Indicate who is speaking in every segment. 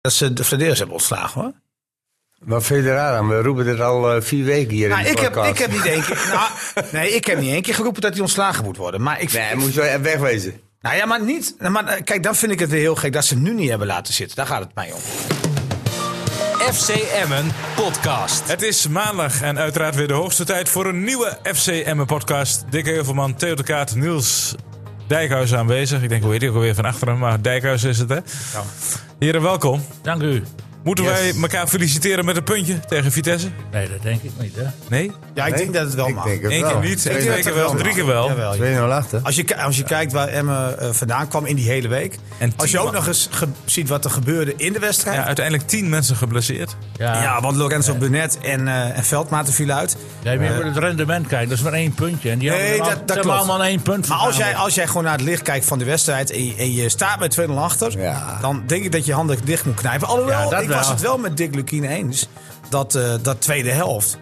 Speaker 1: dat ze de verdedigers hebben ontslagen hoor.
Speaker 2: Wat vind je er aan? We roepen dit al eh, vier weken hier
Speaker 1: Nou,
Speaker 2: in de
Speaker 1: ik, heb,
Speaker 2: podcast.
Speaker 1: ik heb niet één keer. Nou, nee, ik heb niet één keer geroepen dat hij ontslagen moet worden. Maar ik,
Speaker 2: Nee, hij moet wel wegwezen.
Speaker 1: Nou ja, maar niet. nou, Maar eh, kijk, dan vind ik het weer heel gek dat ze hem nu niet hebben laten zitten. Daar gaat het mij om.
Speaker 3: FC Emmen podcast.
Speaker 4: Het is maandag en uiteraard weer de hoogste tijd voor een nieuwe FC Emmen podcast. Dikke Heuvelman, Theo de Kaat, Niels Dijkhuizen aanwezig. Ik denk, hoe heet hij ook alweer van achteren, maar Dijkhuizen is het hè. Heren, welkom.
Speaker 3: Dank u.
Speaker 4: Moeten
Speaker 3: Yes.
Speaker 4: wij elkaar feliciteren met een puntje tegen Vitesse?
Speaker 3: Nee, dat denk ik niet, hè?
Speaker 4: Nee?
Speaker 1: Ja, ik denk dat het wel mag.
Speaker 2: denk het
Speaker 4: Eén keer
Speaker 2: wel.
Speaker 4: niet,
Speaker 2: Twee-
Speaker 4: één keer wel, drie keer wel.
Speaker 1: Jawel, ja.
Speaker 2: 2-0 achter.
Speaker 1: Als je, ki- als je kijkt waar Emmen eh, vandaan kwam in die hele week.
Speaker 4: En
Speaker 1: als je
Speaker 4: tien
Speaker 1: ook nog eens ge- ziet wat er gebeurde in de wedstrijd.
Speaker 4: Ja, uiteindelijk tien mensen geblesseerd.
Speaker 3: Ja.
Speaker 1: Ja, want Lorenzo Burnett en, eh, en Veldmaten vielen uit.
Speaker 3: Nee, maar je moet het rendement kijken. Dat is maar één puntje. En die
Speaker 1: Nee,
Speaker 3: hebben
Speaker 1: dat-
Speaker 3: al-
Speaker 1: dat
Speaker 3: ze hebben
Speaker 1: klopt.
Speaker 3: allemaal één punt
Speaker 1: Maar als
Speaker 3: verzameld.
Speaker 1: jij, als jij gewoon naar het licht kijkt van de wedstrijd en je, en je staat met 2-0 achter,
Speaker 2: Ja.
Speaker 1: dan denk ik dat je handen dicht moet knijpen. Alhoewel,
Speaker 3: Ja, dat
Speaker 1: ik was
Speaker 3: wel.
Speaker 1: het wel met Dick Lukien eens dat eh, dat tweede helft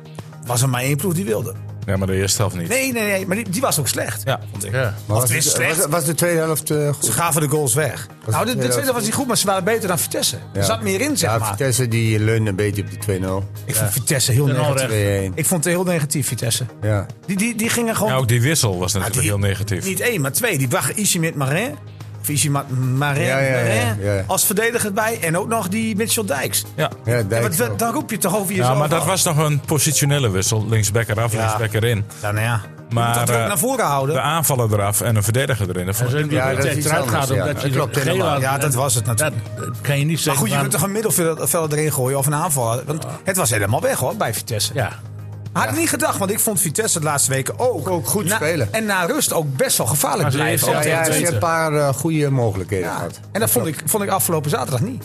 Speaker 1: was er maar één ploeg die wilde.
Speaker 4: Ja, maar de eerste helft niet.
Speaker 1: Nee, nee, nee, maar die, die was ook slecht.
Speaker 4: Ja.
Speaker 1: Vond ik.
Speaker 3: Ja.
Speaker 2: Maar
Speaker 1: Of
Speaker 2: was,
Speaker 1: het is
Speaker 2: de,
Speaker 1: slecht.
Speaker 2: was, was de tweede helft eh, goed?
Speaker 1: Ze gaven de goals weg. nou, de, de
Speaker 2: ja,
Speaker 1: tweede
Speaker 2: dat-
Speaker 1: was niet goed, maar ze waren beter dan Vitesse. Er
Speaker 2: Ja.
Speaker 1: zat meer in, zeg
Speaker 2: ja,
Speaker 1: maar.
Speaker 2: Vitesse die leunde een beetje op die 2-0.
Speaker 1: Ik vond Vitesse heel
Speaker 3: Ten
Speaker 1: negatief.
Speaker 3: onrechte.
Speaker 2: 2-1.
Speaker 1: Ik vond het heel negatief, Vitesse.
Speaker 2: Ja.
Speaker 1: Die, die, die gingen gewoon...
Speaker 4: Ja, ook die wissel was
Speaker 1: Ah,
Speaker 4: natuurlijk
Speaker 1: die-
Speaker 4: heel negatief.
Speaker 1: Niet één, maar twee. Die bracht Ishi met Marin. Of Ishi Ma- Marin,
Speaker 2: Ja, ja, ja,
Speaker 1: Marin
Speaker 2: ja, ja.
Speaker 1: als verdediger bij. En ook nog die Mitchell Dijks.
Speaker 4: Ja.
Speaker 2: Ja,
Speaker 1: Ja,
Speaker 2: Dijk
Speaker 1: maar
Speaker 2: ook.
Speaker 1: dat- dan roep je toch over jezelf
Speaker 4: Ja, Nou, maar dat
Speaker 1: af.
Speaker 4: was nog een positionele wissel. Linksback eraf,
Speaker 1: Ja.
Speaker 4: linksback erin.
Speaker 1: Ja, nou ja. Maar,
Speaker 4: Maar,
Speaker 1: dat ook
Speaker 4: eh,
Speaker 1: naar voren
Speaker 4: De
Speaker 1: houden.
Speaker 4: aanvaller eraf en een verdediger erin. Dat
Speaker 3: En
Speaker 4: vond
Speaker 3: zo
Speaker 4: ik-
Speaker 3: die
Speaker 2: Ja, dat is
Speaker 3: tijd
Speaker 2: iets
Speaker 3: eruit
Speaker 2: anders,
Speaker 3: gaat omdat
Speaker 2: ja.
Speaker 3: hij
Speaker 2: Dat klopt
Speaker 3: de geel
Speaker 2: helemaal.
Speaker 3: had.
Speaker 1: Ja, dat was het
Speaker 3: Dat,
Speaker 1: natuurlijk.
Speaker 3: dat kan je niet
Speaker 1: Maar
Speaker 3: zeggen.
Speaker 1: goed, je kunt
Speaker 3: maar-
Speaker 1: toch een middenvelder erin gooien of een aanvaller. Want het was helemaal weg hoor, bij Vitesse.
Speaker 3: Ja.
Speaker 1: Had ik niet gedacht, want ik vond Vitesse de laatste weken ook,
Speaker 2: Ook goed
Speaker 1: na-
Speaker 2: spelen.
Speaker 1: En na rust ook best wel gevaarlijk
Speaker 3: Maar ze
Speaker 1: blijven.
Speaker 3: heeft-
Speaker 1: Ook tegen
Speaker 2: Ja, ja, ze
Speaker 1: Twente.
Speaker 2: hebben een paar eh, goede mogelijkheden
Speaker 1: Ja,
Speaker 2: gehad.
Speaker 1: En dat vond ik, vond ik afgelopen zaterdag niet.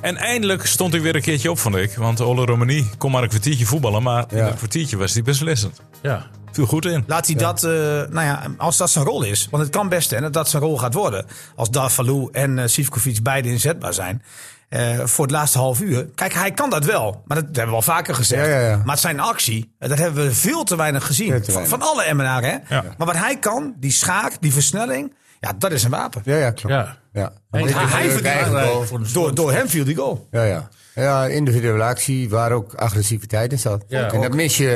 Speaker 4: En eindelijk stond hij weer een keertje op, vond ik. Want Ole Romani kon maar een kwartiertje voetballen. Maar in
Speaker 2: Ja.
Speaker 4: dat kwartiertje was hij beslissend.
Speaker 3: ja.
Speaker 4: Viel goed in.
Speaker 1: Laat hij dat, eh, nou ja, als dat zijn rol is. Want het kan best en dat dat zijn rol gaat worden. Als Darvalou en eh, Sivkovic beide inzetbaar zijn. eh, voor het laatste half uur. Kijk, hij kan dat wel. Maar dat hebben we al vaker gezegd.
Speaker 2: Ja, ja, ja.
Speaker 1: Maar zijn actie, eh, dat hebben we veel te weinig gezien.
Speaker 2: Veel te
Speaker 1: Van,
Speaker 2: weinig.
Speaker 1: van alle MNR, hè.
Speaker 4: Ja.
Speaker 1: Maar wat hij kan, die schaak, die versnelling. Ja, dat is een wapen.
Speaker 2: Ja, ja, klopt.
Speaker 3: Ja.
Speaker 2: Ja.
Speaker 3: Hij-
Speaker 2: Een beetje
Speaker 3: hij
Speaker 2: druk
Speaker 3: verdient
Speaker 2: eigen
Speaker 3: wel,
Speaker 2: goal.
Speaker 3: eh, voor de
Speaker 1: Door, door hem viel die goal.
Speaker 2: Ja, ja. Ja, individuele actie waar ook agressiviteit in zat.
Speaker 3: Ja.
Speaker 2: en dat mis je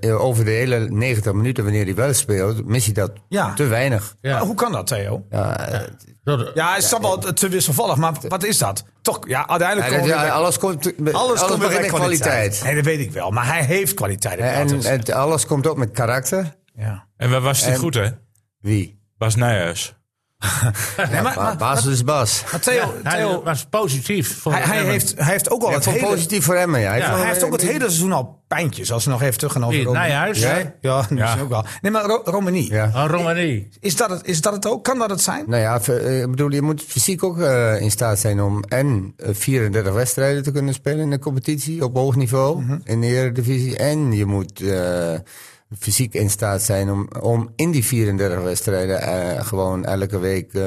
Speaker 2: eh, over de hele 90 minuten, wanneer hij wel speelt, mis je dat
Speaker 1: Ja.
Speaker 2: te weinig.
Speaker 3: Ja.
Speaker 1: Maar hoe kan dat, Theo?
Speaker 2: Ja, eh,
Speaker 3: door de-
Speaker 1: Ja, het is dan wel te wisselvallig, maar wat is dat? Toch, ja, uiteindelijk
Speaker 2: ja, dat-
Speaker 1: komen we
Speaker 2: ja,
Speaker 1: bij-
Speaker 2: alles komt, alles
Speaker 1: alles komt weer
Speaker 2: begint
Speaker 1: bij
Speaker 2: met kwaliteit.
Speaker 1: Nee, dat weet ik wel, maar hij heeft kwaliteit.
Speaker 2: En,
Speaker 1: En,
Speaker 2: en het- alles komt ook met karakter.
Speaker 1: ja.
Speaker 4: En waar was hij
Speaker 2: En-
Speaker 4: goed, hè?
Speaker 2: Wie?
Speaker 4: Bas Nijhuis.
Speaker 1: nee, maar,
Speaker 2: Ba
Speaker 1: maar,
Speaker 2: Bas is Bas.
Speaker 1: maar Theo,
Speaker 3: Hij
Speaker 1: Theo
Speaker 3: was positief. voor
Speaker 1: nou, hij, hij,
Speaker 3: Emmen.
Speaker 1: heeft, hij heeft ook al
Speaker 2: Ja,
Speaker 1: het
Speaker 2: voor
Speaker 1: hele...
Speaker 2: positief voor hem. Ja.
Speaker 3: Ja,
Speaker 1: Hij
Speaker 2: vond-
Speaker 1: heeft ook het hele seizoen al pijntjes, als we nog even terug gaan over
Speaker 3: Wie,
Speaker 1: Romani.
Speaker 3: Nijhuis?
Speaker 1: Ja,
Speaker 3: Ja.
Speaker 1: ja, misschien ook wel. Nee, maar Ro Romani,
Speaker 2: Ja.
Speaker 3: Ah, Romani.
Speaker 1: is, dat het, is dat het ook? Kan dat het zijn?
Speaker 2: Nou ja, ver- eh, ik bedoel, je moet fysiek ook eh, in staat zijn om en eh, 34 wedstrijden te kunnen spelen in de competitie op hoog niveau
Speaker 1: Mhm.
Speaker 2: in de Eredivisie. En je moet eh, fysiek in staat zijn om, om in die 34 wedstrijden eh, gewoon elke week eh,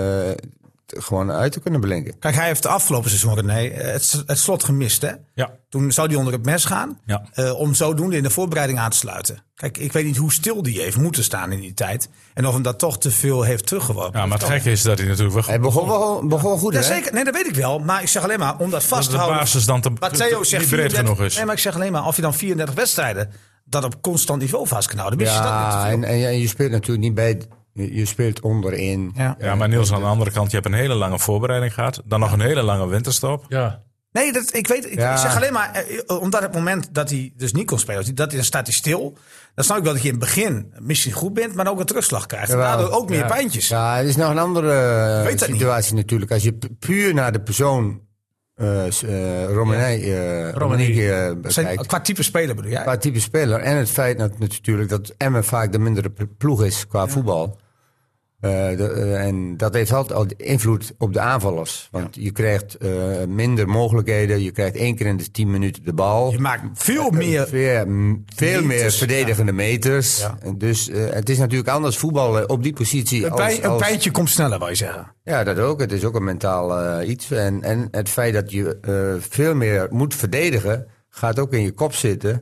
Speaker 2: t- gewoon uit te kunnen blinken.
Speaker 1: Kijk, hij heeft de afgelopen seizoen, René, eh, het, s- het slot gemist, hè?
Speaker 4: Ja.
Speaker 1: Toen zou hij onder het mes gaan.
Speaker 4: Ja.
Speaker 1: eh, om zodoende in de voorbereiding aan te sluiten. Kijk, ik weet niet hoe stil die heeft moeten staan in die tijd. En of hem dat toch te veel heeft teruggeworpen.
Speaker 4: Ja, maar het gekke is dat hij natuurlijk wel goed...
Speaker 2: Hij begon, wel, begon goed,
Speaker 1: Ja,
Speaker 2: hè?
Speaker 1: zeker. Nee, dat weet ik wel. Maar ik zeg alleen maar, om dat vast
Speaker 4: de
Speaker 1: te houden.
Speaker 4: basis dan te-
Speaker 1: Maar
Speaker 4: te-
Speaker 1: Theo
Speaker 4: niet
Speaker 1: zegt
Speaker 4: breed
Speaker 1: 34
Speaker 4: genoeg is.
Speaker 1: Nee, maar ik zeg alleen maar, of je dan 34 wedstrijden dat op constant niveau vast kan houden. mis je dat niet te
Speaker 2: Ja,
Speaker 1: veel.
Speaker 2: en, en, ja, je speelt natuurlijk niet bij... Je je speelt onderin.
Speaker 1: Ja.
Speaker 4: Ja, maar Niels, aan de andere kant, je hebt een hele lange voorbereiding gehad. Dan nog een hele lange winterstop.
Speaker 3: Ja.
Speaker 1: Nee, dat, ik weet. Ik
Speaker 2: Ja.
Speaker 1: zeg alleen maar, eh, eh, omdat het moment dat hij dus niet kon spelen, dat hij, dan staat hij stil. Dan snap ik wel dat je in het begin misschien goed bent, maar dan ook een terugslag krijgt. En
Speaker 2: Jawel.
Speaker 1: daardoor ook meer
Speaker 3: Ja.
Speaker 1: pijntjes.
Speaker 2: Ja, het is nog een andere eh,
Speaker 1: Weet dat niet.
Speaker 2: situatie natuurlijk. Als je pu- puur naar de persoon eh s- eh, Romanei eh, Romaniek, eh,
Speaker 1: Zijn,
Speaker 2: bekijkt.
Speaker 1: qua type speler bedoel jij?
Speaker 2: Qua type speler. En het feit dat, natuurlijk dat Emmen vaak de mindere p- ploeg is qua voetbal. Eh, de- eh, en dat heeft altijd al invloed op de aanvallers. Want je krijgt eh, minder mogelijkheden. Je krijgt één keer in de tien minuten de bal. Eh,
Speaker 1: Je maakt veel meer.
Speaker 2: Veel, m- veel meer
Speaker 1: meters,
Speaker 2: verdedigende meters.
Speaker 1: Ja.
Speaker 2: En Dus eh, het is natuurlijk anders voetballen op die positie.
Speaker 1: Een,
Speaker 2: als-
Speaker 1: pijn, een
Speaker 2: als-
Speaker 1: pijntje komt sneller, wou je zeggen.
Speaker 2: ja, dat ook. Het is ook een mentaal eh, iets. En, en het feit dat je eh, veel meer moet verdedigen, gaat ook in je kop zitten.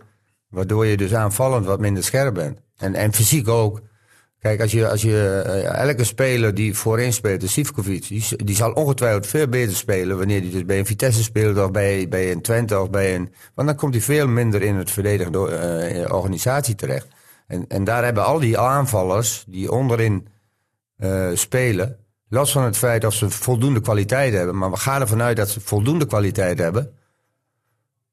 Speaker 2: Waardoor je dus aanvallend wat minder scherp bent. En, en fysiek ook. Kijk, als je, als je eh, elke speler die voorin speelt, de Sivkovic, die, s- die zal ongetwijfeld veel beter spelen wanneer hij dus bij een Vitesse speelt of bij, bij een Twente of bij een... Want dan komt hij veel minder in het verdedigende eh, organisatie terecht. En, en daar hebben al die aanvallers die onderin eh, spelen, los van het feit of ze voldoende kwaliteit hebben, maar we gaan ervan uit dat ze voldoende kwaliteit hebben,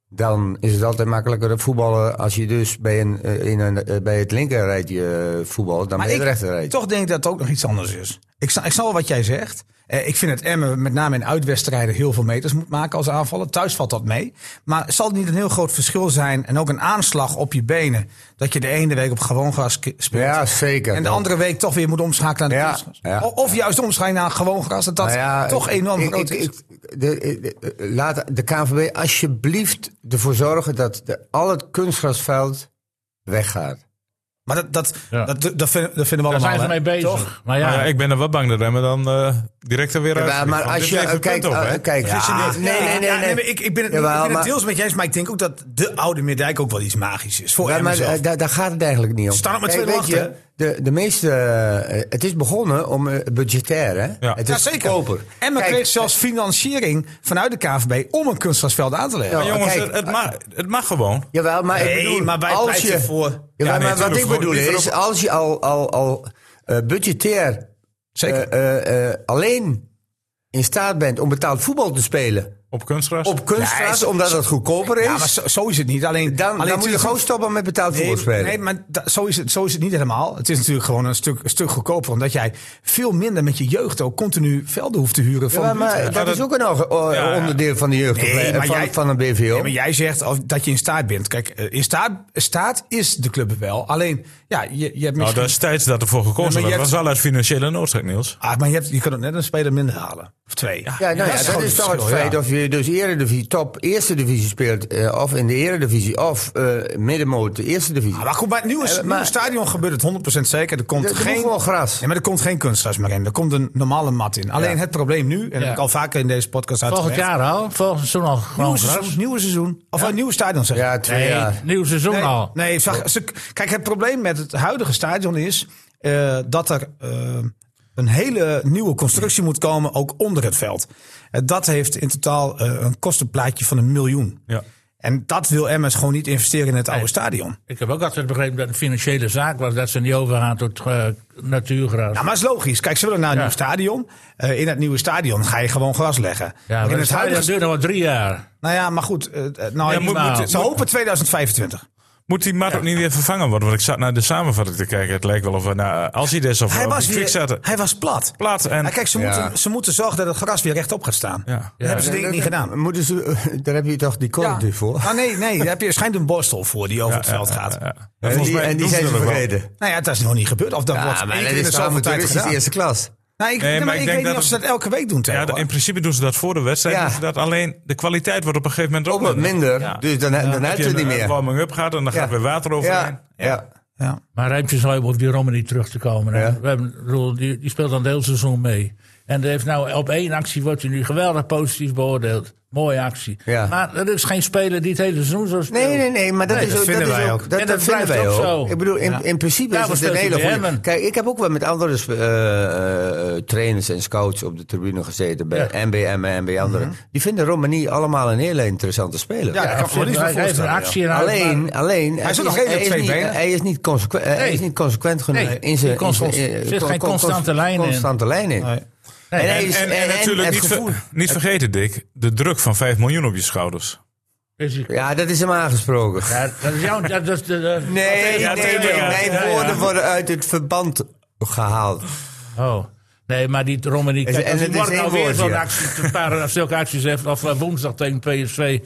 Speaker 2: dan is het altijd makkelijker te voetballen als je dus bij, een, eh, in een, eh, bij het linkerrijtje eh, voetbalt dan bij het rechterrijtje.
Speaker 1: toch denk ik dat het ook nog iets anders is. Ik, sna- ik snap wel wat jij zegt. Eh, ik vind het Emmen met name in uitwedstrijden heel veel meters moet maken als aanvallen. Thuis valt dat mee. Maar zal het niet een heel groot verschil zijn en ook een aanslag op je benen... dat je de ene week op gewoon gras ki- speelt
Speaker 2: Ja, zeker. Nou,
Speaker 1: en de andere week toch weer moet omschakelen naar de
Speaker 2: Ja,
Speaker 1: kunstgras?
Speaker 2: ja.
Speaker 1: O- Of juist omschakelen naar gewoon gras, dat dat
Speaker 2: Nou ja,
Speaker 1: toch enorm
Speaker 2: ik-
Speaker 1: groot
Speaker 2: ik-
Speaker 1: is.
Speaker 2: ik- de- eh, de- de- laat de KNVB alsjeblieft ervoor zorgen dat de, al het kunstgrasveld weggaat.
Speaker 1: maar dat, dat,
Speaker 3: Ja.
Speaker 1: dat, dat, vinden, dat vinden we
Speaker 3: Daar
Speaker 1: allemaal.
Speaker 3: zijn ze
Speaker 1: hè?
Speaker 3: mee bezig. Maar
Speaker 4: Maar
Speaker 3: ja,
Speaker 4: ja, ik ben er wat bang dat Emmen dan eh, direct er weer uit.
Speaker 2: Ja, maar als je kijkt, eh, kijk,
Speaker 1: Ja,
Speaker 2: nee, nee, nee,
Speaker 1: ja,
Speaker 2: nee.
Speaker 1: maar ik, ik ben het,
Speaker 2: Jawel,
Speaker 1: ik ben het
Speaker 2: maar-
Speaker 1: deels met jij eens, maar ik denk ook dat de oude Meerdijk ook wel iets magisch is. Voor
Speaker 2: Ja,
Speaker 1: ja,
Speaker 2: maar eh, daar, daar gaat het eigenlijk niet om.
Speaker 1: Ze staan op met
Speaker 2: Kijk,
Speaker 1: tweede
Speaker 2: weet je,
Speaker 1: wacht,
Speaker 2: de, de meeste, eh, het is begonnen om eh, budgetair, hè?
Speaker 4: Ja.
Speaker 2: Het
Speaker 1: Ja,
Speaker 2: is
Speaker 1: zeker.
Speaker 2: goedkoper.
Speaker 1: En men
Speaker 2: Kijk, eh,
Speaker 1: kreeg zelfs financiering vanuit de KVB om een kunstgrasveld aan te leggen.
Speaker 2: Ja.
Speaker 4: Maar jongens,
Speaker 2: eh, kijk,
Speaker 4: het, het mag, het mag gewoon.
Speaker 2: Jawel, maar ik
Speaker 1: Nee,
Speaker 2: bedoel,
Speaker 1: maar wij
Speaker 2: als
Speaker 1: pleiten
Speaker 2: je,
Speaker 1: voor-
Speaker 2: Jawel,
Speaker 1: Ja,
Speaker 4: nee,
Speaker 2: maar wat
Speaker 4: tuurlijk,
Speaker 2: ik
Speaker 4: voor-
Speaker 2: bedoel
Speaker 4: liever
Speaker 2: is,
Speaker 4: op-
Speaker 2: als je al, al, al eh, budgetair
Speaker 1: Zeker.
Speaker 2: eh, eh, eh, alleen in staat bent om betaald voetbal te spelen
Speaker 4: Op kunstgras. Nou,
Speaker 2: op kunstgras,
Speaker 1: Nee,
Speaker 2: omdat het goedkoper is,
Speaker 1: Ja, maar zo, zo is het niet. Alleen,
Speaker 2: dan,
Speaker 1: alleen
Speaker 2: dan moet je
Speaker 1: het is-
Speaker 2: gewoon stoppen met betaald voetbal
Speaker 1: Nee,
Speaker 2: spelen.
Speaker 1: nee, maar da- zo, is het, zo is het niet helemaal. Het is natuurlijk gewoon een stuk, een stuk goedkoper. Omdat jij veel minder met je jeugd ook continu velden hoeft te huren. Van
Speaker 2: Ja, maar
Speaker 1: buurten.
Speaker 2: dat, is ook een o- o-
Speaker 4: Ja, ja.
Speaker 2: onderdeel van de jeugd eh,
Speaker 1: Nee, maar
Speaker 2: van,
Speaker 1: jij-
Speaker 2: van een BVO.
Speaker 1: Nee, maar jij zegt of, dat je in staat bent. Kijk, eh, in staat, staat is de club er wel. Alleen, ja, je, je hebt misschien...
Speaker 4: nou, dat is tijd dat ervoor gekozen
Speaker 1: Ja, maar
Speaker 4: werd.
Speaker 1: je
Speaker 4: Dat was wel uit financiële noodzaak, Niels.
Speaker 1: Ah, maar je, hebt, je kunt ook net een speler minder halen. Of twee.
Speaker 2: Ja, nou ja,
Speaker 1: is
Speaker 2: dat,
Speaker 1: gewoon
Speaker 2: is
Speaker 1: het
Speaker 2: toch het
Speaker 1: verschil,
Speaker 2: feit
Speaker 1: ja.
Speaker 2: of je dus eredivisie, top eerste divisie speelt, eh, of in de eredivisie, of eh middenmoot de eerste divisie.
Speaker 1: Ah, Maar goed, bij het nieuwe,
Speaker 2: Eh, maar-
Speaker 1: nieuwe stadion gebeurt het 100% zeker. Er komt
Speaker 2: Er- er moet
Speaker 1: geen,
Speaker 2: gewoon gras.
Speaker 1: Ja, maar er komt geen kunstgras meer in. Er komt een normale mat in. Alleen
Speaker 2: Ja.
Speaker 1: het probleem nu, en dat
Speaker 3: Ja.
Speaker 1: heb ik al vaker in deze podcast uitgelegd.
Speaker 3: volgend jaar al. Volgend seizoen al gewoon
Speaker 1: Nieuwe
Speaker 3: gras.
Speaker 1: seizoen, nieuwe seizoen. Of een nieuwe stadion zeg ik.
Speaker 2: ja, twee
Speaker 3: Nee,
Speaker 2: jaar.
Speaker 3: nieuw seizoen
Speaker 1: Nee,
Speaker 3: al.
Speaker 1: nee zag, ze- kijk, het probleem met het huidige stadion is eh, dat er eh, een hele nieuwe constructie moet komen, ook onder het veld. Eh, dat heeft in totaal eh, een kostenplaatje van een miljoen.
Speaker 4: Ja.
Speaker 1: En dat wil Emmers gewoon niet investeren in het oude
Speaker 3: Nee.
Speaker 1: stadion.
Speaker 3: Ik heb ook altijd begrepen dat het een financiële zaak was dat ze niet overgaan tot eh, natuurgras.
Speaker 1: Ja, Nou, maar het is logisch. Kijk, ze willen naar een
Speaker 3: Ja.
Speaker 1: nieuw stadion. Eh, in het nieuwe stadion ga je gewoon gras leggen.
Speaker 3: ja,
Speaker 1: Maar
Speaker 3: maar
Speaker 1: in
Speaker 3: dat
Speaker 1: het
Speaker 3: stadion
Speaker 1: huidige...
Speaker 3: duurt nog wel drie jaar.
Speaker 1: Nou ja, maar goed. eh, eh, nou,
Speaker 4: Ja,
Speaker 1: ik-
Speaker 4: moet-
Speaker 1: maar-
Speaker 4: moet-
Speaker 1: ze
Speaker 4: moet-
Speaker 1: hopen 2025.
Speaker 4: Moet die mat ook niet weer vervangen worden? Want ik zat naar de samenvatting te kijken. Het lijkt wel of we naar eh, als hij des of
Speaker 1: Hij
Speaker 4: of
Speaker 1: was,
Speaker 4: die fik
Speaker 1: weer,
Speaker 4: zaten.
Speaker 1: hij was plat.
Speaker 4: Plat en...
Speaker 1: Maar kijk, ze,
Speaker 2: Ja.
Speaker 1: moeten, ze moeten zorgen dat het gras weer rechtop gaat staan.
Speaker 4: Ja.
Speaker 1: Dat hebben ze denk ik
Speaker 2: Dat-
Speaker 1: niet gedaan.
Speaker 2: Moeten ze, daar heb je toch die collectief voor?
Speaker 1: Ah, nee, nee, daar heb je, er schijnt een borstel voor die over het veld gaat.
Speaker 4: Ja, ja.
Speaker 2: En
Speaker 4: En volgens
Speaker 2: die,
Speaker 4: mij
Speaker 2: en die
Speaker 4: doen
Speaker 2: zijn
Speaker 4: dat
Speaker 2: ze
Speaker 4: ook wel.
Speaker 2: vergeten.
Speaker 1: Nou ja, dat is nog niet gebeurd. Of dat wordt
Speaker 2: Ja,
Speaker 1: één
Speaker 2: maar
Speaker 1: keer
Speaker 2: dat
Speaker 1: in de
Speaker 2: is toch
Speaker 1: zoveel tijd
Speaker 2: amateuristisch
Speaker 1: gedaan.
Speaker 2: eerste klas.
Speaker 1: Nou, ik,
Speaker 4: Nee,
Speaker 1: nee,
Speaker 4: maar
Speaker 1: maar
Speaker 4: ik
Speaker 1: ik
Speaker 4: denk
Speaker 1: weet niet
Speaker 4: dat-
Speaker 1: of ze dat elke week doen.
Speaker 4: Ja,
Speaker 1: Theo,
Speaker 4: in
Speaker 1: hoor.
Speaker 4: principe doen ze dat voor de wedstrijd.
Speaker 2: Ja.
Speaker 4: doen ze dat alleen de kwaliteit wordt op een gegeven moment
Speaker 2: Ook wat minder, dus dan, dan heb je het niet meer.
Speaker 4: eh, warming-up gaat en dan
Speaker 2: Ja.
Speaker 4: gaat weer water overheen.
Speaker 2: Ja, ja.
Speaker 1: ja.
Speaker 3: Maar Rijmpjes zou op die Romani terug te komen. hè.
Speaker 2: Ja.
Speaker 3: We hebben, ik bedoel, die, die speelt al een heel seizoen mee. En die heeft nou, op één actie wordt hij nu geweldig positief beoordeeld. Mooie actie.
Speaker 2: Ja.
Speaker 3: Maar er is geen speler die het hele seizoen zo speelt.
Speaker 2: Nee, nee, nee, maar dat,
Speaker 3: Nee,
Speaker 2: is,
Speaker 3: dat
Speaker 2: ook,
Speaker 1: vinden
Speaker 2: dat is
Speaker 1: wij
Speaker 2: ook.
Speaker 1: ook.
Speaker 2: Dat,
Speaker 3: En
Speaker 2: dat
Speaker 3: dat
Speaker 2: vinden wij
Speaker 3: blijft
Speaker 2: ook.
Speaker 3: ook zo.
Speaker 2: Ik bedoel, in,
Speaker 3: Ja.
Speaker 2: in principe
Speaker 3: Daarom
Speaker 2: is het een
Speaker 3: speelt hij
Speaker 2: hele
Speaker 3: bij
Speaker 2: goede.
Speaker 3: Emmen.
Speaker 2: Kijk, ik heb ook wel met andere eh, eh, trainers en scouts op de tribune gezeten. Bij NBM en bij anderen. Die vinden Romani allemaal een hele interessante speler.
Speaker 1: Ja, ik kan
Speaker 3: Hij
Speaker 1: me voor niets meer
Speaker 3: heeft een
Speaker 1: voorstellen. ja.
Speaker 3: actie en hij-
Speaker 2: Alleen, alleen hij,
Speaker 1: ook nog
Speaker 2: hij
Speaker 1: redelijk twee
Speaker 2: niet,
Speaker 1: benen.
Speaker 2: Hij is niet consequent, hij
Speaker 3: Nee.
Speaker 2: is niet consequent genoeg
Speaker 3: Nee,
Speaker 2: in zijn.
Speaker 3: die cons-
Speaker 2: in zijn-
Speaker 3: er
Speaker 2: eh,
Speaker 3: zit
Speaker 2: con-
Speaker 3: geen
Speaker 2: con-
Speaker 3: constante
Speaker 2: cons-
Speaker 3: lijn in.
Speaker 2: Constante lijn in.
Speaker 1: Nee.
Speaker 3: Nee,
Speaker 2: En
Speaker 3: nee,
Speaker 2: hij
Speaker 4: En,
Speaker 2: is-
Speaker 4: en,
Speaker 2: en- en
Speaker 4: natuurlijk
Speaker 2: het
Speaker 4: niet, ver-
Speaker 2: gevoel-
Speaker 4: niet vergeten, Dick, de druk van 5 miljoen op je schouders.
Speaker 3: is hij-
Speaker 2: Ja, dat is hem aangesproken.
Speaker 3: Ja, dat is jouw... Dat is de, de-
Speaker 2: Nee,
Speaker 4: Ja,
Speaker 2: nee,
Speaker 4: tegen-
Speaker 2: nee,
Speaker 4: ja,
Speaker 2: mijn
Speaker 3: ja, ja.
Speaker 2: woorden worden uit het verband gehaald.
Speaker 3: Oh. Nee, maar die Romani...
Speaker 2: En- en
Speaker 3: Kijk,
Speaker 2: het
Speaker 3: als die
Speaker 2: is
Speaker 3: morgen
Speaker 2: één
Speaker 3: alweer
Speaker 2: woordje.
Speaker 3: zo'n actie, een paar zulke acties heeft... of eh, woensdag tegen PSV...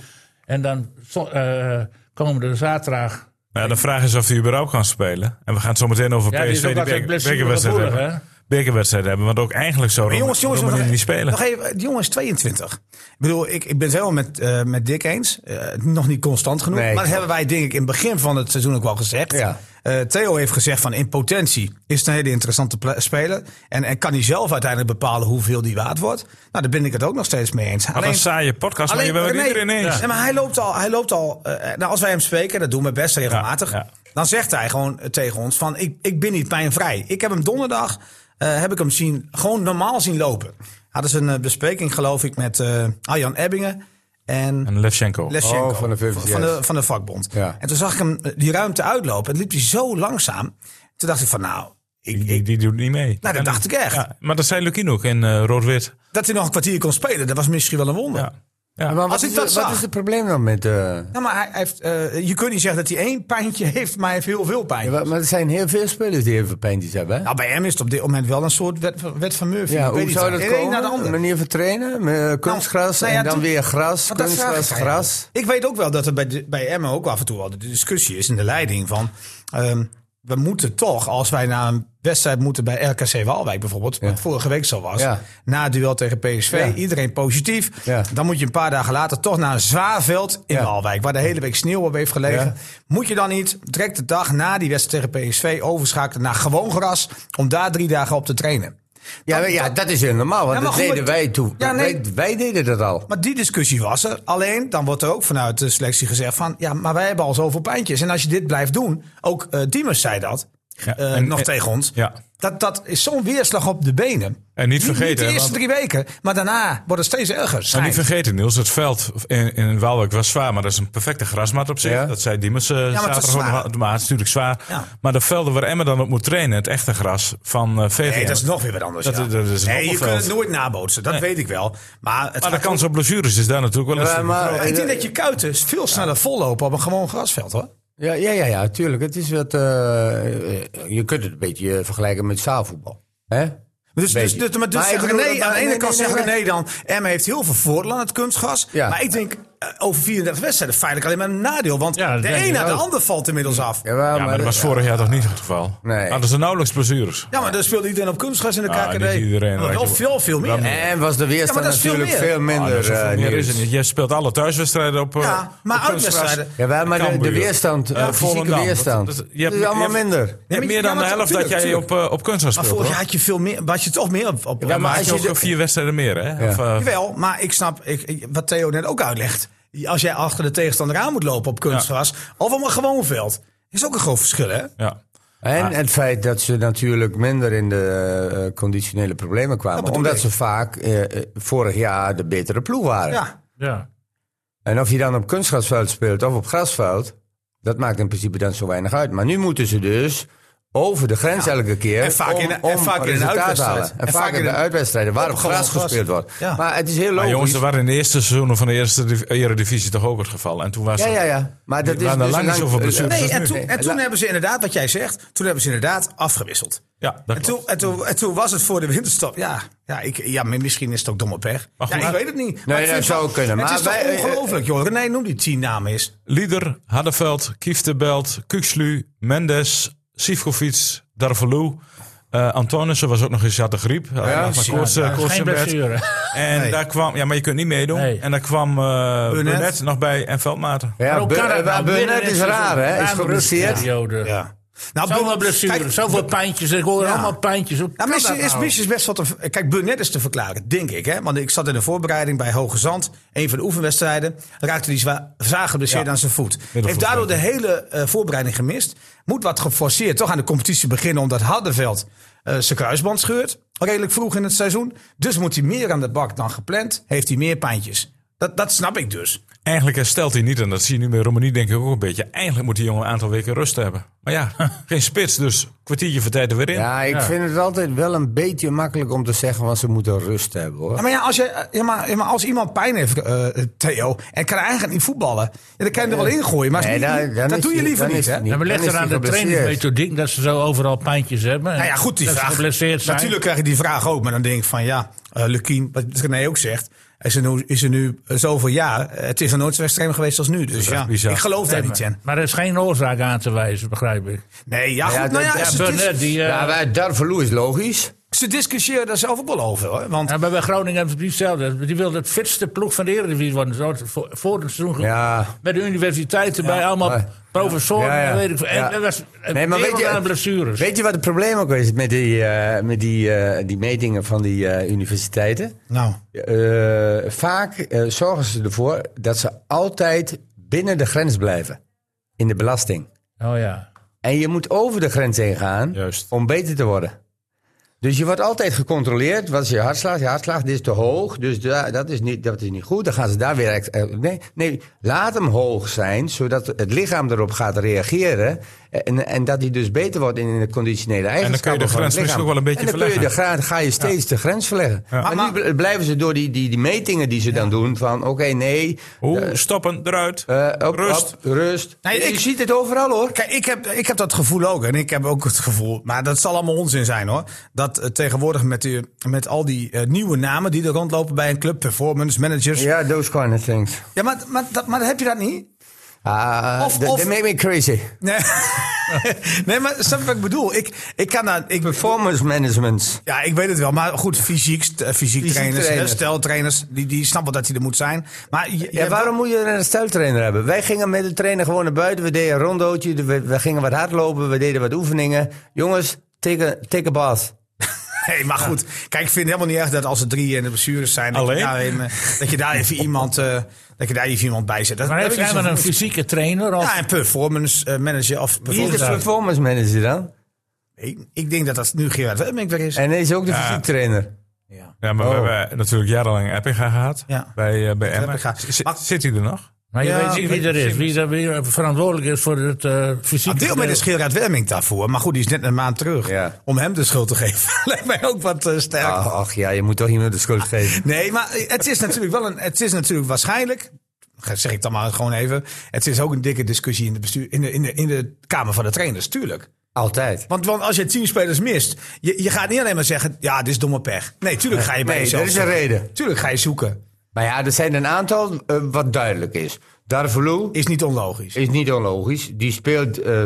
Speaker 3: en dan zo- eh, komende zaterdag...
Speaker 4: Nou, de vraag is of hij überhaupt kan spelen. En we gaan het zo meteen over
Speaker 3: Ja, die is
Speaker 4: PSV
Speaker 3: ook
Speaker 4: die
Speaker 3: altijd
Speaker 4: beker- bekerwedstrijd
Speaker 3: blessuregevoelig, hè?
Speaker 4: hebben. Bekerwedstrijd hebben, want ook eigenlijk zou
Speaker 1: Maar
Speaker 4: Rom-
Speaker 1: jongens, jongens,
Speaker 4: Romani
Speaker 1: nog,
Speaker 4: niet spelen.
Speaker 1: nog even. Die jongen is 22. Ik bedoel, ik, ik ben het helemaal met, eh, met Dick eens. Eh, nog niet constant genoeg. maar
Speaker 2: Nee,
Speaker 1: dat
Speaker 2: klopt.
Speaker 1: hebben wij denk ik in het begin van het seizoen ook wel gezegd.
Speaker 2: Ja.
Speaker 1: Eh, Theo heeft gezegd van in potentie is het een hele interessante pla- speler. En, en kan hij zelf uiteindelijk bepalen hoeveel die waard wordt. Nou, daar ben ik het ook nog steeds mee eens.
Speaker 4: Wat een saaie podcast, maar je bent het
Speaker 1: René-
Speaker 4: iedereen eens.
Speaker 1: Nee, maar hij loopt al, hij loopt al eh, nou, als wij hem spreken, dat doen we best regelmatig.
Speaker 4: Ja, ja.
Speaker 1: Dan zegt hij gewoon eh, tegen ons van, ik, ik ben niet pijnvrij. Ik heb hem donderdag, eh, heb ik hem zien, gewoon normaal zien lopen. Hadden ze een eh, bespreking, geloof ik, met eh Arjan Ebbingen en...
Speaker 4: En Levchenko.
Speaker 1: Leschenko.
Speaker 2: Oh, van de VVDS.
Speaker 1: Van de, van de vakbond.
Speaker 2: Ja.
Speaker 1: En toen zag ik hem eh, die ruimte uitlopen. En liep hij zo langzaam. Toen dacht ik van nou, ik,
Speaker 4: Die, die,
Speaker 1: ik,
Speaker 4: die doet niet mee.
Speaker 1: nou dat dacht ik echt.
Speaker 4: Ja, maar dat zei Lukien ook in eh, rood-wit.
Speaker 1: Dat hij nog een kwartier kon spelen, dat was misschien wel een wonder.
Speaker 4: Ja. Ja.
Speaker 2: Maar
Speaker 1: Als
Speaker 2: wat,
Speaker 1: ik
Speaker 2: is,
Speaker 1: dat
Speaker 2: het-
Speaker 1: zag.
Speaker 2: wat is het probleem dan met... eh,
Speaker 1: Nou, maar hij hij heeft, eh, je kunt niet zeggen dat hij één pijntje heeft, maar hij heeft heel veel pijn.
Speaker 2: ja, maar er zijn heel veel spelers die heel veel pijntjes hebben. hè?
Speaker 1: Nou, bij hem is het op dit moment wel een soort wet, wet van Murphy.
Speaker 2: Ja,
Speaker 1: Ik weet
Speaker 2: hoe
Speaker 1: niet
Speaker 2: zou
Speaker 1: waar.
Speaker 2: dat
Speaker 1: De een
Speaker 2: komen?
Speaker 1: naar de ander.
Speaker 2: Een manier van trainen? eh, Kunstgras
Speaker 1: nou ja,
Speaker 2: en dan
Speaker 1: toen-
Speaker 2: weer gras,
Speaker 1: Want dat
Speaker 2: kunstgras,
Speaker 1: vraag ik mij
Speaker 2: gras.
Speaker 1: af. Ik weet ook wel dat er bij, de- bij Emmen ook af en toe wel de discussie is in de leiding van... ehm, we moeten toch, als wij naar een wedstrijd moeten bij RKC Waalwijk bijvoorbeeld... wat vorige week zo was,
Speaker 2: Ja.
Speaker 1: na het duel tegen PSV,
Speaker 2: Ja.
Speaker 1: iedereen positief.
Speaker 2: Ja.
Speaker 1: Dan moet je een paar dagen later toch naar een zwaar veld in
Speaker 2: Ja.
Speaker 1: Waalwijk... waar de hele week sneeuw op heeft gelegen.
Speaker 2: Ja.
Speaker 1: Moet je dan niet direct de dag na die wedstrijd tegen PSV overschakelen... naar gewoon gras, om daar drie dagen op te trainen?
Speaker 2: Ja, maar ja, dat is heel normaal, want
Speaker 1: Ja, maar
Speaker 2: dat
Speaker 1: goed,
Speaker 2: deden
Speaker 1: maar-
Speaker 2: wij toen.
Speaker 1: Ja, nee.
Speaker 2: wij, wij deden dat al.
Speaker 1: Maar die discussie was er. Alleen, dan wordt er ook vanuit de selectie gezegd van... ja, maar wij hebben al zoveel pijntjes. En als je dit blijft doen, ook eh Diemers zei dat
Speaker 4: Ja,
Speaker 1: eh,
Speaker 4: en-
Speaker 1: nog
Speaker 4: en-
Speaker 1: tegen ons...
Speaker 4: Ja.
Speaker 1: Dat, dat is zo'n weerslag op de benen.
Speaker 4: En niet
Speaker 1: Niet de
Speaker 4: vergeten,
Speaker 1: eerste
Speaker 4: want-
Speaker 1: drie weken, maar daarna wordt het steeds erger.
Speaker 4: Maar
Speaker 1: schijnt.
Speaker 4: niet vergeten, Niels, het veld in, in Waalwijk was zwaar, maar dat is een perfecte grasmat op zich.
Speaker 2: Ja.
Speaker 4: Dat zei Diemers eh
Speaker 1: is
Speaker 4: zaterdag ook
Speaker 1: zwaar.
Speaker 4: nog wel. Maar het is natuurlijk zwaar.
Speaker 1: Ja.
Speaker 4: Maar de velden waar Emmen dan op moet trainen, het echte gras van eh VVM.
Speaker 1: Nee, dat is nog weer wat anders.
Speaker 4: Dat-
Speaker 1: ja.
Speaker 4: dat is een
Speaker 1: nee, je
Speaker 4: hoppenveld.
Speaker 1: kunt het nooit nabootsen, dat weet ik wel. Maar, het
Speaker 4: maar de
Speaker 1: gaat
Speaker 4: kans op blessures is daar natuurlijk wel eens.
Speaker 2: Ja, Eh, maar-
Speaker 1: ook- ik denk dat je kuiten veel sneller vollopen op een gewoon grasveld, hoor.
Speaker 2: Ja, ja, ja, ja, tuurlijk. Het is wat, eh, eh, je kunt het een beetje eh, vergelijken met zaalvoetbal. Hè?
Speaker 1: Dus, dus,
Speaker 2: Beetje.
Speaker 1: dus, maar dus
Speaker 2: Maar
Speaker 1: zegt
Speaker 2: ik bedoel,
Speaker 1: René,
Speaker 2: maar-
Speaker 1: aan de ene
Speaker 2: nee,
Speaker 1: kant
Speaker 2: nee,
Speaker 1: zegt
Speaker 2: nee,
Speaker 1: René dan... Emma heeft heel veel voordeel aan het kunstgras.
Speaker 2: Ja.
Speaker 1: Maar ik denk, eh, over 34 wedstrijden feitelijk alleen maar een nadeel. Want
Speaker 3: Ja, dat
Speaker 1: de
Speaker 3: denk
Speaker 1: een
Speaker 3: ik
Speaker 1: na de
Speaker 3: ook.
Speaker 1: ander valt inmiddels af. Ja,
Speaker 2: Ja, maar, eh,
Speaker 4: ja, maar dat was vorig jaar toch niet het geval?
Speaker 2: Nee.
Speaker 4: Hadden ze nauwelijks blessures?
Speaker 1: maar dan speelt iedereen op kunstgras in de
Speaker 4: Ah,
Speaker 1: KKD.
Speaker 4: niet iedereen,
Speaker 1: maar wel
Speaker 4: weet je.
Speaker 1: veel, veel meer.
Speaker 4: Dan-
Speaker 2: En was de
Speaker 1: Ja,
Speaker 2: weerstand
Speaker 1: maar dat is veel
Speaker 2: natuurlijk
Speaker 1: meer.
Speaker 2: veel,
Speaker 4: Ah, dat
Speaker 2: minder.
Speaker 4: is
Speaker 2: eh,
Speaker 4: zoveel meer
Speaker 2: Niels.
Speaker 4: is het niet. Je speelt alle thuiswedstrijden op. eh,
Speaker 1: Ja, maar
Speaker 4: op kunstgras.
Speaker 1: uitwedstrijden-
Speaker 2: ja, wel, maar de- de,
Speaker 4: Cambuur.
Speaker 2: weerstand, de
Speaker 4: Eh,
Speaker 2: fysieke
Speaker 4: Volendam.
Speaker 2: weerstand,
Speaker 4: Dat- dat- je
Speaker 2: je
Speaker 4: hebt-
Speaker 2: is allemaal
Speaker 4: je hebt-
Speaker 2: minder.
Speaker 4: Je hebt
Speaker 1: maar-
Speaker 4: meer
Speaker 1: ja,
Speaker 4: dan de
Speaker 1: maar
Speaker 4: helft dat
Speaker 1: tuurlijk,
Speaker 4: jij op, eh, op kunstgras
Speaker 1: Maar
Speaker 4: speelt.
Speaker 1: vorig
Speaker 4: hoor.
Speaker 1: jaar had je veel meer, was je toch meer op... op
Speaker 4: Ja, maar
Speaker 1: maar-
Speaker 4: had je
Speaker 2: als je
Speaker 4: ook
Speaker 2: de-
Speaker 4: vier wedstrijden meer, hè? Of, eh,
Speaker 1: Jawel, maar ik snap ik, ik- wat Theo net ook uitlegt. Als jij achter de tegenstander aan moet lopen op kunstgras... of op een gewoon veld, is ook een groot verschil, hè?
Speaker 4: ja.
Speaker 2: En het feit dat ze natuurlijk minder in de eh, conditionele problemen kwamen.
Speaker 1: bedoel
Speaker 2: Omdat
Speaker 1: ik.
Speaker 2: ze vaak eh, eh, vorig jaar de betere ploeg waren.
Speaker 1: Ja.
Speaker 3: Ja.
Speaker 2: En of je dan op kunstgrasveld speelt of op grasveld, dat maakt in principe dan zo weinig uit. Maar nu moeten ze dus over de grens elke keer.
Speaker 1: En vaak
Speaker 2: om,
Speaker 1: in- en
Speaker 2: om
Speaker 1: vaak in een
Speaker 2: resultaat te
Speaker 1: uitwedstrijd.
Speaker 2: halen. En,
Speaker 1: En
Speaker 2: vaak
Speaker 1: vaak
Speaker 2: in de
Speaker 1: in-
Speaker 2: uitwedstrijden waar
Speaker 1: op
Speaker 2: op
Speaker 1: gewoon
Speaker 2: gras
Speaker 1: gras.
Speaker 2: gespeeld wordt.
Speaker 1: Ja.
Speaker 2: Maar het is heel
Speaker 4: Maar
Speaker 2: logisch.
Speaker 4: jongens, dat waren in de eerste seizoenen van de eerste div- Eredivisie toch ook het geval. En toen was
Speaker 2: ja,
Speaker 4: het-
Speaker 2: ja, ja. Maar dat
Speaker 4: Die
Speaker 2: is
Speaker 4: waren
Speaker 2: dus
Speaker 4: lang niet
Speaker 2: een
Speaker 4: zoveel blessures.
Speaker 1: Nee,
Speaker 4: Dus
Speaker 1: en
Speaker 4: nu-
Speaker 1: toen, en toen hebben ze inderdaad, wat jij zegt... toen hebben ze inderdaad afgewisseld.
Speaker 4: Ja, dat
Speaker 1: En
Speaker 4: klopt.
Speaker 1: toen, en, toen, en toen was het voor de winterstop. Ja, ja, ik, ja maar misschien is het ook domme pech.
Speaker 4: Maar goed,
Speaker 1: ja, ik
Speaker 4: maar-
Speaker 1: weet het niet.
Speaker 2: Nee,
Speaker 1: ik
Speaker 2: dat
Speaker 1: vind
Speaker 2: zou
Speaker 1: wel-
Speaker 2: kunnen,
Speaker 1: Het
Speaker 2: maar
Speaker 1: is toch
Speaker 2: wij- eh,
Speaker 1: ongelooflijk, joh. René, noem die tien namen eens.
Speaker 4: Lieder, Haddeveld, Kieftebelt, Kukslu, Mendes, Sivkovic, Darvalu. eh Antonissen was ook nog eens, had de griep. Had nog maar
Speaker 1: ja,
Speaker 4: koorts, eh,
Speaker 3: Ja,
Speaker 4: koorts
Speaker 3: geen
Speaker 4: in bed.
Speaker 3: blessure.
Speaker 4: En
Speaker 1: Nee.
Speaker 4: daar kwam, ja, maar je kunt niet meedoen.
Speaker 3: Nee.
Speaker 4: En daar kwam eh Burnett. nog bij en Veldmaten.
Speaker 2: Ja,
Speaker 3: Maar hoe kan
Speaker 2: Bu-
Speaker 3: dat
Speaker 2: eh, maar
Speaker 3: nou?
Speaker 2: Burnett
Speaker 3: Binnen
Speaker 2: is
Speaker 3: dit
Speaker 2: raar,
Speaker 3: seizoen,
Speaker 2: hè?
Speaker 3: na
Speaker 2: Is
Speaker 3: een
Speaker 2: geblesseerd.
Speaker 3: rustperiode.
Speaker 1: Ja. Nou,
Speaker 3: Zoveel
Speaker 1: Bun-
Speaker 3: blessures,
Speaker 1: kijk,
Speaker 3: zoveel pijntjes. Ik hoor
Speaker 1: Ja.
Speaker 3: allemaal pijntjes. Hoe kan
Speaker 1: Nou, misschien
Speaker 3: dat
Speaker 1: is,
Speaker 3: nou?
Speaker 1: misschien is best wat te, ver- Kijk, Burnett is te verklaren, denk ik. Hè? Want ik zat in de voorbereiding bij Hoge Zand. Een van de oefenwedstrijden. Raakte die zwaar, zwaar geblesseerd dus
Speaker 4: Ja.
Speaker 1: aan zijn voet. Heeft
Speaker 4: Middelvoet,
Speaker 1: daardoor de hele eh, voorbereiding gemist. Moet wat geforceerd toch aan de competitie beginnen. Omdat Hardenveld eh, zijn kruisband scheurt. Redelijk vroeg in het seizoen. Dus moet hij meer aan de bak dan gepland. Heeft hij meer pijntjes. Dat, dat snap ik dus.
Speaker 4: Eigenlijk herstelt hij niet, en dat zie je nu met Romani denk ik ook een beetje. Eigenlijk moet die jongen een aantal weken rust hebben. Maar ja, geen spits, dus kwartiertje voor tijd er weer in.
Speaker 2: Ja, ik vind het altijd wel een beetje makkelijk om te zeggen, want ze moeten rust hebben, hoor.
Speaker 1: Ja, maar, ja, als je, eh, ja, maar, ja, maar als iemand pijn heeft, eh, Theo. En kan eigenlijk niet voetballen. Ja, dan kan je hem er wel ingooien. Maar het is
Speaker 2: Nee,
Speaker 1: niet-
Speaker 2: dan- dan
Speaker 1: dat
Speaker 2: is
Speaker 1: doe je
Speaker 2: hij-
Speaker 1: liever
Speaker 2: dan
Speaker 1: niet.
Speaker 2: is hij
Speaker 1: Hè?
Speaker 2: niet.
Speaker 3: Ja, maar
Speaker 2: Dan
Speaker 3: ligt
Speaker 2: is
Speaker 3: er
Speaker 2: hij
Speaker 3: aan de
Speaker 2: geblesseerd.
Speaker 3: trainingsmethodiek dat ze zo overal pijntjes hebben. en
Speaker 1: Nou ja, goed, die
Speaker 3: dat
Speaker 1: vraag.
Speaker 3: ze geblesseerd zijn.
Speaker 1: Natuurlijk krijg je die vraag ook. Maar dan denk ik van ja, eh Lukien, wat René ook zegt. Is er nu, is er nu zoveel jaar. eh, Het is nog nooit zo extreem geweest als nu. Dus ja,
Speaker 4: bizar.
Speaker 1: ik geloof daar niet in.
Speaker 3: Maar er is geen oorzaak aan te wijzen, begrijp ik.
Speaker 1: Nee, ja, goed,
Speaker 2: Ja,
Speaker 1: nou ja,
Speaker 2: dat- ja,
Speaker 1: ze, dis-
Speaker 3: Burnett, die... eh,
Speaker 2: Ja, maar Darvalu is logisch.
Speaker 1: ze discussiëren daar zelf ook wel over. Hoor, want
Speaker 3: Ja, maar bij Groningen hebben ze precies hetzelfde. Die wilde het fitste ploeg van de Eredivisie worden. Zo had het voor, voor het seizoen ge-
Speaker 2: Ja.
Speaker 3: Met de universiteit erbij, allemaal
Speaker 2: maar-
Speaker 3: Professor,
Speaker 2: Ja, ja.
Speaker 3: weet ik veel. En,
Speaker 2: Ja.
Speaker 3: en dat is een
Speaker 2: Nee, maar weet
Speaker 3: wereld
Speaker 2: je-
Speaker 3: aan blessures.
Speaker 2: Weet je wat het probleem ook is met die, eh, met die, eh, die metingen van die eh, universiteiten?
Speaker 1: Nou,
Speaker 2: Eh, vaak eh, zorgen ze ervoor dat ze altijd binnen de grens blijven in de belasting.
Speaker 3: Oh ja.
Speaker 2: En je moet over de grens heen gaan
Speaker 4: Juist.
Speaker 2: om beter te worden. Dus je wordt altijd gecontroleerd. Wat is je hartslag? Je hartslag dit is te hoog. Dus da- dat, is niet, dat is niet goed. Dan gaan ze daar weer. ex- eh, Nee, nee, laat hem hoog zijn. Zodat het lichaam erop gaat reageren. En, en dat hij dus beter wordt in de conditionele
Speaker 4: je de
Speaker 2: eigenschappen. van
Speaker 4: grens
Speaker 2: het lichaam.
Speaker 4: misschien ook wel een beetje
Speaker 2: en dan kun je
Speaker 4: verleggen.
Speaker 2: de gra- ga je steeds de grens verleggen. Maar,
Speaker 1: Maar-
Speaker 2: nu bl- blijven ze door die, die, die metingen die ze dan doen. Van oké, nee.
Speaker 4: Oeh, stoppen, eruit.
Speaker 2: eh, op-
Speaker 4: Rust.
Speaker 2: op, rust.
Speaker 1: Nee,
Speaker 2: je
Speaker 1: ik-
Speaker 2: ziet het overal hoor.
Speaker 1: Kijk, ik heb, ik heb dat gevoel ook. En ik heb ook het gevoel, maar dat zal allemaal onzin zijn hoor. Dat eh, tegenwoordig met, die, met al die eh, nieuwe namen die er rondlopen bij een club, performance managers. Ja,
Speaker 2: Ja, those kind of things.
Speaker 1: maar, maar, dat, maar heb je dat niet?
Speaker 2: Ah,
Speaker 1: Of-
Speaker 2: they,
Speaker 1: of-
Speaker 2: they make me crazy.
Speaker 1: Nee, nee maar snap je wat ik bedoel? Ik, ik kan daar. Ik,
Speaker 2: Performance management.
Speaker 1: ja, ik weet het wel. Maar goed, fysiek, st- eh, fysiek, trainers,
Speaker 2: trainer.
Speaker 1: hersteltrainers, die, die snappen dat hij er moet zijn. Maar je-
Speaker 2: Ja,
Speaker 1: je-
Speaker 2: waarom moet je een hersteltrainer hebben? Wij gingen met de trainer gewoon naar buiten. We deden een rondootje. We, we gingen wat hardlopen. We deden wat oefeningen. Jongens, take a, take a bath.
Speaker 1: Nee, maar goed. Kijk, ik vind het helemaal niet erg dat als er drie in de blessures zijn, dat je,
Speaker 4: Alleen?
Speaker 1: daar even, dat je daar even iemand, eh, dat je daar even iemand bij zet. Dat,
Speaker 3: Maar
Speaker 1: dat
Speaker 3: heeft
Speaker 1: vind
Speaker 3: hij
Speaker 1: ik
Speaker 3: maar
Speaker 1: zo
Speaker 3: een
Speaker 1: goed.
Speaker 3: fysieke trainer? Of,
Speaker 1: Ja, een performance eh, manager of
Speaker 2: Wie is de
Speaker 1: performance.
Speaker 2: performance manager dan?
Speaker 1: Ik, ik denk dat dat nu Gerard Wemmink weer is.
Speaker 2: En hij is ook de fysiek trainer.
Speaker 1: Ja.
Speaker 4: Ja, maar
Speaker 2: Oh.
Speaker 4: we hebben natuurlijk jarenlang Eppinga gehad.
Speaker 1: Ja.
Speaker 4: Bij, eh bij Emma.
Speaker 1: Eppinga.
Speaker 4: Z-
Speaker 1: Maar-
Speaker 4: Zit hij er nog?
Speaker 2: Eh,
Speaker 3: maar je
Speaker 1: Ja,
Speaker 3: weet niet wie er is. Wie er wie er verantwoordelijk is voor het eh fysieke
Speaker 1: Deel met is
Speaker 3: gedeelte.
Speaker 1: Gerard Wemmink daarvoor. Maar goed, die is net een maand terug.
Speaker 2: Ja.
Speaker 1: Om hem de schuld te geven. Lijkt mij ook wat eh, sterk.
Speaker 2: Ach, Ah, ach ja, je moet toch iemand de schuld geven.
Speaker 1: Nee, maar het is natuurlijk wel een. Het is natuurlijk waarschijnlijk. Zeg ik dan maar gewoon even. Het is ook een dikke discussie in de, bestuur, in de, in de, in de Kamer van de Trainers, tuurlijk.
Speaker 2: Altijd.
Speaker 1: Want, want als je tien spelers mist, je, je gaat niet alleen maar zeggen: ja, dit is domme pech. Nee, tuurlijk ga je bij
Speaker 2: Nee,
Speaker 1: jezelf.
Speaker 2: er is een
Speaker 1: zoeken.
Speaker 2: reden.
Speaker 1: Tuurlijk ga je zoeken.
Speaker 2: Maar ja, er zijn een aantal eh, wat duidelijk is. Darvalu
Speaker 1: Is niet onlogisch.
Speaker 2: is niet onlogisch. Die speelt eh,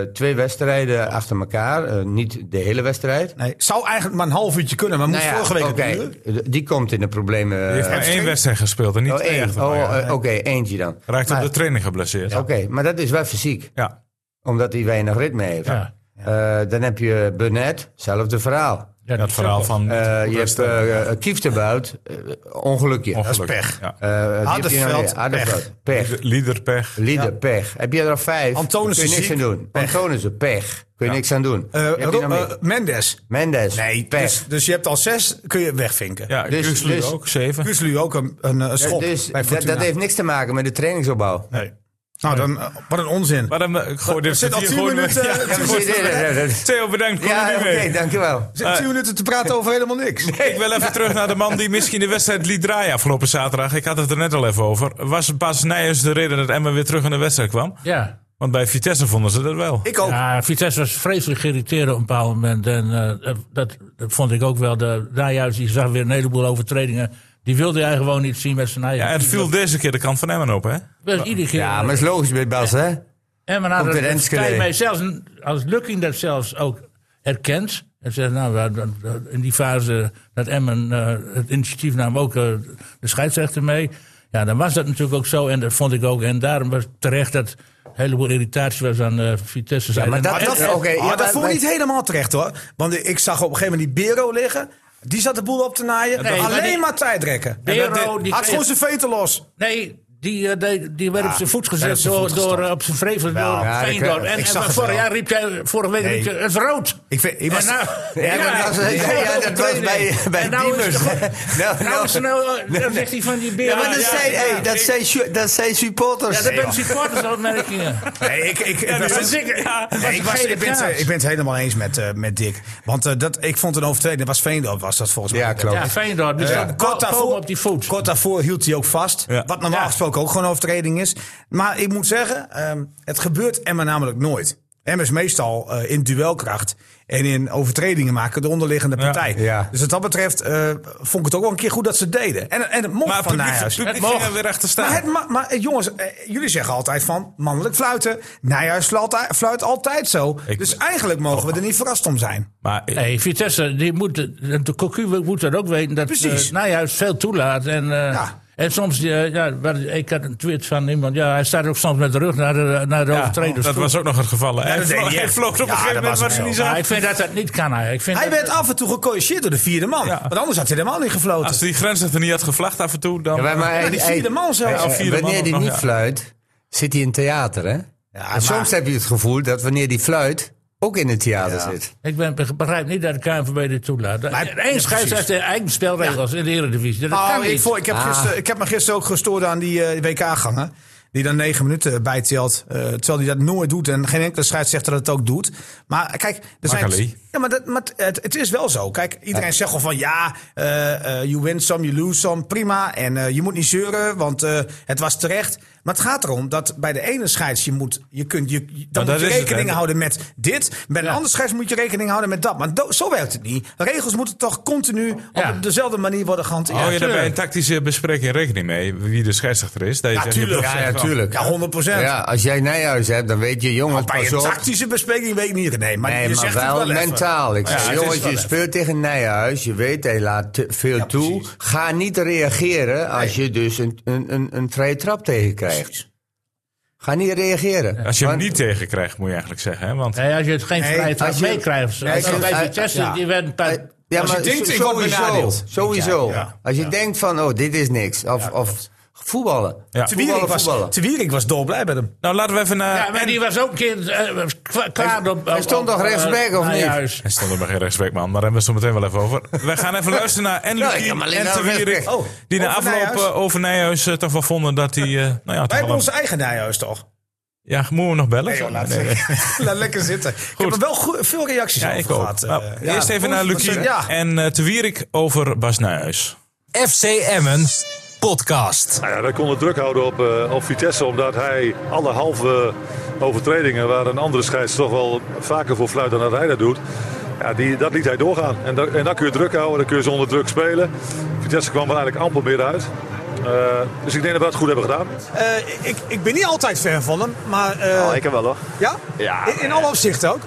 Speaker 2: eh, twee wedstrijden achter elkaar. Eh, niet de hele wedstrijd.
Speaker 1: Nee, zou eigenlijk maar een half uurtje kunnen, maar moest
Speaker 2: Nou ja,
Speaker 1: vorige week een
Speaker 2: oké.
Speaker 1: uur.
Speaker 2: D- Die komt in de problemen.
Speaker 4: Hij heeft
Speaker 2: eh,
Speaker 4: maar één
Speaker 1: twee-
Speaker 4: wedstrijd gespeeld en niet
Speaker 2: oh,
Speaker 4: twee
Speaker 2: één.
Speaker 4: echt.
Speaker 2: Oh,
Speaker 4: Ja.
Speaker 2: eh, oké, eentje dan.
Speaker 4: Raakt op
Speaker 2: maar-
Speaker 4: de training geblesseerd. Ja.
Speaker 2: Oké, maar dat is wel fysiek, omdat hij weinig ritme heeft.
Speaker 3: Ja.
Speaker 2: Eh, dan heb je Burnett, zelfde verhaal.
Speaker 3: Ja,
Speaker 4: Dat
Speaker 3: die-
Speaker 4: verhaal van...
Speaker 2: Eh, je hebt
Speaker 4: Rusten.
Speaker 2: eh eh, Kieftenbout, eh, ongelukje. Eh,
Speaker 4: Ongeluk.
Speaker 1: dat is pech.
Speaker 4: Ja. Eh,
Speaker 2: die heb je
Speaker 1: Hardenveld,
Speaker 2: nog meer. Hardenveld, pech.
Speaker 4: Lieder- Liederpech.
Speaker 2: Lieder, pech. Heb je er al vijf?
Speaker 1: Antonissen
Speaker 2: kun je niks
Speaker 1: ziek,
Speaker 2: aan doen.
Speaker 1: pech.
Speaker 2: Antonissen, pech. Kun je niks aan doen.
Speaker 1: Eh,
Speaker 2: Heb je
Speaker 1: Ro-
Speaker 2: nog meer?
Speaker 1: eh, Mendes.
Speaker 2: Mendes,
Speaker 1: Nee,
Speaker 2: pech.
Speaker 1: dus, dus je hebt al zes, kun je wegvinken.
Speaker 4: Ja,
Speaker 2: Dus-
Speaker 4: Kuxlu
Speaker 2: dus-
Speaker 4: ook, zeven.
Speaker 1: Kuzlu ook een, een, eh, schop
Speaker 2: dus
Speaker 1: bij
Speaker 2: dat,
Speaker 1: Fortuna.
Speaker 2: dat heeft niks te maken met de trainingsopbouw.
Speaker 1: Nee. Nou, dan, eh, wat een onzin.
Speaker 4: Maar dan, eh, ik gooi
Speaker 1: Er
Speaker 4: dit
Speaker 1: zit al
Speaker 4: kwartier
Speaker 1: tien
Speaker 4: gewoon-
Speaker 1: minuten,
Speaker 4: Ja,
Speaker 1: eh,
Speaker 4: ja,
Speaker 1: tien
Speaker 4: goed.
Speaker 1: minuten.
Speaker 4: Theo, bedankt. Kom
Speaker 2: Ja,
Speaker 4: er
Speaker 2: oké,
Speaker 4: niet mee.
Speaker 2: dankjewel.
Speaker 1: Zit tien minuten te praten over helemaal niks.
Speaker 4: Ik wil even terug naar de man die misschien de wedstrijd liet draaien afgelopen zaterdag. Ik had het er net al even over. Was Bas Nijers de reden dat Emma weer terug in de wedstrijd kwam?
Speaker 3: Ja.
Speaker 4: Want bij Vitesse vonden ze dat wel.
Speaker 1: Ik ook.
Speaker 3: Ja, Vitesse was vreselijk geïrriteerd op een bepaald moment. En eh, dat- dat, dat vond ik ook wel. De Nijhuis die zag weer een heleboel overtredingen. Die wilde hij gewoon niet zien met zijn eigen.
Speaker 4: Ja, het
Speaker 3: team.
Speaker 4: viel deze keer de kant van Emmen op, hè?
Speaker 3: Dat was iedere keer.
Speaker 2: Ja, maar het is logisch bij Bas, hè?
Speaker 3: en men had
Speaker 2: Ook
Speaker 3: het-
Speaker 2: weer
Speaker 3: het
Speaker 2: Enschede.
Speaker 3: tijd mee. Zelfs een- als Lukking dat zelfs ook herkent. En zegt, nou, we hadden- we- in die fase dat Emmen eh, het initiatief nam ook eh, de scheidsrechter mee. Ja, dan was dat natuurlijk ook zo. En dat vond ik ook. En daarom was terecht dat een heleboel irritatie was aan eh Vitesse. Ja,
Speaker 2: maar dat-
Speaker 1: Dat,
Speaker 2: Ja, oké,
Speaker 1: ah,
Speaker 2: ja,
Speaker 1: dat
Speaker 2: maar-
Speaker 1: voel ik
Speaker 2: maar-
Speaker 1: niet helemaal terecht hoor. Want ik zag op een gegeven moment die Bero liggen. Die zat de boel op te naaien.
Speaker 3: Nee, maar
Speaker 1: Alleen maar,
Speaker 3: die-
Speaker 1: tijdrekken.
Speaker 3: Bero,
Speaker 1: En dat-
Speaker 3: die
Speaker 1: had
Speaker 3: kreeg-
Speaker 1: gewoon zijn veten los.
Speaker 3: Nee, die, eh, die, die werd op zijn voet
Speaker 1: werd
Speaker 3: gezet
Speaker 1: op zijn
Speaker 3: door,
Speaker 1: voet
Speaker 3: door,
Speaker 1: gestopt.
Speaker 3: eh, op zijn vrevel door
Speaker 2: ja, dat
Speaker 3: Feyenoord.
Speaker 2: kan-
Speaker 3: En,
Speaker 1: ik
Speaker 3: en
Speaker 1: zag het
Speaker 3: vorig
Speaker 1: wel.
Speaker 3: jaar riep jij, vorige week
Speaker 1: Nee.
Speaker 3: riep je, het is rood.
Speaker 1: Ik vind, ik
Speaker 3: En
Speaker 1: was,
Speaker 3: nou,
Speaker 2: Ja, dat was, ja, ja, dat was bij, bij
Speaker 3: En nou is
Speaker 2: Diemers.
Speaker 3: het gewoon-
Speaker 2: Nou,
Speaker 3: Nou, is het nou, eh, dan zegt hij van die beer.
Speaker 2: Ja, maar dat zijn,
Speaker 3: ja,
Speaker 2: hey, dat
Speaker 4: ik-
Speaker 2: zijn, su- dat zijn supporters.
Speaker 3: Ja, dat ben supportersopmerkingen.
Speaker 1: nee, ik, ik, ik was-
Speaker 3: Dat is ik. Ja,
Speaker 1: Nee, ik, was, ik, ben het, ik ben het helemaal eens met, eh, met Dick. Want eh, dat, ik vond een overtreding. Dat was Veendorp, was dat volgens mij.
Speaker 2: Ja, klopt.
Speaker 3: Ja, Feyenoord. dus Die
Speaker 1: Dus Ja.
Speaker 4: Eh,
Speaker 3: staat kort daarvoor op die voet.
Speaker 1: kort daarvoor hield hij ook vast.
Speaker 4: Ja.
Speaker 1: Wat normaal
Speaker 3: Ja.
Speaker 1: gesproken ook gewoon een overtreding is. Maar ik moet zeggen, ehm, het gebeurt Emma namelijk nooit. Emma is meestal eh, in duelkracht en in overtredingen maken de onderliggende partij.
Speaker 2: Ja.
Speaker 1: Dus wat dat betreft eh, vond ik het ook wel een keer goed dat ze het deden. En, en het mocht
Speaker 4: Maar het
Speaker 1: van
Speaker 4: publiek,
Speaker 1: Nijhuis.
Speaker 4: het publiek
Speaker 3: Het mag.
Speaker 4: ging er weer achter staan.
Speaker 1: Maar, het ma- maar, eh, jongens, eh, jullie zeggen altijd van mannelijk fluiten. Nijhuis fluit, fluit altijd zo.
Speaker 4: Ik- Oh.
Speaker 1: dus eigenlijk mogen we er niet verrast om zijn.
Speaker 4: Maar eh,
Speaker 3: Nee, Vitesse, die moet, de- de Cocu moet dat ook weten. Dat
Speaker 1: Precies.
Speaker 3: eh, Nijhuis veel toelaat. En, eh,
Speaker 1: Ja.
Speaker 3: En soms, eh, ja, waar- ik had een tweet van iemand. Ja, hij staat ook soms met de rug naar de, naar de overtreders.
Speaker 4: dat
Speaker 3: toe.
Speaker 4: was ook nog het geval. hè.
Speaker 1: dat
Speaker 4: hij,
Speaker 1: deed
Speaker 4: vlo-
Speaker 1: hij
Speaker 4: hij
Speaker 1: echt.
Speaker 4: vloog op een
Speaker 1: Ja,
Speaker 4: gegeven
Speaker 1: dat was
Speaker 4: moment wat hij
Speaker 1: hem
Speaker 4: niet
Speaker 1: zo.
Speaker 3: Ja,
Speaker 4: zag.
Speaker 3: ik vind dat dat niet kan. Hij, ik vind
Speaker 1: Hij
Speaker 3: dat-
Speaker 1: werd af en toe gecorrigeerd door de vierde man.
Speaker 4: Ja.
Speaker 1: Want anders had hij helemaal niet gefloten.
Speaker 4: Als die grensrechter niet had gevlacht af en toe, dan...
Speaker 2: Ja, maar- maar
Speaker 1: Ja, die vierde man zelfs.
Speaker 2: eh,
Speaker 4: Ja, vierde man
Speaker 2: wanneer
Speaker 4: ook
Speaker 2: die
Speaker 4: nog,
Speaker 2: niet
Speaker 4: ja.
Speaker 2: fluit, zit hij in theater, hè? en
Speaker 1: maar-
Speaker 2: soms heb je het gevoel dat wanneer die fluit, ook in het theater zit.
Speaker 3: Ik ben, begrijp niet dat de KNVB dit toelaat.
Speaker 1: Maar-
Speaker 3: Eén scheidsrechter, eigen spelregels in de Eredivisie. Dat kan
Speaker 1: Oh, ik,
Speaker 3: niet. Ah.
Speaker 1: vond- ik, heb gisteren, ik heb me gisteren ook gestoord aan die eh, WK-ganger. Die dan negen minuten bijtelt. eh, terwijl hij dat nooit doet. En geen enkele scheidsrechter dat ook doet. Maar kijk, er zijn.
Speaker 4: Makkeli.
Speaker 1: Ja, maar, dat, maar het- het, het is wel zo. Kijk, iedereen zegt al van ja, eh, eh, you win some, you lose some. Prima. En eh, je moet niet zeuren, want eh, het was terecht. Maar het gaat erom dat bij de ene scheids je moet. Je kunt, je, je- dan
Speaker 4: Maar
Speaker 1: moet je
Speaker 4: dat is het,
Speaker 1: rekening
Speaker 4: hè.
Speaker 1: houden met dit. Bij een
Speaker 3: Ja.
Speaker 1: andere scheids moet je rekening houden met dat. Maar do- zo werkt het niet. Regels moeten toch continu
Speaker 3: Ja.
Speaker 1: op dezelfde manier worden gehanteerd.
Speaker 4: Hou je daar bij
Speaker 3: tuurlijk.
Speaker 4: een tactische bespreking rekening mee? Wie de scheidsrechter is? Dat je zegt, je
Speaker 1: tuurlijk.
Speaker 4: hebt-
Speaker 2: Ja, ja, tuurlijk.
Speaker 1: Ja, Nou, 100 procent.
Speaker 2: Ja, als jij Nijhuis hebt, dan weet je, jongens,
Speaker 1: Bij een
Speaker 2: pas op.
Speaker 1: tactische bespreking weet ik niet. Nee, maar
Speaker 2: Nee,
Speaker 1: je
Speaker 2: maar
Speaker 1: zegt
Speaker 2: wel,
Speaker 1: het wel even.
Speaker 2: mentaal. Ik
Speaker 1: Ja,
Speaker 2: zeg,
Speaker 1: het is
Speaker 2: jongens,
Speaker 1: wel
Speaker 2: je
Speaker 1: even.
Speaker 2: speelt tegen Nijhuis. Je weet, hij laat te veel toe.
Speaker 1: precies.
Speaker 2: Ga niet reageren als je dus een, een, een, een vrije trap tegenkrijgt. Ga niet reageren.
Speaker 4: Als je hem
Speaker 2: Want-
Speaker 4: niet tegenkrijgt, moet je eigenlijk zeggen. Hè? Want
Speaker 3: Nee, als je het geen
Speaker 1: Nee,
Speaker 3: vrijheid
Speaker 2: als je-
Speaker 3: meekrijgt.
Speaker 2: Nee,
Speaker 3: als je
Speaker 2: als je-
Speaker 3: bij Vitesse,
Speaker 1: ja.
Speaker 3: die werd een
Speaker 2: Eh,
Speaker 3: paar...
Speaker 2: Ja,
Speaker 1: Als je
Speaker 2: maar
Speaker 1: denkt,
Speaker 2: so-
Speaker 1: ik word
Speaker 2: sowieso.
Speaker 1: benadeeld.
Speaker 2: Sowieso.
Speaker 1: Ja, ja.
Speaker 2: Als je denkt van, oh, dit is niks. Of, of voetballen.
Speaker 4: Ja.
Speaker 1: Te Wierik
Speaker 2: Voetballen,
Speaker 1: was,
Speaker 2: voetballen.
Speaker 1: Te Wierik was dolblij met hem.
Speaker 4: Nou, laten we even naar...
Speaker 3: Ja, maar die was ook een keer eh, kwa- kwaad op...
Speaker 2: hij
Speaker 3: op-
Speaker 2: stond
Speaker 3: op,
Speaker 2: toch
Speaker 3: eh,
Speaker 2: rechtsback, of niet?
Speaker 3: Nijhuis.
Speaker 4: Hij stond er maar geen rechtsback, man. Maar daar hebben we het zo meteen wel even over. We gaan even luisteren naar en
Speaker 2: Ja, ik
Speaker 4: Lukien
Speaker 2: heb alleen
Speaker 4: en
Speaker 2: naar
Speaker 4: Te Wierik.
Speaker 2: rechtsback.
Speaker 1: Oh,
Speaker 4: Die na
Speaker 1: over
Speaker 4: afloop
Speaker 1: Nijhuis.
Speaker 4: eh, over Nijhuis eh, toch wel vonden dat hij... eh, nou ja,
Speaker 1: Wij
Speaker 4: toch
Speaker 1: hebben
Speaker 4: wel
Speaker 1: onze
Speaker 4: een-
Speaker 1: eigen Nijhuis toch?
Speaker 4: ja, moeten we nog bellen?
Speaker 1: Nee, joh, laat,
Speaker 4: Nee.
Speaker 1: laat lekker zitten. Ik heb er wel goe- veel reacties
Speaker 4: Ja,
Speaker 1: over
Speaker 4: ik ook.
Speaker 1: gehad.
Speaker 4: Nou,
Speaker 1: eh, ja.
Speaker 4: eerst even naar Lukien
Speaker 1: Ja.
Speaker 4: en eh Te Wierik over Bas Nijhuis.
Speaker 5: FC Emmen podcast.
Speaker 6: Nou ja, wij konden druk houden op, eh, op Vitesse, omdat hij alle halve overtredingen, waar een andere scheids toch wel vaker voor fluit dan dat hij dat doet, ja, die, dat liet hij doorgaan. En, da- en dan kun je druk houden, dan kun je ze onder druk spelen. Vitesse kwam er eigenlijk amper meer uit. Eh, dus ik denk dat we dat goed hebben gedaan.
Speaker 1: Eh, ik, ik ben niet altijd fan van hem, maar... eh,
Speaker 7: Oh, ik heb wel hoor.
Speaker 1: ja?
Speaker 7: Ja,
Speaker 1: in, in alle opzichten ook.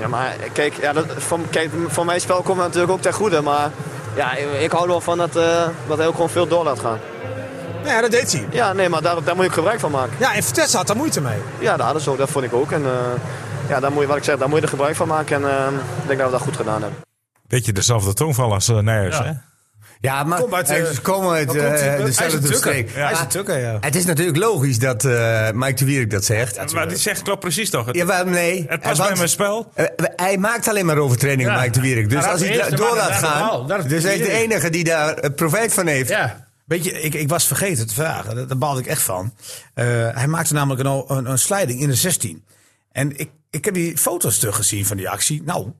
Speaker 7: Ja, maar kijk, ja, dat, van, kijk, van mijn spel komt het natuurlijk ook ten goede. Maar ja, ik, ik hou er wel van dat, eh, dat hij ook gewoon veel door laat gaan.
Speaker 1: Nou ja, dat deed hij.
Speaker 7: Ja, nee, maar daar, daar moet je ook gebruik van maken.
Speaker 1: Ja, en Vitesse had daar moeite mee.
Speaker 7: Ja, dat, zo, dat vond ik ook. En eh, ja, daar moet je, wat ik zeg, daar moet je er gebruik van maken. En eh, ik denk dat we dat goed gedaan hebben.
Speaker 4: Beetje dezelfde tongval als eh, Nijhuis,
Speaker 3: Ja.
Speaker 4: hè?
Speaker 2: Ja, maar
Speaker 1: Kom uit, eh,
Speaker 2: eh, ze komen uit
Speaker 1: waar komt
Speaker 2: eh,
Speaker 1: hij? Hij is
Speaker 2: dezelfde
Speaker 1: een tukker.
Speaker 2: streek.
Speaker 1: Hij is een
Speaker 2: Maar
Speaker 1: tukker, ja.
Speaker 2: Het is natuurlijk logisch dat eh, Mike de Wierik dat zegt.
Speaker 4: Maar die zegt klopt precies toch? Het,
Speaker 2: Ja, waarom nee?
Speaker 4: het
Speaker 2: Eh,
Speaker 4: past
Speaker 2: want,
Speaker 4: bij mijn spel.
Speaker 2: eh, hij maakt alleen maar overtredingen,
Speaker 3: Ja.
Speaker 2: Mike de Wierik. Dus
Speaker 3: Maar
Speaker 2: als
Speaker 3: dat
Speaker 2: hij
Speaker 3: is de
Speaker 2: door
Speaker 3: man-
Speaker 2: laat
Speaker 3: dat is de
Speaker 2: gaan,
Speaker 3: bal. Dat is de
Speaker 2: dus hij is de
Speaker 3: Wierik.
Speaker 2: enige die daar eh, profijt van heeft.
Speaker 3: Ja.
Speaker 1: Weet je, ik, ik was vergeten te vragen. Daar- Daar baalde ik echt van. Eh, hij maakte namelijk een, o- een, een sliding in de 16. En ik, ik heb die foto's teruggezien van die actie. Nou,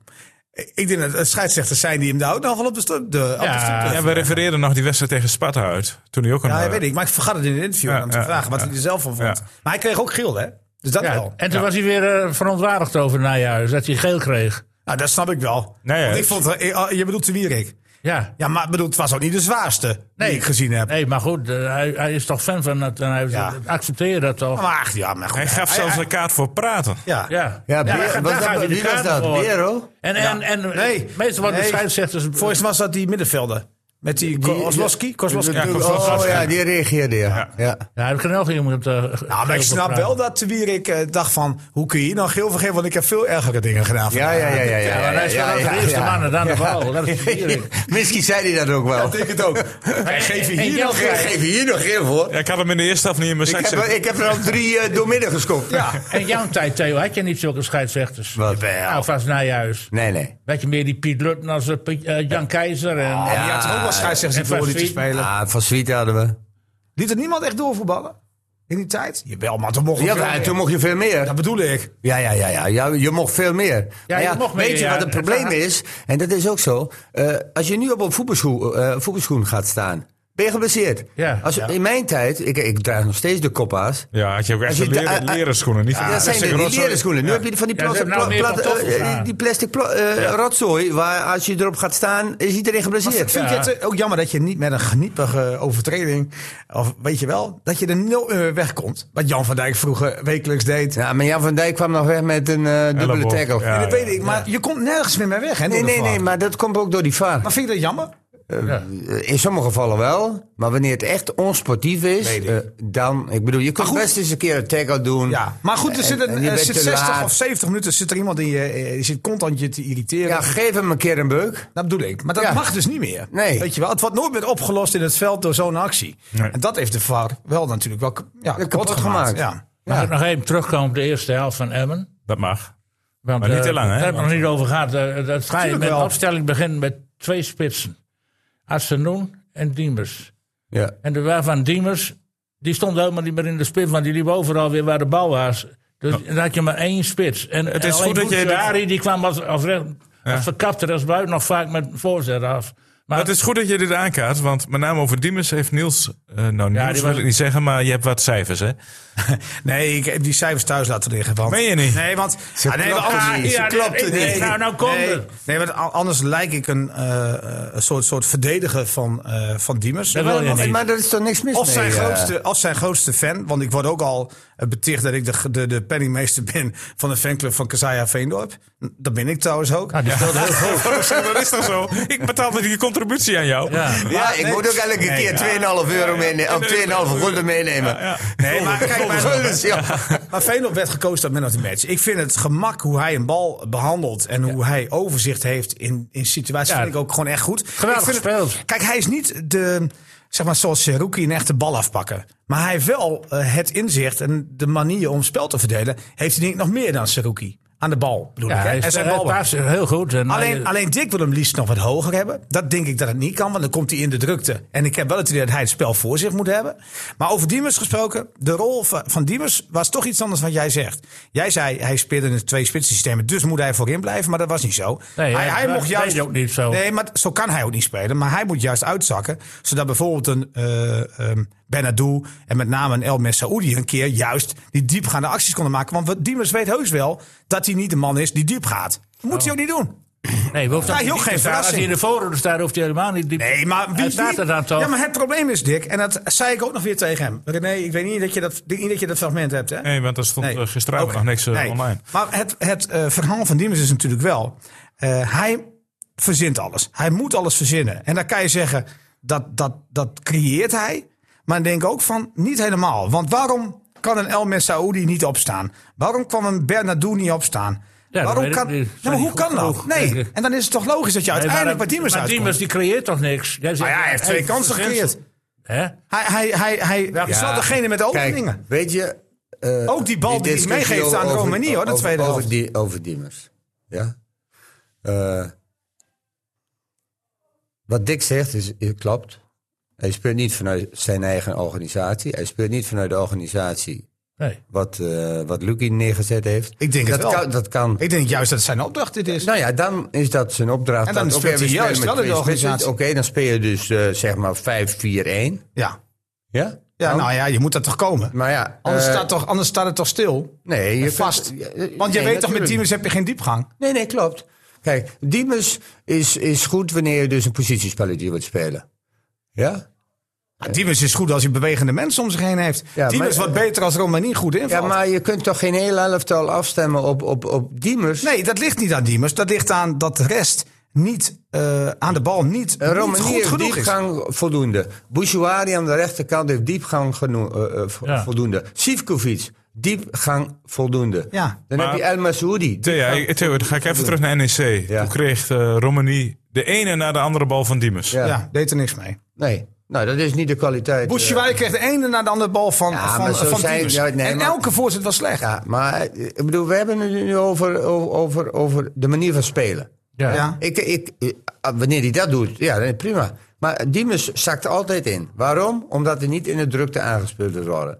Speaker 1: ik denk dat het scheidsrechters zijn die hem daar ook nogal op de stoep. De, op de
Speaker 3: Ja.
Speaker 1: stoep
Speaker 4: Ja, we refereerden nog die wedstrijd tegen Sparta uit. Toen hij ook een...
Speaker 1: ja,
Speaker 4: eh,
Speaker 1: weet ik. Maar ik vergat het in een interview
Speaker 4: Ja,
Speaker 1: aan hem te
Speaker 4: ja,
Speaker 1: vragen wat
Speaker 4: ja.
Speaker 1: hij er zelf van vond.
Speaker 4: Ja.
Speaker 1: Maar hij kreeg ook geel, hè? Dus dat
Speaker 3: Ja,
Speaker 1: wel.
Speaker 3: en toen was hij weer eh, verontwaardigd over Nijhuis, dat hij geel kreeg.
Speaker 1: Nou, dat snap ik wel.
Speaker 4: Nee,
Speaker 1: Want
Speaker 4: ja.
Speaker 1: ik vond, eh, eh, je bedoelt de Wierik.
Speaker 3: Ja.
Speaker 1: Ja, maar ik bedoel, het was ook niet de zwaarste
Speaker 3: Nee.
Speaker 1: die ik gezien heb.
Speaker 3: Nee, maar goed, eh, hij, hij is toch fan van dat en hij
Speaker 1: Ja.
Speaker 3: accepteert dat toch.
Speaker 1: Maar ach, ja, maar goed.
Speaker 4: Hij gaf zelfs een kaart voor praten.
Speaker 1: Ja.
Speaker 3: Ja,
Speaker 2: Ja,
Speaker 3: daar
Speaker 2: Beer-
Speaker 3: ga-
Speaker 2: was
Speaker 3: daar
Speaker 2: dat-
Speaker 3: gaat hij de
Speaker 2: wie was
Speaker 3: kaarten
Speaker 2: dat?
Speaker 3: voor.
Speaker 2: Bero?
Speaker 3: En, en, en
Speaker 1: Nee.
Speaker 3: meestal worden
Speaker 1: Nee.
Speaker 3: de scheidsrechters...
Speaker 1: Volgens mij was dat die middenvelder. Met die,
Speaker 2: Die-
Speaker 1: Kozlowski. Kozlowski.
Speaker 4: Ja,
Speaker 2: Oh ja, die reageerde, ja. ja.
Speaker 3: Ja, heb ik er nog iemand... eh, geel
Speaker 1: Nou, maar ik
Speaker 3: voor
Speaker 1: snap
Speaker 3: vragen.
Speaker 1: wel dat Wierik eh, dacht van... hoe kun je hier nou geel vergeven? Want ik heb veel ergere dingen gedaan.
Speaker 2: Ja, ja, ja, ja. ja,
Speaker 3: Ja, maar hij is wel
Speaker 2: ja,
Speaker 3: de
Speaker 2: ja,
Speaker 3: eerste
Speaker 2: ja.
Speaker 3: man en dan de bal. Dat is natuurlijk.
Speaker 2: Misschien zei hij dat ook wel.
Speaker 1: Ik het ook. En geef je
Speaker 3: en
Speaker 1: hier
Speaker 3: jou
Speaker 1: nog...
Speaker 3: graag.
Speaker 2: Geef je hier nog heel voor.
Speaker 4: Ja, ik had hem in de eerste helft niet in mijn
Speaker 2: Ik
Speaker 4: zak
Speaker 2: heb,
Speaker 4: zitten.
Speaker 2: ik heb er al drie eh, doormidden geschopt.
Speaker 1: Ja.
Speaker 3: En jouw tijd, Theo, had je niet zulke scheidsrechters?
Speaker 2: Wat?
Speaker 3: Nou, vast Nijhuis.
Speaker 2: Nee, nee.
Speaker 3: Weet je meer die Piet Lutten als eh, Piet- eh, Jan Keizer? En,
Speaker 1: Ja, die had er ook wel scheidsrechters die
Speaker 3: En
Speaker 1: door
Speaker 3: Van
Speaker 1: lieten
Speaker 3: Vliet.
Speaker 1: spelen.
Speaker 2: Ah, van Sweet hadden we.
Speaker 1: Liet er niemand echt doorvoetballen? In die tijd? Jawel, maar toen mocht
Speaker 2: Ja,
Speaker 1: veel
Speaker 2: maar
Speaker 1: meer.
Speaker 2: toen mocht je veel meer.
Speaker 1: Dat bedoel ik.
Speaker 2: Ja, ja, ja, ja. ja je mocht veel meer. Maar
Speaker 3: je mocht meer,
Speaker 2: weet je
Speaker 3: ja.
Speaker 2: wat het probleem is? En dat is ook zo. Eh, als je nu op een voetbalschoen, eh, voetbalschoen gaat staan, ben je geblesseerd.
Speaker 3: Ja.
Speaker 2: Als, In mijn tijd, ik, ik draag nog steeds de koppa's.
Speaker 4: Ja, had je ook echt
Speaker 2: Als je
Speaker 4: leren,
Speaker 2: da- ah, ah,
Speaker 4: leren schoenen. Niet van
Speaker 2: Ja, dat zijn weer die leren schoenen. Nu heb je van die
Speaker 3: Ja, ze
Speaker 2: plastic,
Speaker 3: hebben nou
Speaker 2: pla-
Speaker 3: meer
Speaker 2: pla-
Speaker 3: pantoffels
Speaker 2: eh,
Speaker 3: aan.
Speaker 2: die plastic pla- eh, rotzooi, waar als je erop gaat staan, is iedereen geblesseerd.
Speaker 1: Vind je het eh, ook jammer dat je niet met een geniepige overtreding... of weet je wel, dat je er nul eh, wegkomt? Wat Jan van Dijk vroeger wekelijks deed.
Speaker 2: Ja, maar Jan van Dijk kwam nog weg met een eh, dubbele
Speaker 4: Elleboog,
Speaker 2: tackle.
Speaker 4: ja.
Speaker 1: dat weet ik, maar je komt nergens meer mee weg. Hè, door
Speaker 2: Nee,
Speaker 1: de
Speaker 2: nee,
Speaker 1: VAR.
Speaker 2: nee, maar dat komt ook door die vaar.
Speaker 1: Maar vind je dat jammer?
Speaker 2: Eh,
Speaker 3: Ja.
Speaker 2: In sommige gevallen wel, maar wanneer het echt onsportief is,
Speaker 1: Weet ik.
Speaker 2: eh, dan. Ik bedoel, je kunt
Speaker 1: goed.
Speaker 2: best eens een keer een tackle doen.
Speaker 1: Ja, maar goed, er
Speaker 2: En-
Speaker 1: zit, een,
Speaker 2: en je
Speaker 1: er
Speaker 2: bent
Speaker 1: zit
Speaker 2: te
Speaker 1: 60
Speaker 2: laat.
Speaker 1: of 70 minuten zit er iemand in je, eh, je zit constant je te irriteren.
Speaker 2: Ja, geef hem een keer een beuk.
Speaker 1: Dat bedoel ik. Maar dat
Speaker 2: Ja.
Speaker 1: mag dus niet meer.
Speaker 2: Nee.
Speaker 1: Weet je wel, het wordt nooit meer opgelost in het veld door zo'n actie. En dat heeft de VAR wel natuurlijk wel k- ja,
Speaker 2: Kapot
Speaker 1: kapot, gemaakt.
Speaker 2: gemaakt.
Speaker 1: Ja.
Speaker 3: Mag ik nog even terugkomen op de eerste helft van Emmen?
Speaker 4: Dat mag.
Speaker 3: Want,
Speaker 4: Maar niet te
Speaker 3: eh,
Speaker 4: lang, hè?
Speaker 3: Daar hebben we nog niet over gehad. Eh, dat ga je
Speaker 1: Tuurlijk
Speaker 3: met
Speaker 1: wel.
Speaker 3: opstelling beginnen met twee spitsen. Asenoen en Diemers.
Speaker 2: Ja.
Speaker 3: En de waarvan Diemers, die stond helemaal niet meer in de spits, want die liep overal weer waar de bal was. Dus dan had je maar één spits. En het
Speaker 4: is goed dat jij dit-
Speaker 3: die kwam als, als, recht, als verkapte als buiten nog vaak met voorzet af. Maar
Speaker 4: Het is goed dat je dit aankaart, want met name over Diemers heeft Niels... eh, nou, Niels
Speaker 3: die
Speaker 4: wil
Speaker 3: was-
Speaker 4: ik niet zeggen, maar je hebt wat cijfers, hè?
Speaker 1: Nee, ik heb die cijfers thuis laten liggen. Want,
Speaker 4: Meen je niet?
Speaker 1: Nee, want Ah,
Speaker 2: Ze
Speaker 1: nee,
Speaker 2: klopten
Speaker 1: anders-
Speaker 2: niet, ze
Speaker 1: nee,
Speaker 3: klopten
Speaker 1: nee,
Speaker 3: niet. Nou, nou komt
Speaker 1: nee,
Speaker 3: het.
Speaker 1: Nee, want a- anders lijk ik een, eh, eh, een soort, soort verdediger van, eh, van Diemers.
Speaker 3: Dat wil je niet.
Speaker 2: Maar daar is toch niks mis
Speaker 1: Of
Speaker 2: mee?
Speaker 1: zijn,
Speaker 2: eh.
Speaker 1: grootste, of zijn grootste fan. Want ik word ook al eh, beticht dat ik de, de, de penningmeester ben van de fanclub van Kazaya Veendorp. Dat ben ik trouwens ook.
Speaker 3: nou, die speelde heel goed.
Speaker 4: dat is toch zo? Ik betaal met die contributie aan jou.
Speaker 3: Ja.
Speaker 2: Ja, Ah, ik moet ook elke keer 2,5 euro meenemen. Of 2,5 gulden meenemen.
Speaker 1: Nee, maar kijk, maar,
Speaker 2: Guldens, ja.
Speaker 1: Maar Feyenoord werd gekozen tot man of the match. Ik vind het gemak hoe hij een bal behandelt en hoe hij overzicht heeft in, in situaties
Speaker 3: Ja.
Speaker 1: vind ik ook gewoon echt goed.
Speaker 3: Geweldig
Speaker 1: ik vind het-
Speaker 3: gespeeld.
Speaker 1: kijk, hij is niet de, zeg maar zoals Seruki een echte bal afpakken. Maar hij heeft wel eh, het inzicht en de manier om spel te verdelen. Heeft hij denk ik nog meer dan Seruki aan de bal. Bedoel
Speaker 3: Ja,
Speaker 1: ik, hè?
Speaker 3: hij
Speaker 1: en zijn
Speaker 3: hij
Speaker 1: ballen.
Speaker 3: paast heel goed. En
Speaker 1: Alleen,
Speaker 3: hij-
Speaker 1: alleen Dick wil hem liefst nog wat hoger hebben. Dat denk ik dat het niet kan, want dan komt hij in de drukte. En ik heb wel het idee dat hij het spel voor zich moet hebben. Maar over Diemers gesproken, de rol van, van Diemers was toch iets anders dan jij zegt. Jij zei, hij speelde in het twee spitsensysteem, dus moet hij voorin blijven. Maar dat was niet zo.
Speaker 3: Nee,
Speaker 1: hij,
Speaker 3: ja, dat deed hij ook niet zo.
Speaker 1: Nee, maar zo kan hij ook niet spelen. Maar hij moet juist uitzakken, zodat bijvoorbeeld een eh ehm Benadou en met name een El Messaoudi een keer juist die diepgaande acties konden maken. Want wat Diemers weet heus wel dat hij niet de man is die diep gaat. Dat
Speaker 3: Oh.
Speaker 1: moet hij ook niet doen.
Speaker 3: nee, we hoeven
Speaker 1: Ja,
Speaker 3: dat
Speaker 1: joh,
Speaker 3: niet
Speaker 1: geen
Speaker 3: te staan. Als hij in
Speaker 1: verrassing.
Speaker 3: de voorhoede staat, hoeft hij helemaal niet diep.
Speaker 1: Nee, maar wie
Speaker 3: Hij staat
Speaker 1: wie-
Speaker 3: er dan toch?
Speaker 1: Ja, maar het probleem is, Dick, en dat zei ik ook nog weer tegen hem. René, ik weet niet dat je dat, ik denk niet dat, je dat fragment hebt, hè?
Speaker 4: Nee, want er stond
Speaker 1: Nee.
Speaker 4: eh, gisteravond
Speaker 1: Ook-
Speaker 4: nog niks eh,
Speaker 1: nee.
Speaker 4: online.
Speaker 1: Maar het, het eh, verhaal van Diemers is natuurlijk wel... eh, hij verzint alles. Hij moet alles verzinnen. En dan kan je zeggen, dat, dat, dat creëert hij. Maar ik denk ook van, niet helemaal. Want waarom kan een El Messaoudi niet opstaan? Waarom kwam een Bernardo niet opstaan?
Speaker 3: dat
Speaker 1: waarom
Speaker 3: weet ik
Speaker 1: kan,
Speaker 3: niet.
Speaker 1: Ja,
Speaker 3: Zijn
Speaker 1: maar
Speaker 3: niet
Speaker 1: hoe
Speaker 3: goed
Speaker 1: kan dat?
Speaker 3: genoeg, denk
Speaker 1: Nee.
Speaker 3: ik.
Speaker 1: En dan is het toch logisch dat je uiteindelijk
Speaker 3: maar,
Speaker 1: bij Diemers
Speaker 3: maar
Speaker 1: uitkomt.
Speaker 3: Diemers die creëert toch niks? Jij zegt,
Speaker 2: Ah
Speaker 1: Maar ja, hij heeft twee kansen
Speaker 3: verzint-
Speaker 1: gecreëerd.
Speaker 3: Hè?
Speaker 1: Hij, hij, hij, hij is wel degene met de openingen.
Speaker 2: Kijk, weet je... eh,
Speaker 1: Ook die bal die hij
Speaker 2: discussie
Speaker 1: meegeeft
Speaker 2: over-
Speaker 1: aan
Speaker 2: over-
Speaker 1: Romani, hoor, de
Speaker 2: over-
Speaker 1: tweede
Speaker 2: over
Speaker 1: helft.
Speaker 2: Die, over Diemers. Ja? Eh, wat Dick zegt, is, eh, klopt. Hij speelt niet vanuit zijn eigen organisatie. Hij speelt niet vanuit de organisatie
Speaker 3: Nee.
Speaker 2: wat, eh wat Lucky neergezet heeft.
Speaker 1: Ik denk
Speaker 2: dat
Speaker 1: het wel.
Speaker 2: Kan, dat kan.
Speaker 1: Ik denk juist dat het zijn opdracht dit is.
Speaker 2: Nou ja, dan is dat zijn opdracht.
Speaker 1: En dan
Speaker 2: dat, oké,
Speaker 1: speelt
Speaker 2: we
Speaker 1: hij
Speaker 2: spelen
Speaker 1: juist
Speaker 2: met
Speaker 1: wel in de
Speaker 2: twee spitsen.
Speaker 1: organisatie.
Speaker 2: Oké, dan speel je dus eh, zeg maar 5-4-1.
Speaker 1: Ja.
Speaker 2: Ja?
Speaker 1: Ja, nou ja, je moet dat toch komen.
Speaker 2: Maar ja,
Speaker 1: anders,
Speaker 2: eh,
Speaker 1: staat toch, anders staat het toch stil?
Speaker 2: nee, je
Speaker 1: Vast. Want
Speaker 2: kunt- ja,
Speaker 1: je weet
Speaker 2: eh, nee,
Speaker 1: toch, met
Speaker 2: natuurlijk.
Speaker 1: teams heb je geen diepgang.
Speaker 2: Nee, nee, klopt. Kijk, Diemers is, is goed wanneer je dus een positiespelletje wilt spelen. Ja?
Speaker 1: Diemers is goed als hij bewegende mensen om zich heen heeft.
Speaker 2: Ja,
Speaker 1: Diemers
Speaker 2: maar-
Speaker 1: wordt beter als Romani goed
Speaker 2: Ja,
Speaker 1: invalt.
Speaker 2: maar je kunt toch geen hele elftal afstemmen op, op, op Diemers?
Speaker 1: Nee, dat ligt niet aan Diemers. Dat ligt aan dat de rest niet, eh, aan de bal niet,
Speaker 2: En
Speaker 1: niet
Speaker 2: Romani
Speaker 1: goed
Speaker 2: heeft
Speaker 1: genoeg is.
Speaker 2: diepgang voldoende. Bouchouari aan de rechterkant heeft diepgang geno- eh, eh, vo-
Speaker 3: Ja.
Speaker 2: voldoende. Sivkovic, diepgang voldoende.
Speaker 1: Ja.
Speaker 2: Dan
Speaker 4: Maar-
Speaker 2: heb
Speaker 4: Dus-
Speaker 2: je El Masoudi.
Speaker 4: Theo, ik- Theo, dan ga ik even terug naar NEC.
Speaker 2: Ja.
Speaker 4: Toen kreeg eh Romani de ene na de andere bal van Diemers.
Speaker 2: Ja.
Speaker 1: Ja, deed er niks mee.
Speaker 2: Nee, nou dat is niet de kwaliteit. eh.
Speaker 1: Bouchouari kreeg de ene na de andere bal van,
Speaker 2: Ja,
Speaker 1: van,
Speaker 2: maar zo
Speaker 1: van
Speaker 2: zijn-
Speaker 1: Diemers.
Speaker 2: ja, nee,
Speaker 1: en
Speaker 2: maar-
Speaker 1: elke voorzet was slecht.
Speaker 2: Ja, maar eh, ik bedoel, we hebben het nu over, over- over, over de manier van spelen.
Speaker 3: Ja.
Speaker 1: Ja.
Speaker 2: Ik, ik, eh, wanneer hij dat doet, ja, dan prima. Maar Diemers zakt altijd in. Waarom? Omdat hij niet in de drukte aangespeeld wil worden.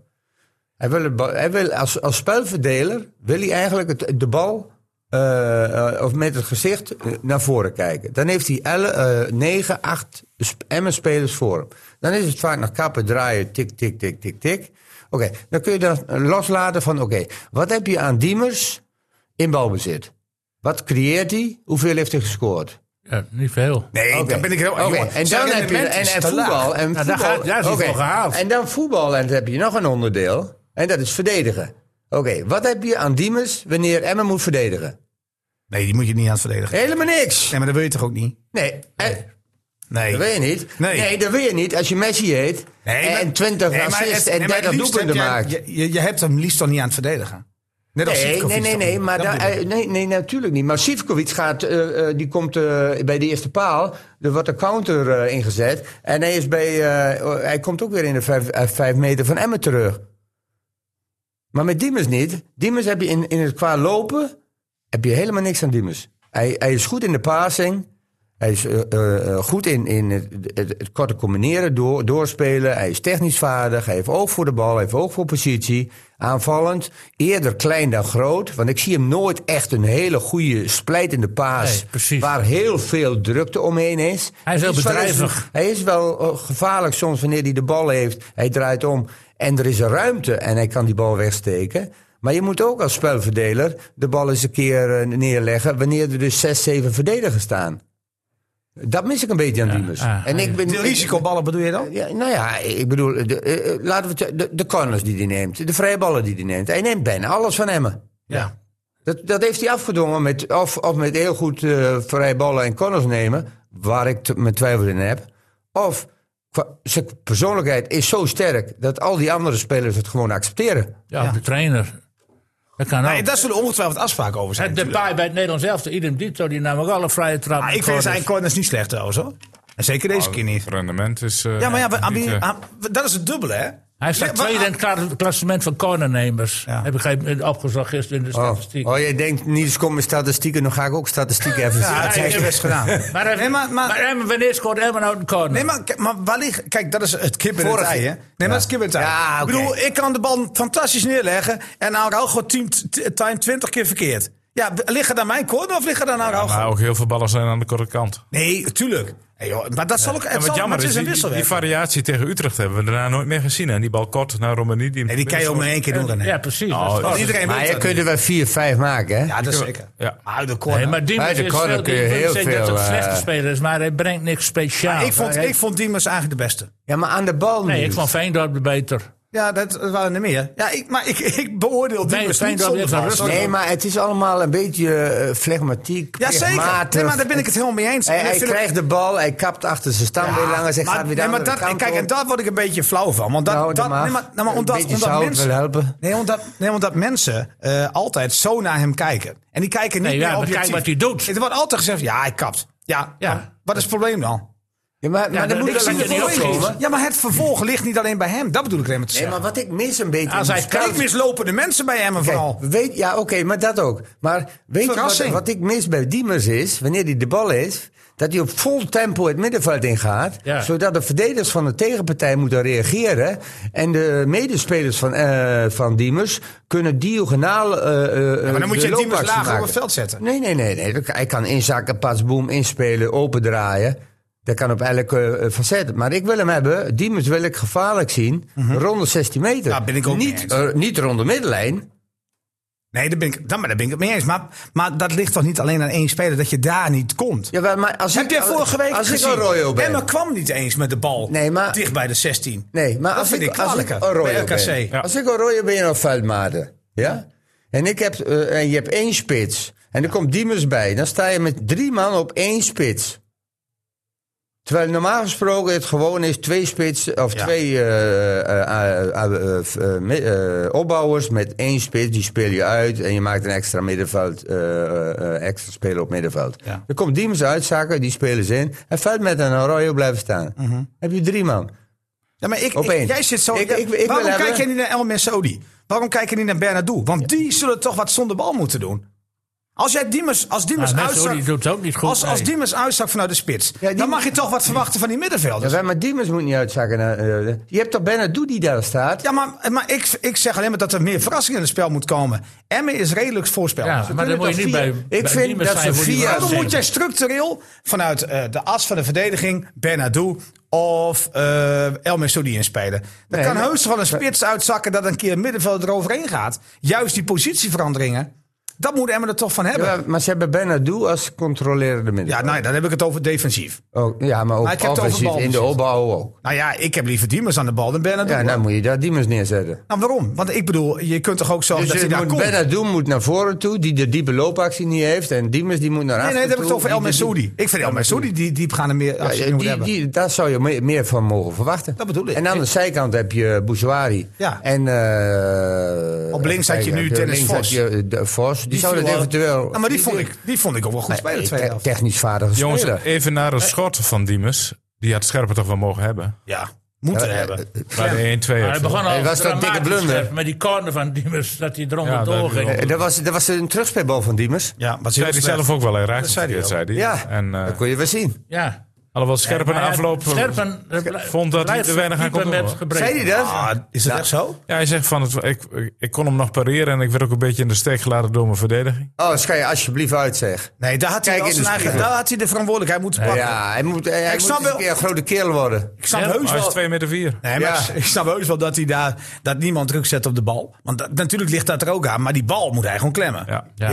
Speaker 2: Hij wil, het bal- hij wil als, als spelverdeler wil hij eigenlijk het, de bal eh, eh, of met het gezicht eh, naar voren kijken. Dan heeft hij eh, 9, 8 Emmen-spelers voor hem. Dan is het vaak nog kappen, draaien, tik, tik, tik, tik, tik. Oké, dan kun je dan loslaten van oké, wat heb je aan Diemers in balbezit? Wat creëert hij? Hoeveel heeft hij gescoord?
Speaker 3: Ja, niet veel.
Speaker 1: Nee,
Speaker 2: Oké.
Speaker 1: daar ben ik heel...
Speaker 2: Oké,
Speaker 1: jongen,
Speaker 2: En
Speaker 1: zijn
Speaker 2: dan heb je en,
Speaker 1: rendement
Speaker 2: en
Speaker 1: is te Nou, laag.
Speaker 2: voetbal. En
Speaker 3: daar
Speaker 2: voetbal
Speaker 3: gaat- daar is hij
Speaker 2: Oké,
Speaker 3: voor gehaald.
Speaker 2: En dan voetbal en dan heb je nog een onderdeel. En dat is verdedigen. Oké, wat heb je aan Diemers wanneer Emmen moet verdedigen?
Speaker 1: Nee, die moet je niet aan het verdedigen.
Speaker 2: Helemaal niks.
Speaker 1: Nee, maar dat wil je toch ook niet?
Speaker 2: Nee. eh,
Speaker 1: Nee.
Speaker 2: Dat wil je niet.
Speaker 1: Nee.
Speaker 2: dat wil je niet. Als je Messi heet
Speaker 1: Nee, maar-
Speaker 2: en 20
Speaker 1: nee, maar
Speaker 2: assists
Speaker 1: het- nee,
Speaker 2: en
Speaker 1: maar
Speaker 2: 30
Speaker 1: het liefst
Speaker 2: doelpunten
Speaker 1: heb jij-
Speaker 2: maakt.
Speaker 1: Je, je, je hebt hem liefst dan niet aan het verdedigen. Net als
Speaker 2: Nee,
Speaker 1: Sivkovic
Speaker 2: nee, nee,
Speaker 1: dan.
Speaker 2: nee, maar
Speaker 1: Dat
Speaker 2: daar-
Speaker 1: bedoel ik.
Speaker 2: eh, nee, nee, natuurlijk niet. Maar Sivkovic gaat, eh, eh, die komt eh, bij de eerste paal. Er wordt een counter eh, ingezet. En hij, is bij, eh, hij komt ook weer in de vijf, eh, vijf meter van Emmen terug. Maar met Diemers niet. Diemers heb je in, in het qua lopen heb je helemaal niks aan Diemers. Hij, hij is goed in de passing. Hij is eh, eh, eh, goed in, in het, het, het korte combineren, door, doorspelen. Hij is technisch vaardig. Hij heeft oog voor de bal. Hij heeft oog voor positie. Aanvallend. Eerder klein dan groot. Want ik zie hem nooit echt een hele goede splijtende paas.
Speaker 3: Nee, precies.
Speaker 2: Waar heel veel drukte omheen is.
Speaker 3: Hij is heel
Speaker 2: wel eens-
Speaker 3: bedrijvig.
Speaker 2: hij is wel eh, gevaarlijk soms wanneer hij de bal heeft. Hij draait om en er is een ruimte en hij kan die bal wegsteken. Maar je moet ook als spelverdeler de bal eens een keer eh, neerleggen... wanneer er dus zes, zeven verdedigers staan. Dat mis ik een beetje aan Diemers.
Speaker 3: ah,
Speaker 2: en ik ben,
Speaker 1: De risicoballen bedoel je dan?
Speaker 2: ja, nou ja, ik bedoel, de, eh, eh, laten we het- de, de corners die hij neemt, de vrije ballen die hij neemt. Hij neemt bijna alles van Emmen.
Speaker 1: Ja.
Speaker 2: Dat, dat heeft hij afgedwongen met, of, of met heel goed eh vrije ballen en corners nemen, waar ik t- mijn twijfel in heb. Of qua- zijn persoonlijkheid is zo sterk dat al die andere spelers het gewoon accepteren.
Speaker 3: Ja, de trainer. Dat kan ook.
Speaker 1: Nee, daar zullen ongetwijfeld afspraken over zijn.
Speaker 3: Het Depay bij het Nederlands elftal, idem dito, die nam ook alle vrije trap.
Speaker 1: Maar Ah, ik vind zijn corners niet slecht trouwens hoor. En zeker
Speaker 3: Oh,
Speaker 1: deze keer niet.
Speaker 4: Het rendement is... eh,
Speaker 1: Ja, maar ja, we- aan
Speaker 4: niet,
Speaker 1: wie-
Speaker 4: eh,
Speaker 1: aan- dat is het dubbele hè.
Speaker 3: Hij staat
Speaker 1: Ja, maar- ah,
Speaker 3: tweede in het kla- klassement van cornernemers.
Speaker 1: Ja.
Speaker 3: Heb ik geen- eh, opgezocht gisteren in de
Speaker 2: Oh,
Speaker 3: statistiek.
Speaker 2: oh jij denkt, Niels komt met statistieken, dan ga ik ook statistieken even
Speaker 1: Ja,
Speaker 2: zien.
Speaker 1: hij heeft best gedaan.
Speaker 2: Oh.
Speaker 3: Maar, hij-
Speaker 1: Nee, maar- maar-
Speaker 3: maar Emmen, wanneer scoort Emmen nou een corner?
Speaker 1: Nee, maar, kijk, maar waar ligt... Kijk, dat is het kip en het
Speaker 2: Vorige-
Speaker 1: ei, hè? Nee, maar dat is kip en het ei.
Speaker 2: Ja, oké.
Speaker 1: Ik bedoel, ik kan de bal fantastisch neerleggen... en Araujo teamt- t- time 20 keer verkeerd. Ja, b- liggen daar mijn corner of liggen daar Araujo?
Speaker 4: maar ook heel veel ballen zijn aan de korte kant.
Speaker 1: Nee, tuurlijk. Hey, joh, maar dat zal ook...
Speaker 4: En
Speaker 1: Het,
Speaker 4: wat
Speaker 1: zal, maar
Speaker 4: jammer is,
Speaker 1: het is een
Speaker 4: die- die, die
Speaker 1: wisselwerking.
Speaker 4: variatie tegen Utrecht hebben we daarna nooit meer gezien. En die bal kort naar Romani. Die
Speaker 1: Nee, die kan je ook maar één keer doen. René.
Speaker 3: Ja, precies.
Speaker 4: Oh,
Speaker 3: dat is
Speaker 1: Want
Speaker 3: corner.
Speaker 1: iedereen
Speaker 2: Maar
Speaker 1: weet
Speaker 2: je
Speaker 1: dat.
Speaker 2: kunt er wel vier, vijf maken, hè?
Speaker 1: Ja, dat is zeker.
Speaker 4: Ja.
Speaker 1: Maar uit de corner.
Speaker 3: Nee, maar Diemers
Speaker 2: Bij de
Speaker 3: is
Speaker 2: corner
Speaker 3: veel-
Speaker 2: kun je
Speaker 3: ik wil
Speaker 2: heel
Speaker 3: zeggen dat het
Speaker 2: veel,
Speaker 3: slechte
Speaker 2: eh,
Speaker 3: speler is, maar hij brengt niks speciaals.
Speaker 1: Ah, ik, vond,
Speaker 3: Hij-
Speaker 1: ik vond Diemers eigenlijk de beste.
Speaker 2: Ja, maar aan de bal
Speaker 3: nee, ik
Speaker 2: Niels.
Speaker 3: vond Veendorp beter.
Speaker 1: Ja, dat waren er meer. Ja, ik, maar ik, ik beoordeel Diemers
Speaker 3: Feyenoord
Speaker 1: niet zonder
Speaker 3: heeft een
Speaker 1: bal.
Speaker 3: rustig-
Speaker 2: Nee, maar het is allemaal een beetje eh, flegmatiek,
Speaker 1: Ja, zeker.
Speaker 2: plichtmatig.
Speaker 1: Nee, maar daar ben ik het helemaal mee eens.
Speaker 2: Hij,
Speaker 1: En ik
Speaker 2: hij
Speaker 1: vind het-
Speaker 2: krijgt de bal, hij kapt achter zijn staan weer langer, hij
Speaker 1: Ah, maar,
Speaker 2: gaat weer de
Speaker 1: nee, maar
Speaker 2: andere
Speaker 1: dat,
Speaker 2: kant
Speaker 1: kijk,
Speaker 2: op.
Speaker 1: en daar word ik een beetje flauw van. Want dat,
Speaker 2: Nou, dat
Speaker 1: dat,
Speaker 2: mag.
Speaker 1: nee, maar, nou, maar
Speaker 2: Een
Speaker 1: omdat,
Speaker 2: beetje
Speaker 1: omdat
Speaker 2: zout
Speaker 1: mensen,
Speaker 2: wil helpen.
Speaker 1: Nee, omdat, nee, omdat mensen eh, altijd zo naar hem kijken. En die kijken niet
Speaker 3: Nee, ja,
Speaker 1: meer
Speaker 3: maar
Speaker 1: objectief.
Speaker 3: kijk wat hij doet.
Speaker 1: Er wordt altijd gezegd, ja, hij kapt. Ja,
Speaker 3: Ja.
Speaker 1: nou, wat is het probleem dan?
Speaker 2: Ja, maar, maar
Speaker 3: maar
Speaker 2: dan
Speaker 3: ik
Speaker 2: moet
Speaker 3: zie
Speaker 2: er
Speaker 3: het
Speaker 2: niet
Speaker 3: niet opkomen.
Speaker 2: opkomen.
Speaker 1: Ja, maar het vervolg ligt niet alleen bij hem. Dat bedoel ik alleen maar te
Speaker 2: Nee,
Speaker 1: zeggen.
Speaker 2: maar wat ik mis een beetje...
Speaker 3: Als
Speaker 2: in
Speaker 3: hij
Speaker 2: de
Speaker 3: kan-
Speaker 2: scout-
Speaker 1: Kijk, mislopende mensen bij hem en vooral.
Speaker 2: Kijk, weet, ja, oké, maar dat ook. Maar weet je wat,
Speaker 1: Verrassing.
Speaker 2: wat ik mis bij Diemers is, wanneer hij de bal heeft... dat hij op vol tempo het middenveld ingaat...
Speaker 3: Ja.
Speaker 2: zodat de verdedigers van de tegenpartij moeten reageren... en de medespelers van, eh, van Diemers kunnen diagonaal eh eh,
Speaker 1: maar dan moet je
Speaker 2: de
Speaker 1: Diemers
Speaker 2: loopactie
Speaker 1: lager op
Speaker 2: maken.
Speaker 1: het veld zetten.
Speaker 2: Nee, nee, nee. nee. Hij kan inzakken, pas, boom, inspelen, opendraaien. Dat kan op elke eh, facet. Maar ik wil hem hebben, Diemers wil ik gevaarlijk zien, rond de 16 meter.
Speaker 1: Mhm. Daar ben ik ook mee
Speaker 2: niet,
Speaker 1: eens.
Speaker 2: eh, niet rond de middenlijn.
Speaker 1: Nee, daar ben ik, dan, maar daar ben ik het mee eens. Maar, maar dat ligt toch niet alleen aan één speler, dat je daar niet komt.
Speaker 2: Jawel, maar als
Speaker 1: Heb
Speaker 2: ik,
Speaker 1: jij vorige week
Speaker 2: als
Speaker 1: gezien?
Speaker 2: ik Arroyo ben.
Speaker 1: Emma kwam niet eens met de bal
Speaker 2: Nee, maar-
Speaker 1: dicht bij de 16.
Speaker 2: Nee, maar
Speaker 1: Dat
Speaker 2: als
Speaker 1: vind
Speaker 2: ik,
Speaker 1: ik
Speaker 2: als ik
Speaker 1: kwalijker bij
Speaker 2: Arroyo
Speaker 1: RKC.
Speaker 2: ben.
Speaker 1: Ja.
Speaker 2: Als ik Arroyo ben, dan vuilmaden. Ja? En, ik heb, eh, en je hebt één spits. En er komt Diemers bij. Dan sta je met drie man op één spits. Terwijl normaal gesproken het gewoon is twee spits of
Speaker 1: Ja.
Speaker 2: twee eh, eh, eh, eh, eh, eh, mi- eh, opbouwers met één spits. Die speel je uit en je maakt een extra middenveld, eh, eh, eh, extra speler op middenveld.
Speaker 1: Ja.
Speaker 2: Er komt Diemers uitzakken, die spelen ze in. En vuil met een Arroyo blijven staan.
Speaker 1: Mhm.
Speaker 2: Heb je drie man.
Speaker 1: Ja, maar ik,
Speaker 2: Op
Speaker 1: ik-
Speaker 2: één.
Speaker 1: jij zit zo.
Speaker 2: Ik- ik- ik wil
Speaker 1: waarom
Speaker 2: hebben-
Speaker 1: kijk jij niet naar El Messoudi? Waarom kijk je niet naar Bernardo? Want die zullen toch wat zonder bal moeten doen. Als jij Diemers, als Diemers
Speaker 3: Nou, Messi,
Speaker 1: uitzak,
Speaker 3: die doet het ook niet goed.
Speaker 1: als, als
Speaker 3: nee.
Speaker 1: Diemers uitzak vanuit de spits,
Speaker 2: Ja, die-
Speaker 1: dan mag je toch wat verwachten van die
Speaker 2: Ja,
Speaker 1: middenvelders. Ja,
Speaker 2: wij- maar Diemers moet niet uitzakken. Naar, eh, je hebt toch Bernardo die daar staat?
Speaker 1: maar, maar ik, ik zeg alleen maar dat er meer verrassing in het spel moet komen. Emmen is redelijk voorspelbaar.
Speaker 3: Ja,
Speaker 1: Ze
Speaker 3: maar dan
Speaker 1: kunnen
Speaker 3: moet je
Speaker 1: toch
Speaker 3: niet
Speaker 1: vier-
Speaker 3: bij.
Speaker 2: Ik
Speaker 3: bij
Speaker 2: vind
Speaker 3: Diemers
Speaker 2: dat
Speaker 3: zijn
Speaker 2: ze
Speaker 3: voor die
Speaker 2: via-
Speaker 3: waarde
Speaker 1: Waarom
Speaker 3: zijn.
Speaker 1: moet jij structureel vanuit eh, de as van de verdediging Bernardo of eh El Messoudi inspelen? Dan
Speaker 2: Nee,
Speaker 1: kan
Speaker 2: maar-
Speaker 1: heus wel een spits uitzakken dat een keer het middenveld eroverheen gaat. Juist die positieveranderingen. Dat moet Emmen er toch van hebben.
Speaker 2: Ja,
Speaker 1: Ja,
Speaker 2: maar ze hebben Benadou als controlerende middenveld.
Speaker 1: nou ja, dan heb ik het over defensief.
Speaker 2: Ook- ja, maar ook
Speaker 1: Maar ik heb het over
Speaker 2: offensief in de
Speaker 1: balbezit.
Speaker 2: opbouw ook.
Speaker 1: Nou ja, ik heb liever Diemers aan de bal dan Bernardo.
Speaker 2: Ja, nou- dan moet je daar Diemers neerzetten.
Speaker 1: Nou, waarom? Want ik bedoel, je kunt toch ook zorgen
Speaker 2: Dus
Speaker 1: dat
Speaker 2: je
Speaker 1: hij eh, daar
Speaker 2: moet
Speaker 1: komt?
Speaker 2: Benadou moet naar voren toe, die de diepe loopactie niet heeft. En Diemers die moet naar
Speaker 1: Nee, nee,
Speaker 2: achteren
Speaker 1: dat heb ik het
Speaker 2: toe,
Speaker 1: over El
Speaker 2: die de
Speaker 1: Messoudi. Ik vind El Messoudi die diepgaande meer
Speaker 2: Ja,
Speaker 1: actie
Speaker 2: die,
Speaker 1: moet
Speaker 2: die,
Speaker 1: hebben.
Speaker 2: daar zou je me- meer van mogen verwachten.
Speaker 1: Dat bedoel ik.
Speaker 2: En aan de zijkant heb je Bouchouari.
Speaker 1: Ja.
Speaker 2: En, eh,
Speaker 1: Op links had je nu
Speaker 2: heb
Speaker 1: Dennis
Speaker 2: links
Speaker 1: Vos.
Speaker 2: had je, eh, de Vos. Die, zou
Speaker 1: viel
Speaker 2: dat
Speaker 1: wel-
Speaker 2: eventueel...
Speaker 1: Ja, maar die vond, ik, die vond ik ook wel goed spelen.
Speaker 2: Nee,
Speaker 1: tweede
Speaker 2: te-
Speaker 1: helft.
Speaker 2: Eh, technisch vaardige
Speaker 4: Jongens,
Speaker 2: speler.
Speaker 4: even naar een schot van Diemers. Die had Scherpen toch wel mogen hebben.
Speaker 1: Ja, eh, moeten
Speaker 2: Ja,
Speaker 1: hebben.
Speaker 4: Bij de 1-2.
Speaker 3: Maar
Speaker 4: of
Speaker 3: hij
Speaker 4: zo.
Speaker 3: begon al
Speaker 2: Hij was dat dikke
Speaker 3: dramatisch
Speaker 2: blunder.
Speaker 3: scherp Met die corner van Diemers, dat hij eronder
Speaker 4: Ja, dat
Speaker 3: door ging.
Speaker 4: heb
Speaker 2: Eh, Dat was, dat was een terugspeelbal van Diemers.
Speaker 1: Ja, maar
Speaker 4: Zei hij zelf ook wel, hij raakte
Speaker 1: Dat zei hij
Speaker 4: verkeerd, zei hij.
Speaker 2: Ja.
Speaker 4: En, eh,
Speaker 2: Dat kon je wel zien.
Speaker 3: Ja.
Speaker 4: alhoewel Scherpen
Speaker 3: Maar hij-
Speaker 4: afloop...
Speaker 3: Scherpen eh, bl-
Speaker 4: vond dat hij
Speaker 3: blijft
Speaker 4: er weinig aan
Speaker 3: dieper
Speaker 4: kon doen,
Speaker 3: met
Speaker 4: hoor.
Speaker 3: gebreken.
Speaker 2: Zei hij dat?
Speaker 1: Ah,
Speaker 2: Nou,
Speaker 1: is dat echt zo?
Speaker 4: Ja, hij zegt van, het, ik, ik- ik kon hem nog pareren en ik werd ook een beetje in de steek gelaten door mijn verdediging.
Speaker 2: Oh, schij je alsjeblieft uit, zeg.
Speaker 1: Nee, daar had, hij
Speaker 2: Kijk
Speaker 1: wel
Speaker 2: in de
Speaker 1: zijn eigen,
Speaker 2: spiegel.
Speaker 1: daar had hij de verantwoordelijkheid moeten pakken.
Speaker 2: Ja, hij moet, hij moet
Speaker 1: snap
Speaker 2: eens
Speaker 1: wel-
Speaker 2: een keer een grote kerel worden.
Speaker 1: Ik snap
Speaker 3: Ja,
Speaker 1: heus
Speaker 4: Hij is
Speaker 1: wel...
Speaker 4: 2 meter 4.
Speaker 1: Nee, maar
Speaker 2: Ja.
Speaker 1: ik- ik snap heus wel dat, hij daar, dat niemand druk zet op de bal. Want dat- natuurlijk ligt dat er ook aan. Maar die bal moet hij gewoon klemmen.
Speaker 4: Ja.
Speaker 2: Ja,
Speaker 3: Nee,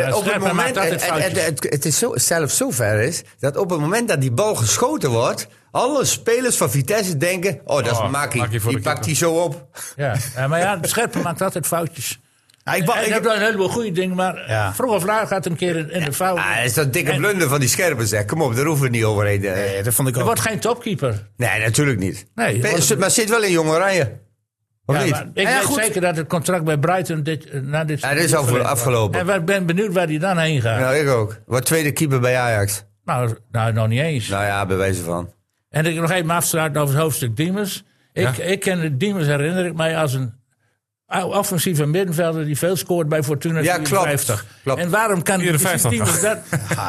Speaker 2: Eh,
Speaker 3: maar
Speaker 2: op het
Speaker 3: Scherpen maakt
Speaker 2: moment,
Speaker 3: altijd
Speaker 2: het, het,
Speaker 3: foutjes.
Speaker 2: het, het is zo, zelfs zo ver is dat op het moment dat die bal geschoten wordt, alle spelers van Vitesse denken: oh, dat
Speaker 4: Oh,
Speaker 2: is Maki.
Speaker 4: Maki voor
Speaker 2: Die pakt
Speaker 4: de keeper.
Speaker 2: die zo op.
Speaker 3: Ja. Ja, maar ja, Scherpen maakt altijd foutjes.
Speaker 1: Ja, ik,
Speaker 3: Hij
Speaker 1: wou-
Speaker 3: ik
Speaker 1: ik,
Speaker 3: heb wel een heleboel goede dingen, maar
Speaker 1: Ja.
Speaker 3: vroeg of laat gaat het een keer in, in de fout.
Speaker 2: Ah, dat is dat dikke blunder van die scherpen, zeg. Kom op, daar hoeven we niet overheen. eh.
Speaker 1: nee, dat vond ik
Speaker 3: Er
Speaker 1: ook.
Speaker 3: wordt geen topkeeper.
Speaker 2: Nee, natuurlijk niet.
Speaker 3: Nee,
Speaker 2: Pe-
Speaker 3: want-
Speaker 2: zit- maar zit wel in jonge rijen. Of
Speaker 3: Ja,
Speaker 2: niet?
Speaker 3: maar ik
Speaker 1: Ja,
Speaker 3: weet
Speaker 1: goed.
Speaker 3: zeker dat het contract bij Brighton dit, eh, na dit
Speaker 2: Ja, dit is al voor- afgelopen.
Speaker 3: En ik ben benieuwd waar hij dan heen gaat.
Speaker 2: Nou, ik ook. Wat tweede keeper bij Ajax.
Speaker 3: Nou, nou, nog niet eens.
Speaker 2: Nou ja, bij wijze van.
Speaker 3: En ik nog even afsluiten over het hoofdstuk Diemers. Ik, ik ken de Diemers herinner ik mij als een ou- offensieve middenvelder die veel scoort bij Fortuna
Speaker 2: Ja, klopt.
Speaker 3: 54.
Speaker 2: Klopt.
Speaker 3: En waarom kan
Speaker 4: 54.
Speaker 3: is Diemers dat?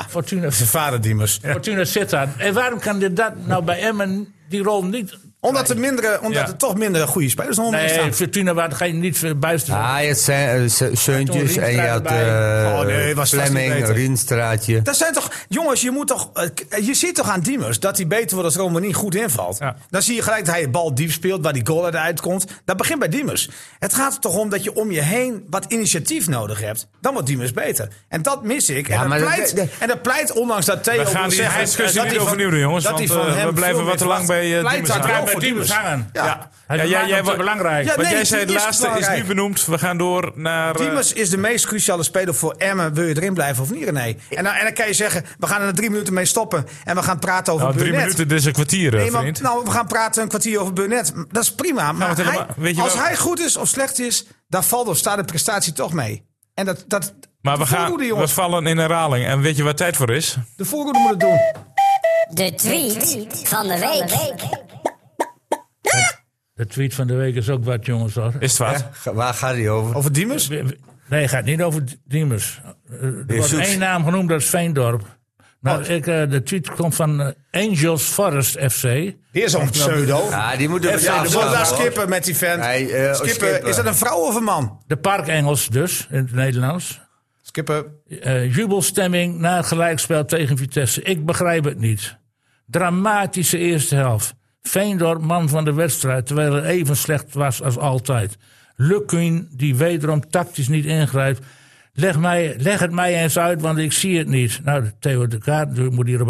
Speaker 3: Fortuna,
Speaker 1: Zijn vader, Diemers.
Speaker 3: Fortuna zit daar. En waarom kan dit dat nou bij Emmen die rol niet?
Speaker 1: Omdat, er, mindere, omdat
Speaker 4: Ja.
Speaker 1: er toch minder goede spelers nog omheen
Speaker 3: Nee,
Speaker 1: staan.
Speaker 3: Fortuna waren geen niet verbijsterd.
Speaker 2: Ajax, Seuntjes
Speaker 3: Toen
Speaker 2: en je
Speaker 3: Rienstra
Speaker 2: had
Speaker 3: erbij.
Speaker 2: eh,
Speaker 1: Oh, nee, was vast niet
Speaker 2: Fleming,
Speaker 1: beter.
Speaker 2: Rienstraatje.
Speaker 1: Dat zijn toch, jongens, je moet toch. eh, k- Je ziet toch aan Diemers dat hij beter wordt als Romani goed invalt.
Speaker 4: Ja.
Speaker 1: Dan zie je gelijk dat hij de bal diep speelt, waar die goal uit uitkomt. Dat begint bij Diemers. Het gaat er toch om dat je om je heen wat initiatief nodig hebt. Dan wordt Diemers beter. En dat mis ik.
Speaker 2: Ja,
Speaker 1: en, dat
Speaker 2: maar dat-
Speaker 1: pleit,
Speaker 2: dat-
Speaker 1: en dat pleit, ondanks dat Theo.
Speaker 4: We gaan
Speaker 1: wil
Speaker 4: die
Speaker 1: zeggen,
Speaker 4: discussie
Speaker 1: dat
Speaker 4: niet
Speaker 1: hij van-
Speaker 4: overnieuw doen, jongens,
Speaker 1: dat
Speaker 4: want,
Speaker 1: hij van
Speaker 4: eh,
Speaker 1: hem
Speaker 4: we blijven
Speaker 1: veel
Speaker 4: wat
Speaker 1: meer
Speaker 4: te lang
Speaker 1: verwacht.
Speaker 4: bij, eh,
Speaker 1: Pleit
Speaker 4: Diemers
Speaker 1: dat
Speaker 4: hangen.
Speaker 1: wel
Speaker 3: Ja, bij
Speaker 1: voor
Speaker 3: Diemers hangen.
Speaker 1: Ja.
Speaker 3: Hij
Speaker 4: eh,
Speaker 3: maakt hem te
Speaker 4: wa-
Speaker 3: belangrijk.
Speaker 1: Ja,
Speaker 4: Want
Speaker 1: nee,
Speaker 4: jij zei
Speaker 1: die
Speaker 4: de
Speaker 1: is
Speaker 4: laatste is nu
Speaker 1: belangrijk.
Speaker 4: benoemd. We gaan door naar... eh,
Speaker 1: Diemers is de meest cruciale speler voor Emmen. Wil je erin blijven of niet, René? En dan, en dan kan je zeggen, we gaan er drie minuten mee stoppen. En we gaan praten over
Speaker 4: nou, drie
Speaker 1: Burnett.
Speaker 4: minuten, dit is een kwartier, eh,
Speaker 1: Nee, maar,
Speaker 4: vriend.
Speaker 1: nou, we gaan praten een kwartier over Burnett. Dat is prima. Maar
Speaker 4: want helemaal-
Speaker 1: hij-
Speaker 4: weet je
Speaker 1: als
Speaker 4: wel-
Speaker 1: hij goed is of slecht is, daar valt of staat de prestatie toch mee. En dat, dat,
Speaker 4: maar
Speaker 1: de
Speaker 4: we, gaan,
Speaker 1: voorhoede,
Speaker 4: we
Speaker 1: jongens.
Speaker 4: vallen in herhaling. En weet je waar tijd voor is?
Speaker 1: De voorhoede moet het doen.
Speaker 8: De tweet van de week.
Speaker 3: De tweet van de week is ook wat, jongens. Hoor.
Speaker 4: Is het wat?
Speaker 2: Ja, ga- waar gaat hij over?
Speaker 3: Oh.
Speaker 1: Over Diemers?
Speaker 3: We- we- Nee, het gaat niet over Diemers. Eh, Er wordt
Speaker 2: zoekt-
Speaker 3: één naam genoemd, dat is Veendorp. Maar ik, eh, de tweet komt van eh, Angels Forest FC.
Speaker 1: Die is een pseudo.
Speaker 2: Ja, die moeten we
Speaker 1: Ja,
Speaker 2: daar
Speaker 1: we zullen daar skippen met die vent.
Speaker 2: Nee, eh,
Speaker 1: Skippen,
Speaker 2: Skipper.
Speaker 1: is dat een vrouw of een man?
Speaker 3: De Parkengels dus, in het Nederlands.
Speaker 1: Skippen.
Speaker 3: Eh, jubelstemming na het gelijkspel tegen Vitesse. Ik begrijp het niet. Dramatische eerste helft. Veendorp man van de wedstrijd, terwijl het even slecht was als altijd. Lukwin, die wederom tactisch niet ingrijpt. Leg, mij, leg het mij eens uit, want ik zie het niet. Nou, Theo de Kaart natuurlijk moet hierop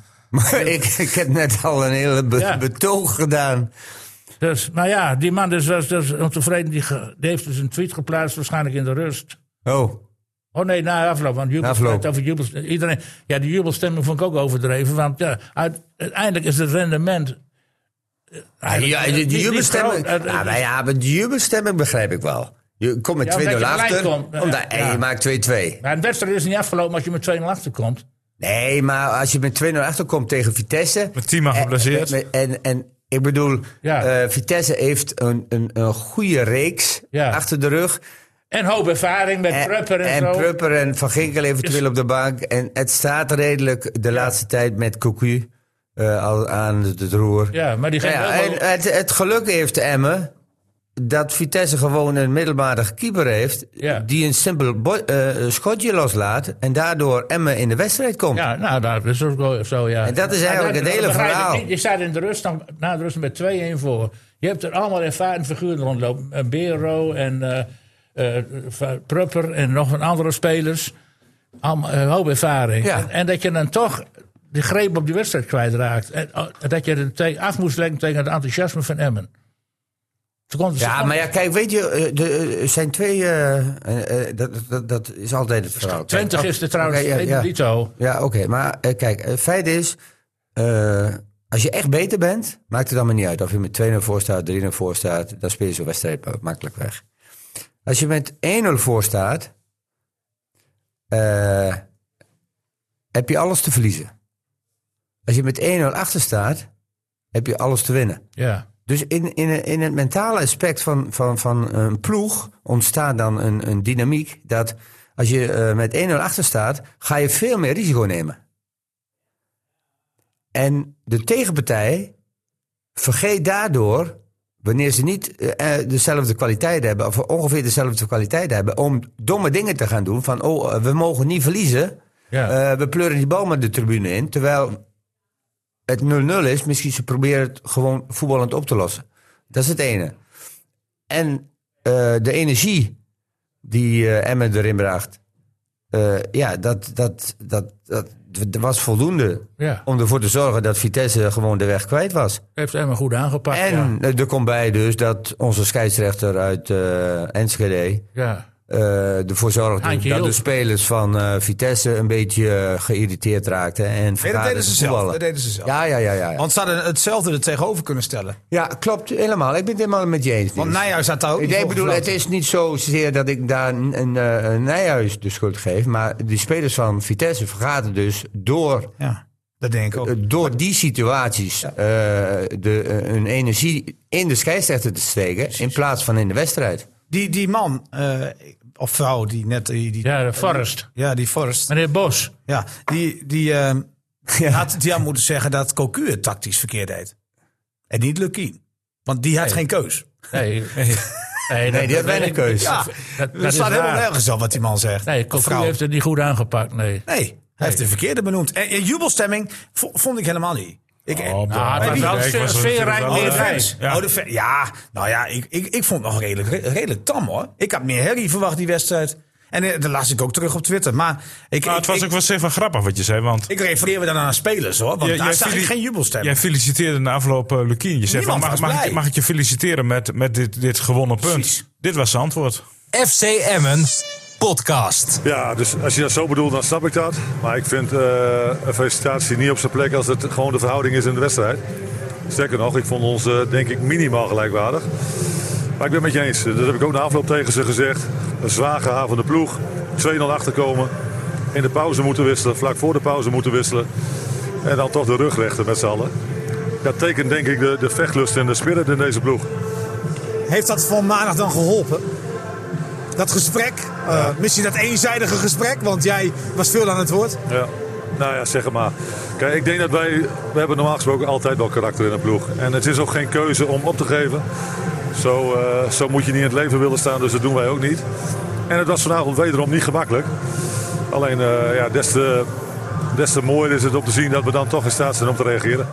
Speaker 2: Maar ik, ik heb net al een hele be-
Speaker 3: Ja.
Speaker 2: betoog gedaan.
Speaker 3: Dus, maar ja, die man is, was dus ontevreden. Die, ge- die heeft dus een tweet geplaatst, waarschijnlijk in de rust.
Speaker 2: Oh,
Speaker 3: Oh nee, na afloop. Want jubel,
Speaker 2: Na afloop.
Speaker 3: het Over jubels, iedereen, ja, die jubelstemming vond ik ook overdreven. Want ja, uit- uiteindelijk is het rendement. eh,
Speaker 2: ja, die, die
Speaker 3: niet- niet
Speaker 2: jubelstemming.
Speaker 3: groot. Het-
Speaker 2: Ja, maar ja, maar die jubelstemming begrijp ik wel. Je komt met
Speaker 3: Ja,
Speaker 2: 2-0
Speaker 3: omdat je
Speaker 2: achter
Speaker 3: gelijk komt.
Speaker 2: omdat,
Speaker 3: Ja.
Speaker 2: en je maakt 2-2.
Speaker 3: Maar een wedstrijd is niet afgelopen als je met 2-0 achterkomt.
Speaker 2: Nee, maar als je met 2-0 achterkomt tegen Vitesse...
Speaker 4: Met Tima
Speaker 1: Eh,
Speaker 4: geblesseerd.
Speaker 2: En, en, en ik bedoel,
Speaker 3: Ja.
Speaker 2: eh, Vitesse heeft een, een, een goede reeks
Speaker 3: Ja.
Speaker 2: achter de rug.
Speaker 3: En hoop ervaring met Prupper en, zo.
Speaker 2: Prupper en Van Ginkel eventueel
Speaker 3: Is-
Speaker 2: op de bank. En het staat redelijk de laatste tijd met Cocu eh, al aan het het roer.
Speaker 3: Ja, maar die
Speaker 2: Nou
Speaker 3: geeft
Speaker 2: ja,
Speaker 3: wel
Speaker 2: en het, het geluk heeft Emmen dat Vitesse gewoon een middelmatige keeper heeft...
Speaker 3: Ja.
Speaker 2: die een simpel bo- eh, schotje loslaat... en daardoor Emmen in de wedstrijd komt.
Speaker 3: Ja, nou, dat is ook wel zo, ja.
Speaker 2: En dat is eigenlijk
Speaker 3: Maar
Speaker 2: het hele
Speaker 3: begrijp ik
Speaker 2: verhaal.
Speaker 3: niet. Je staat in de rust, dan, na de rust met 2-1 voor. Je hebt er allemaal ervaren figuren rondlopen. Eh, Bero en eh eh, Va- Prupper en nog een andere spelers. Allemaal eh, hoop ervaring.
Speaker 2: Ja.
Speaker 3: En, en dat je dan toch de greep op die wedstrijd kwijtraakt. En oh, dat je er te- af moest leggen tegen het enthousiasme van Emmen. Ze konden- ze
Speaker 2: Ja,
Speaker 3: konden-
Speaker 2: maar ja, kijk, weet je, eh, de, eh, er zijn twee. eh, eh, eh, dat, dat, dat is altijd het verhaal. Kijk,
Speaker 3: Twente
Speaker 2: oh,
Speaker 3: gisteren trouwens,
Speaker 2: oké, ja,
Speaker 3: okay,
Speaker 2: ja.
Speaker 3: Dito.
Speaker 2: Ja, oké. maar eh, kijk, het feit is... eh, als je echt beter bent, maakt het dan maar niet uit. Of je met 2-0 voor staat, 3-0 voor staat... dan speel je zo'n wedstrijd ma- makkelijk weg. Als je met 1-0 voor staat... eh, heb je alles te verliezen. Als je met 1-0 achter staat, heb je alles te winnen.
Speaker 3: Ja.
Speaker 2: Dus in, in, in het mentale aspect van, van, van een ploeg ontstaat dan een, een dynamiek dat als je eh, met 1-0 achter staat, ga je veel meer risico nemen. En de tegenpartij vergeet daardoor, wanneer ze niet eh, eh, dezelfde kwaliteit hebben, of ongeveer dezelfde kwaliteit hebben, om domme dingen te gaan doen van, oh, eh, we mogen niet verliezen.
Speaker 3: Ja.
Speaker 2: Eh, we pleuren die bal met de tribune in. Terwijl het 0-0 is, misschien ze proberen het gewoon voetballend op te lossen. Dat is het ene. En eh, de energie die eh, Emmen erin bracht, eh, ja, dat, dat, dat, dat, dat was voldoende
Speaker 3: Ja.
Speaker 2: om ervoor te zorgen dat Vitesse gewoon de weg kwijt was.
Speaker 3: Heeft Emmen goed aangepakt.
Speaker 2: En eh, er komt bij dus dat onze scheidsrechter uit eh, Enschede
Speaker 3: Ja. ja.
Speaker 2: eh ervoor zorgde
Speaker 3: Handje
Speaker 2: dat
Speaker 3: hield.
Speaker 2: de spelers van eh, Vitesse een beetje eh, geïrriteerd raakten. En
Speaker 1: Nee, dat
Speaker 2: vergaarden
Speaker 1: deden ze
Speaker 2: te
Speaker 1: zelf.
Speaker 2: voetballen.
Speaker 1: Dat deden ze zelf.
Speaker 2: Ja, ja, ja, ja. ja.
Speaker 1: Want ze hadden hetzelfde er tegenover kunnen stellen.
Speaker 2: Ja, klopt, helemaal. Ik ben het helemaal met je eens.
Speaker 1: Want
Speaker 2: Niels.
Speaker 1: Nijhuis had daar ook
Speaker 2: Ik
Speaker 1: niet
Speaker 2: denk,
Speaker 1: voor
Speaker 2: bedoel, het
Speaker 1: gefloten.
Speaker 2: is niet zozeer dat ik daar een, een, eh, een Nijhuis de schuld geef. Maar die spelers van Vitesse vergaten dus door,
Speaker 1: Ja, dat denk ik ook.
Speaker 2: eh, door die situaties eh, de, eh, hun energie in de scheidsrechter te steken. In plaats van in de wedstrijd.
Speaker 1: Die, die man, eh, of vrouw, die net... Die, die,
Speaker 3: Ja, de Forrest.
Speaker 1: ja, die Forrest.
Speaker 3: Meneer Bos.
Speaker 1: Ja, die, die ehm, had, die had moeten zeggen dat Cocu het tactisch verkeerd deed. En niet Lucky. Want die had geen keus.
Speaker 3: Nee, nee,
Speaker 2: Nee, die had weinig keus.
Speaker 1: Ja,
Speaker 3: Dat, dat, dat
Speaker 1: het
Speaker 3: is
Speaker 1: staat helemaal
Speaker 3: waar.
Speaker 1: nergens op wat die man zegt.
Speaker 3: Nee,
Speaker 1: Of
Speaker 3: Cocu
Speaker 1: vrouw.
Speaker 3: heeft het niet goed aangepakt, nee.
Speaker 1: Nee, hij heeft de verkeerde benoemd. En, en jubelstemming vo- vond ik helemaal niet. Ik,
Speaker 4: Oh,
Speaker 3: Ah, het
Speaker 4: maar
Speaker 3: was wel
Speaker 4: Dijk
Speaker 3: een
Speaker 4: was er
Speaker 3: sfeerrijk
Speaker 4: natuurlijk wel,
Speaker 1: de
Speaker 4: eh,
Speaker 3: neerdraai.
Speaker 1: fans.
Speaker 4: Ja.
Speaker 1: Ja. Oh, de fa- ja, nou ja, ik, ik, ik vond het nog redelijk, re- redelijk tam hoor. Ik had meer herrie verwacht die wedstrijd. En eh, dat las ik ook terug op Twitter. Maar ik,
Speaker 4: Maar
Speaker 1: ik,
Speaker 4: Nou, het was
Speaker 1: ik,
Speaker 4: ook wel zeer van grappig wat je zei, want...
Speaker 1: ik refereer me dan aan spelers hoor. Want
Speaker 4: Jij-
Speaker 1: daar
Speaker 4: jij
Speaker 1: zag ik
Speaker 4: fili-
Speaker 1: geen jubelstemming.
Speaker 4: Jij feliciteerde na afloop eh, Lukien. Je zei van,
Speaker 1: Niemand
Speaker 4: mag,
Speaker 1: was
Speaker 4: mag,
Speaker 1: blij.
Speaker 4: ik, mag ik je feliciteren met, met dit, dit gewonnen punt?
Speaker 1: Precies.
Speaker 4: Dit was zijn antwoord.
Speaker 5: FC Emmen podcast.
Speaker 6: Ja, dus als je dat zo bedoelt, dan snap ik dat. Maar ik vind eh, een felicitatie niet op zijn plek als het gewoon de verhouding is in de wedstrijd. Sterker nog, ik vond ons eh, denk ik minimaal gelijkwaardig. Maar ik ben het met je eens. Dat heb ik ook na afloop tegen ze gezegd. Een zwaar gehavende ploeg. 2-0 achterkomen. In de pauze moeten wisselen. Vlak voor de pauze moeten wisselen. En dan toch de rug rechten met z'n allen. Dat tekent denk ik de, de vechtlust en de spirit in deze ploeg.
Speaker 9: Heeft dat van maandag dan geholpen? Dat gesprek, eh, misschien dat eenzijdige gesprek, want jij was veel aan het woord.
Speaker 6: Ja. Nou ja, zeg het maar. Kijk, ik denk dat wij... We hebben normaal gesproken altijd wel karakter in een ploeg. En het is ook geen keuze om op te geven. Zo, eh, zo moet je niet in het leven willen staan, dus dat doen wij ook niet. En het was vanavond wederom niet gemakkelijk. Alleen, eh, ja, des te, des te mooier is het om te zien dat we dan toch in staat zijn om te reageren.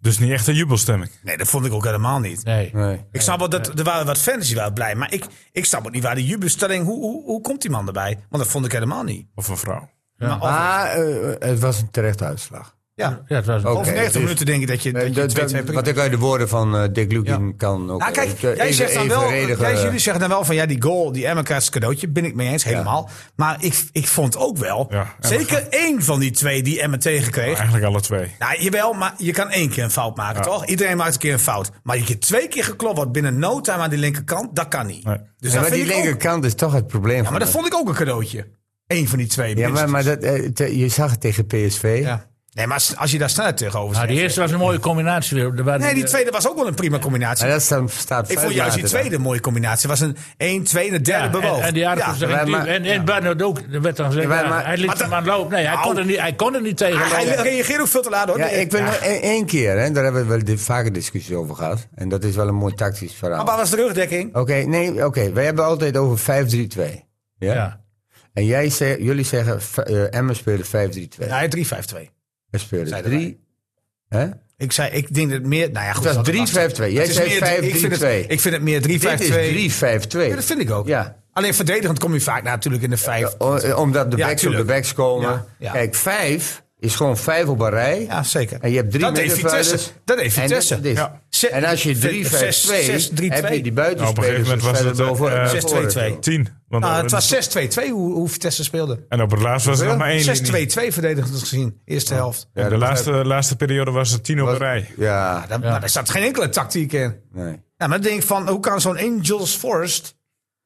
Speaker 4: Dus niet echt een jubelstemming.
Speaker 1: Nee, dat vond ik ook helemaal niet.
Speaker 3: Nee.
Speaker 1: Ik snap wel dat er waren wat fans die waren blij. Maar ik, ik snap ook niet waar de jubelstelling... Hoe, hoe, hoe komt die man erbij? Want dat vond ik helemaal niet.
Speaker 4: Of een vrouw.
Speaker 1: Maar of-
Speaker 2: Maar eh, het was een terechte uitslag.
Speaker 1: ja.
Speaker 3: Ja, het was een-
Speaker 2: Oké,
Speaker 1: Over 90
Speaker 2: dus-
Speaker 1: minuten denk ik dat je, dat je
Speaker 2: Nee, dat-
Speaker 1: 2-2
Speaker 2: dat-
Speaker 1: prima-
Speaker 2: wat ik uit de woorden van eh, Dick Lukin kan ook.
Speaker 1: Nou, kijk,
Speaker 2: eh,
Speaker 1: jij
Speaker 2: even- eh.
Speaker 1: zegt dan wel,
Speaker 2: evenredige-
Speaker 1: jij, jullie zeggen dan wel van ja, die goal, die Emma krijgt zijn cadeautje, ben ik mee eens, helemaal. Maar ik, ik vond ook wel,
Speaker 4: Ja, Emma
Speaker 1: zeker één van die twee die Emma tegenkreeg.
Speaker 4: Eigenlijk alle twee.
Speaker 1: Nou, jawel, maar je kan één keer een fout maken, toch? Iedereen maakt een keer een fout. Maar je keer twee keer geklopt wordt binnen no time aan die linkerkant, dat kan niet.
Speaker 4: Nee.
Speaker 1: Dus
Speaker 2: Ja,
Speaker 1: dat
Speaker 2: maar
Speaker 1: vind
Speaker 2: die
Speaker 1: ik ook-
Speaker 2: linkerkant is toch het probleem.
Speaker 1: ja, maar dat vond ik ook een cadeautje. Eén van die twee.
Speaker 2: ja, maar,
Speaker 1: minstens.
Speaker 2: maar dat, eh, te- je zag het tegen PSV.
Speaker 1: Ja. Nee, maar als- als je daar snel tegenover
Speaker 3: Nou,
Speaker 1: zit.
Speaker 3: die eerste was een mooie combinatie weer. Er waren
Speaker 1: Nee, die tweede was ook wel een prima combinatie.
Speaker 2: Maar dat staat, staat
Speaker 1: ik
Speaker 2: vijf
Speaker 1: vond juist die
Speaker 2: later dan.
Speaker 1: tweede een mooie combinatie. Het was een 1, 2 en de
Speaker 3: Ja,
Speaker 1: derde bewoog.
Speaker 3: eh, en, en die aardappels
Speaker 1: Ja.
Speaker 3: erin
Speaker 2: maar-
Speaker 3: duwen.
Speaker 2: maar-
Speaker 3: En, en Barnard ook. Er werd dan gezegd,
Speaker 2: Ja, maar-
Speaker 3: ja,
Speaker 2: maar-
Speaker 3: hij liet
Speaker 1: maar
Speaker 3: hem
Speaker 1: dat-
Speaker 3: aan lopen. Nee, hij kon,
Speaker 1: Au.
Speaker 3: er niet, hij kon er niet tegen
Speaker 1: Ah, Hij
Speaker 3: lopen.
Speaker 1: reageert ook veel te laat hoor.
Speaker 2: Ja, ik ben nog één één keer, hè, daar hebben we wel di- vaker discussies over gehad. En dat is wel een mooi tactisch verhaal.
Speaker 1: Maar
Speaker 2: Oké,
Speaker 1: waar was de rugdekking?
Speaker 2: nee, oké. wij hebben altijd over 5-3-2. Ja?
Speaker 3: Ja.
Speaker 2: En jij ze- jullie zeggen, v- eh Emmen speelde 5-3-2.
Speaker 1: Ja, hij 3-5-2.
Speaker 2: Hij speelde
Speaker 1: Zeiden
Speaker 2: 3. Hè?
Speaker 1: Ik zei, ik denk dat het meer. Nou ja, goed.
Speaker 2: Het was
Speaker 1: dat
Speaker 2: 3-5-2. Jij
Speaker 1: Het is
Speaker 2: zei
Speaker 1: meer- ik vind het-
Speaker 2: 5-3-2.
Speaker 1: Ik vind het meer 3-5-2.
Speaker 2: Dit is 3-5-2.
Speaker 1: Ja, dat vind ik ook.
Speaker 2: Ja.
Speaker 1: Alleen verdedigend kom je vaak nou, natuurlijk in de vijf.
Speaker 2: O- eh, omdat de
Speaker 1: Ja,
Speaker 2: backs op
Speaker 1: tuurlijk.
Speaker 2: de backs komen.
Speaker 1: Ja, ja.
Speaker 2: Kijk, vijf is gewoon vijf op een rij.
Speaker 1: Ja, zeker.
Speaker 2: En je hebt drie
Speaker 1: dat heeft Vitesse.
Speaker 2: middenvelders.
Speaker 1: Dat heeft
Speaker 2: En
Speaker 1: Vitesse.
Speaker 2: dit- dit.
Speaker 1: Ja.
Speaker 2: En als je 3-5-2
Speaker 1: Zes- zes- drie-
Speaker 2: heb
Speaker 1: twee.
Speaker 2: je die
Speaker 4: Nou, op een gegeven
Speaker 2: buitenspelers
Speaker 4: moment was
Speaker 2: verder
Speaker 4: het, eh,
Speaker 2: door voor-
Speaker 4: eh,
Speaker 2: naar
Speaker 1: 6-2-2.
Speaker 2: voren.
Speaker 4: 10. Want
Speaker 1: Nou,
Speaker 4: eh,
Speaker 1: het was 6-2-2 hoe, hoe Vitesse speelde.
Speaker 4: en op het laatst was er nog maar één. linie.
Speaker 1: 6-2-2 verdedigend gezien, eerste helft.
Speaker 4: En de laatste, laatste periode was het 10 op een
Speaker 2: Was-
Speaker 4: rij.
Speaker 2: Ja,
Speaker 1: Daar, nou, daar zat geen enkele tactiek in.
Speaker 2: nee.
Speaker 1: Ja, maar dan denk ik van, hoe kan zo'n Angels Forest,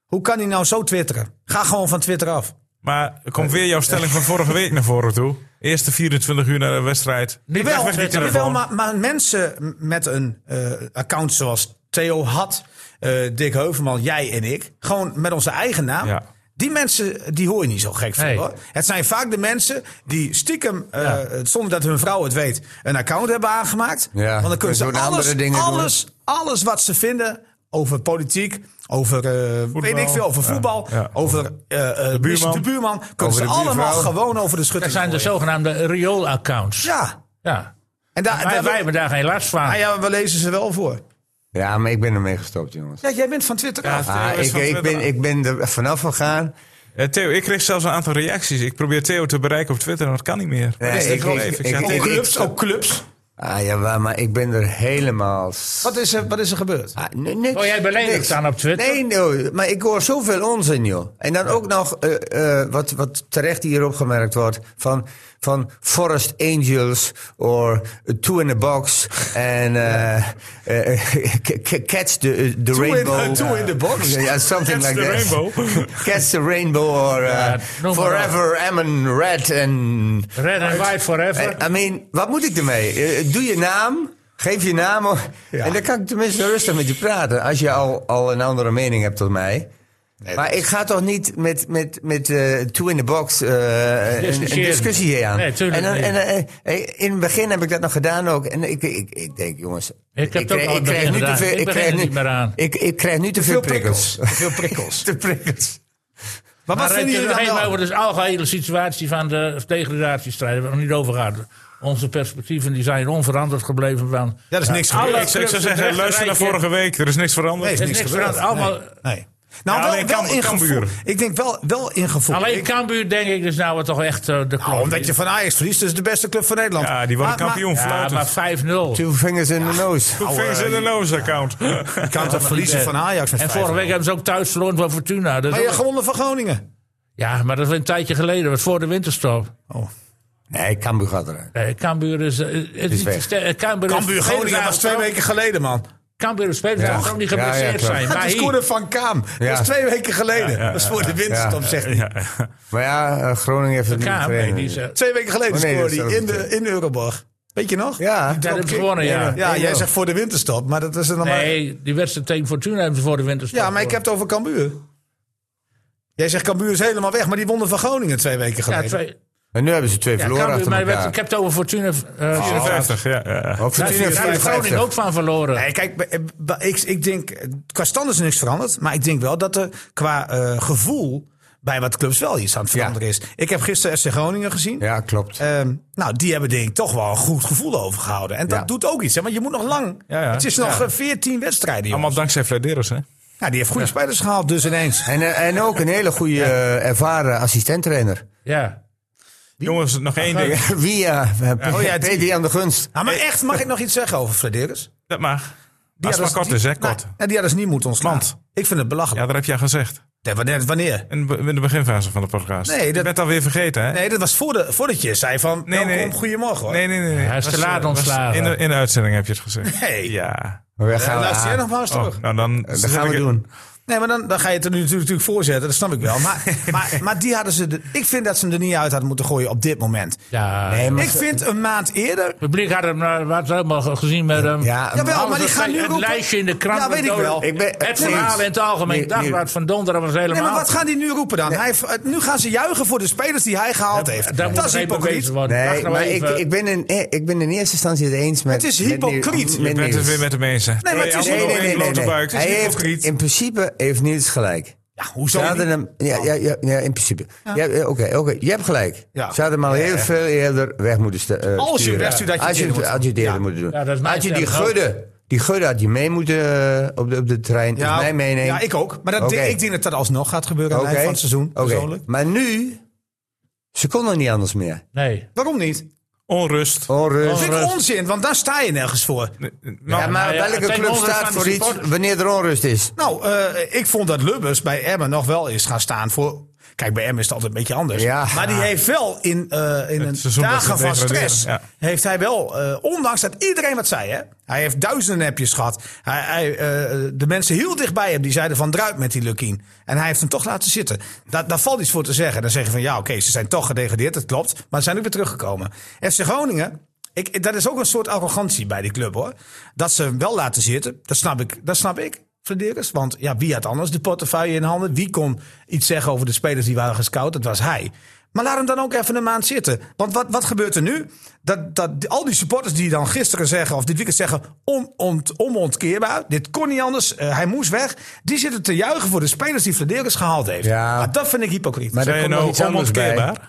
Speaker 1: hoe kan hij nou zo twitteren? Ga gewoon van Twitter af.
Speaker 4: Maar er komt weer jouw stelling van vorige week naar voren toe. Eerste 24 uur naar de wedstrijd. Niet
Speaker 1: Jawel,
Speaker 4: weg met die
Speaker 1: jawel,
Speaker 4: telefoon.
Speaker 1: maar, maar mensen met een eh, account zoals Theo had, eh, Dick Heuvelman, jij en ik, gewoon met onze eigen naam.
Speaker 4: Ja.
Speaker 1: Die mensen, die hoor je niet zo gek van.
Speaker 3: Nee.
Speaker 1: Hoor. Het zijn vaak de mensen die stiekem, eh, zonder dat hun vrouw het weet, een account hebben aangemaakt.
Speaker 2: Ja,
Speaker 1: Want dan kunnen
Speaker 2: en
Speaker 1: ze
Speaker 2: doen
Speaker 1: alles,
Speaker 2: andere dingen doen.
Speaker 1: alles, alles wat ze vinden over politiek, over, eh, weet ik veel, over
Speaker 4: Ja,
Speaker 1: voetbal,
Speaker 4: ja.
Speaker 1: over eh, eh,
Speaker 4: buurman.
Speaker 1: de buurman, kunnen ze
Speaker 2: de
Speaker 1: allemaal
Speaker 2: buurvrouw.
Speaker 1: gewoon over de schutting
Speaker 3: Dat zijn de
Speaker 1: gooien.
Speaker 3: zogenaamde riool-accounts.
Speaker 1: Ja,
Speaker 3: Ja.
Speaker 1: en daar,
Speaker 3: Wij,
Speaker 1: daar-
Speaker 3: wij hebben daar geen last van.
Speaker 1: Ah ja, we lezen ze wel voor.
Speaker 2: ja, maar ik ben ermee gestopt, jongens.
Speaker 1: Ja, jij bent van Twitter af.
Speaker 4: Theo
Speaker 2: Ah,
Speaker 4: is
Speaker 2: ik,
Speaker 4: van
Speaker 2: ik,
Speaker 4: Twitter.
Speaker 2: ben, ik ben er vanaf gegaan.
Speaker 4: Eh, Theo, ik kreeg zelfs een aantal reacties. Ik probeer Theo te bereiken op Twitter, maar dat kan niet meer.
Speaker 2: Nee,
Speaker 4: Dat is
Speaker 2: ik-
Speaker 4: echt wel
Speaker 2: ik-
Speaker 4: even.
Speaker 2: ik-
Speaker 4: zei,
Speaker 2: ik-
Speaker 4: Theo,
Speaker 1: ook
Speaker 2: ik-
Speaker 1: clubs, ook clubs.
Speaker 2: Ah, ja, maar ik ben er helemaal... s-
Speaker 1: Wat is er, wat is er gebeurd?
Speaker 2: Ah, nee, niks,
Speaker 3: Oh, jij beledigt
Speaker 2: niks.
Speaker 3: aan op Twitter?
Speaker 2: Nee, nee, maar ik hoor zoveel onzin, joh. En dan ook nog eh, eh, wat, wat terecht hier opgemerkt wordt: van, van Forest Angels or Two in a Box en eh, eh, c- c- Catch the, the
Speaker 1: in-
Speaker 2: Rainbow.
Speaker 1: Two in the Box?
Speaker 2: Ja, something
Speaker 4: Catch
Speaker 2: like that.
Speaker 4: the rainbow.
Speaker 2: Catch the Rainbow or eh,
Speaker 3: Ja, noem maar
Speaker 2: Forever Ammon Red and
Speaker 3: Red and white forever.
Speaker 2: I mean, wat moet ik ermee? Eh, Doe je naam, geef je naam. op. En dan kan ik tenminste rustig met je praten. Als je al, al een andere mening hebt dan mij. maar ik ga toch niet met, met, met eh, two in the box eh, een, een
Speaker 3: Discussiëren.
Speaker 2: discussie hier aan.
Speaker 3: Nee, tuurlijk
Speaker 2: en dan-
Speaker 3: niet.
Speaker 2: en, eh, eh, in het begin heb ik dat nog gedaan ook. En ik, ik, ik denk, jongens.
Speaker 3: heb het ook
Speaker 2: krijg-
Speaker 3: al in het begin
Speaker 2: nu te
Speaker 3: gedaan.
Speaker 2: veel-
Speaker 3: Ik
Speaker 2: ik
Speaker 3: begin
Speaker 2: krijg
Speaker 3: er
Speaker 2: nu-
Speaker 3: niet meer aan.
Speaker 2: Ik, ik krijg nu te veel prikkels.
Speaker 1: Te veel prikkels.
Speaker 2: Te prikkels.
Speaker 1: Maar wat
Speaker 3: Maar het
Speaker 1: vinden
Speaker 3: is
Speaker 1: jullie
Speaker 3: nog
Speaker 1: dan
Speaker 3: even
Speaker 1: wel?
Speaker 3: over de algehele situatie van de degradatiestrijd. Waar we nog niet over gaan. Onze perspectieven die zijn onveranderd gebleven. Van,
Speaker 1: Dat is niks gebeurd.
Speaker 3: alle
Speaker 4: Ik zou ik zou
Speaker 3: clubs
Speaker 4: zeggen,
Speaker 3: terecht
Speaker 4: luister naar
Speaker 3: rijken.
Speaker 4: vorige week. Er is niks veranderd.
Speaker 1: Nee,
Speaker 3: is
Speaker 1: niks
Speaker 3: niks
Speaker 1: gebeurd.
Speaker 3: veranderd. Allemaal-
Speaker 1: Nee. Nee. Nou,
Speaker 4: Ja,
Speaker 1: wel,
Speaker 4: alleen
Speaker 1: wel
Speaker 4: Kam-
Speaker 1: in
Speaker 4: Kambuur.
Speaker 1: gevoel. Ik denk wel, wel in gevoel.
Speaker 3: Nou, Alleen
Speaker 1: Ik-
Speaker 3: Cambuur denk ik dus nou wat toch echt eh, de
Speaker 1: nou,
Speaker 3: klok
Speaker 1: omdat je van Ajax verliest, dus de beste club van Nederland.
Speaker 4: Ja, die worden
Speaker 1: Maar-
Speaker 4: kampioen.
Speaker 1: maar-
Speaker 3: Ja,
Speaker 4: fluitend.
Speaker 3: maar 5-0.
Speaker 2: Two fingers in the nose.
Speaker 4: Hoe
Speaker 1: eh,
Speaker 4: vingen ze in de nose account?
Speaker 1: Je kan toch verliezen van Ajax met
Speaker 3: En
Speaker 1: 5-0.
Speaker 3: vorige week hebben ze ook thuis verloren van Fortuna. Dus
Speaker 1: Maar je
Speaker 3: ook-
Speaker 1: hebt gewonnen van Groningen.
Speaker 3: ja, maar dat is een tijdje geleden. Dat was voor de winterstop.
Speaker 1: Oh.
Speaker 2: Nee, Cambuur gaat eruit.
Speaker 3: Nee, Cambuur is... eh, het is
Speaker 2: weg.
Speaker 3: niet te- eh, Cambuur is-
Speaker 1: Kambuur Groningen was twee weken geleden, man.
Speaker 3: Cambuur is spelers
Speaker 2: Ja.
Speaker 3: die ook niet
Speaker 2: Ja, ja,
Speaker 3: geblesseerd
Speaker 2: klopt.
Speaker 3: zijn.
Speaker 1: Dat
Speaker 3: Maar
Speaker 1: is
Speaker 3: hier,
Speaker 1: scoorde van Kaam.
Speaker 2: Ja.
Speaker 1: Dat is twee weken geleden.
Speaker 4: ja,
Speaker 1: Dat is voor de winterstop, zegt hij.
Speaker 4: Ja.
Speaker 2: Maar ja, eh, Groningen heeft het niet
Speaker 3: Kaam, nee,
Speaker 2: getraind.
Speaker 3: die is, eh,
Speaker 1: Twee weken geleden
Speaker 2: Oh, nee, dat
Speaker 1: scoorde
Speaker 2: is
Speaker 1: hij in,
Speaker 2: zelfde
Speaker 1: de, in Euroborg. Weet je nog?
Speaker 2: Ja,
Speaker 1: Die
Speaker 3: dat hebben ze
Speaker 1: dropkick.
Speaker 3: gewonnen, ja.
Speaker 1: Ja, jij
Speaker 2: Ja.
Speaker 1: zegt voor de winterstop, maar dat is er nog maar...
Speaker 3: Nee, die wedstrijd tegen Fortuna hebben ze voor de winterstop.
Speaker 1: Ja, maar ik heb het over Cambuur. Jij zegt Cambuur is helemaal weg, maar die wonnen van Groningen twee weken
Speaker 3: Ja,
Speaker 1: geleden.
Speaker 3: twee,
Speaker 2: En nu hebben ze twee
Speaker 3: ja,
Speaker 2: verloren
Speaker 3: Cambuur,
Speaker 2: achter
Speaker 3: maar
Speaker 2: elkaar.
Speaker 3: ik heb het over Fortuna... eh,
Speaker 4: 54, ja. ja.
Speaker 2: Of
Speaker 3: Daar
Speaker 2: Fortuna
Speaker 3: heeft Groningen
Speaker 2: 54.
Speaker 3: ook van verloren.
Speaker 1: Nee, kijk, b- b- ik, ik denk, eh, qua stand is er niks veranderd. Maar ik denk wel dat er qua eh, gevoel bij wat clubs wel iets aan het veranderen is. Ik heb gisteren FC Groningen gezien.
Speaker 2: Ja, klopt.
Speaker 1: Ehm, nou, die hebben denk ik toch wel een goed gevoel overgehouden. En dat
Speaker 2: Ja.
Speaker 1: doet ook iets, hè, want je moet nog lang.
Speaker 4: Ja, ja.
Speaker 1: Het is nog eh, 14 wedstrijden, jongens.
Speaker 4: Allemaal dankzij Flederos, hè?
Speaker 1: Nou, die heeft goede spelers gehaald, dus ineens.
Speaker 2: En, eh, en ook een hele goede eh, ervaren assistenttrainer.
Speaker 3: Ja.
Speaker 4: Jongens, nog één ding.
Speaker 2: Wie? eh, P-
Speaker 1: Oh ja,
Speaker 2: P-
Speaker 1: die.
Speaker 2: die aan de gunst.
Speaker 1: Nou, maar echt, mag ik nog iets zeggen over Flederis?
Speaker 4: Dat mag. Als het maar kort is, hè? Kort.
Speaker 1: Nou, dus die hadden ze niet moeten ontslaan. Ik vind het belachelijk.
Speaker 4: Ja, dat heb jij gezegd.
Speaker 1: Nee, wanneer- Wanneer?
Speaker 4: In be- in de beginfase van de podcast.
Speaker 1: Nee, dat-
Speaker 4: Je bent alweer vergeten, hè?
Speaker 1: Nee, dat was voor de, voordat je zei van,
Speaker 4: Nee,
Speaker 1: nee,
Speaker 4: nee.
Speaker 1: goedemorgen hoor.
Speaker 4: nee, nee. nee.
Speaker 3: Hij is te
Speaker 4: Was-
Speaker 3: laat
Speaker 4: was-
Speaker 3: ontslagen.
Speaker 4: In de, in de uitzending heb je het gezegd.
Speaker 1: Nee.
Speaker 4: Ja.
Speaker 2: We gaan
Speaker 1: Eh,
Speaker 2: we
Speaker 1: luister jij
Speaker 2: aan.
Speaker 1: nog maar eens terug.
Speaker 4: Oh, nou, dan
Speaker 2: Eh, Dat gaan we doen.
Speaker 1: Nee, maar dan, dan ga je het er nu natuurlijk, natuurlijk voor zetten, dat snap ik wel. Maar, maar, maar die hadden ze, de- ik vind dat ze hem er niet uit hadden moeten gooien op dit moment.
Speaker 3: ja.
Speaker 1: ik vind een maand eerder...
Speaker 3: Het publiek had hem eh, wat helemaal ge- gezien met hem.
Speaker 2: Ja,
Speaker 1: Jawel, maar die
Speaker 3: Alles
Speaker 1: gaan
Speaker 3: wat-
Speaker 1: nu
Speaker 3: Het
Speaker 1: roepen-
Speaker 3: lijstje in de krant.
Speaker 1: Ja,
Speaker 3: met
Speaker 1: weet ik
Speaker 3: doden.
Speaker 1: wel.
Speaker 2: Ik ben-
Speaker 3: Het
Speaker 2: Nee,
Speaker 3: verhaal in het algemeen
Speaker 2: nee,
Speaker 3: dagblad
Speaker 2: nee.
Speaker 3: van donderdag was helemaal...
Speaker 1: Nee, maar wat gaan die nu roepen dan? Hij, heeft- het- nu gaan ze juigen voor de spelers die hij gehaald heeft.
Speaker 3: Daar
Speaker 1: dat
Speaker 3: moet
Speaker 1: is
Speaker 3: mee
Speaker 1: hypocriet.
Speaker 3: bewezen worden.
Speaker 2: Nee,
Speaker 3: Wacht nou
Speaker 2: maar ik,
Speaker 3: even.
Speaker 2: ik, ben in, eh, ik ben in eerste instantie het eens met...
Speaker 1: Het is
Speaker 2: met Niels-
Speaker 1: hypocriet. Je
Speaker 4: Je bent het
Speaker 2: Niels.
Speaker 4: weer met hem eens, hè?
Speaker 1: Nee, maar het is-
Speaker 4: Twee
Speaker 2: Nee,
Speaker 4: handen
Speaker 2: nee,
Speaker 4: op één
Speaker 2: nee. nee, nee.
Speaker 4: blote buik. Het is
Speaker 2: Hij
Speaker 4: hypocriet.
Speaker 2: heeft, in principe heeft Niels gelijk.
Speaker 1: Ja, hoezo
Speaker 2: Ze hadden
Speaker 1: niet? Oh.
Speaker 2: hem, ja, ja, ja, ja, in principe. Ja, ja, Oké, oké, je hebt gelijk.
Speaker 1: Ja.
Speaker 2: Ze hadden hem al heel veel eerder weg moeten stu- eh,
Speaker 1: Als je
Speaker 2: sturen.
Speaker 1: hem wegstuurt, had je
Speaker 2: Als je
Speaker 1: het eerder
Speaker 2: hem
Speaker 1: moeten
Speaker 2: adjuderen moeten doen.
Speaker 3: Ja, dat is mijn
Speaker 2: had je die
Speaker 3: stelling ook.
Speaker 2: gudde Die Gudde had je mee moeten eh, op, de, op de trein. Ja, mij meenemen.
Speaker 1: ja, ik ook. Maar dat,
Speaker 2: Oké.
Speaker 1: ik denk dat dat alsnog gaat gebeuren aan het eind van het seizoen.
Speaker 2: Oké.
Speaker 1: Persoonlijk.
Speaker 2: Maar nu, ze konden niet anders meer.
Speaker 3: Nee.
Speaker 1: Waarom niet?
Speaker 4: Onrust.
Speaker 2: Onrust.
Speaker 1: Dat vind ik
Speaker 3: Onrust.
Speaker 1: onzin, want daar sta je nergens voor.
Speaker 2: Ja, maar
Speaker 3: nou ja, het
Speaker 2: welke
Speaker 3: zijn
Speaker 2: club
Speaker 3: onrust
Speaker 2: staat
Speaker 3: aan de
Speaker 2: voor iets
Speaker 3: supporters.
Speaker 2: wanneer er onrust is?
Speaker 1: Nou, eh, ik vond dat Lubbers bij Emmen nog wel is gaan staan voor... Kijk, bij Emmen is het altijd een beetje anders.
Speaker 2: Ja.
Speaker 1: Maar die heeft wel in, eh, in een
Speaker 4: seizoen dat
Speaker 1: dagen
Speaker 4: ze
Speaker 1: van
Speaker 4: degraderen,
Speaker 1: stress...
Speaker 4: ja.
Speaker 1: heeft hij wel, eh, ondanks dat iedereen wat zei... Hè, hij heeft duizenden appjes gehad. Hij, hij, eh, de mensen heel dichtbij hem, die zeiden van druip met die Lukien. En hij heeft hem toch laten zitten. Daar, daar valt iets voor te zeggen. Dan zeg je van ja, oké, ze zijn toch gedegradeerd, dat klopt. Maar ze zijn ook weer teruggekomen. FC Groningen... Ik, dat is ook een soort arrogantie bij die club hoor. Dat ze hem wel laten zitten, dat snap ik. Dat snap ik. Flederis. Want ja, wie had anders de portefeuille in handen? Wie kon iets zeggen over de spelers die waren gescout? Dat was hij. Maar laat hem dan ook even een maand zitten. Want wat, wat gebeurt er nu? Dat, dat al die supporters die dan gisteren zeggen, of dit weekend zeggen, on- ont- onontkeerbaar. Dit kon niet anders. eh, hij moest weg. Die zitten te juichen voor de spelers die Flederis gehaald heeft.
Speaker 2: Ja.
Speaker 1: Maar dat vind ik hypocriet.
Speaker 2: Maar
Speaker 4: Zijn
Speaker 2: er
Speaker 4: je
Speaker 2: komt nog iets
Speaker 4: nou
Speaker 2: anders bij.
Speaker 4: onontkeerbaar?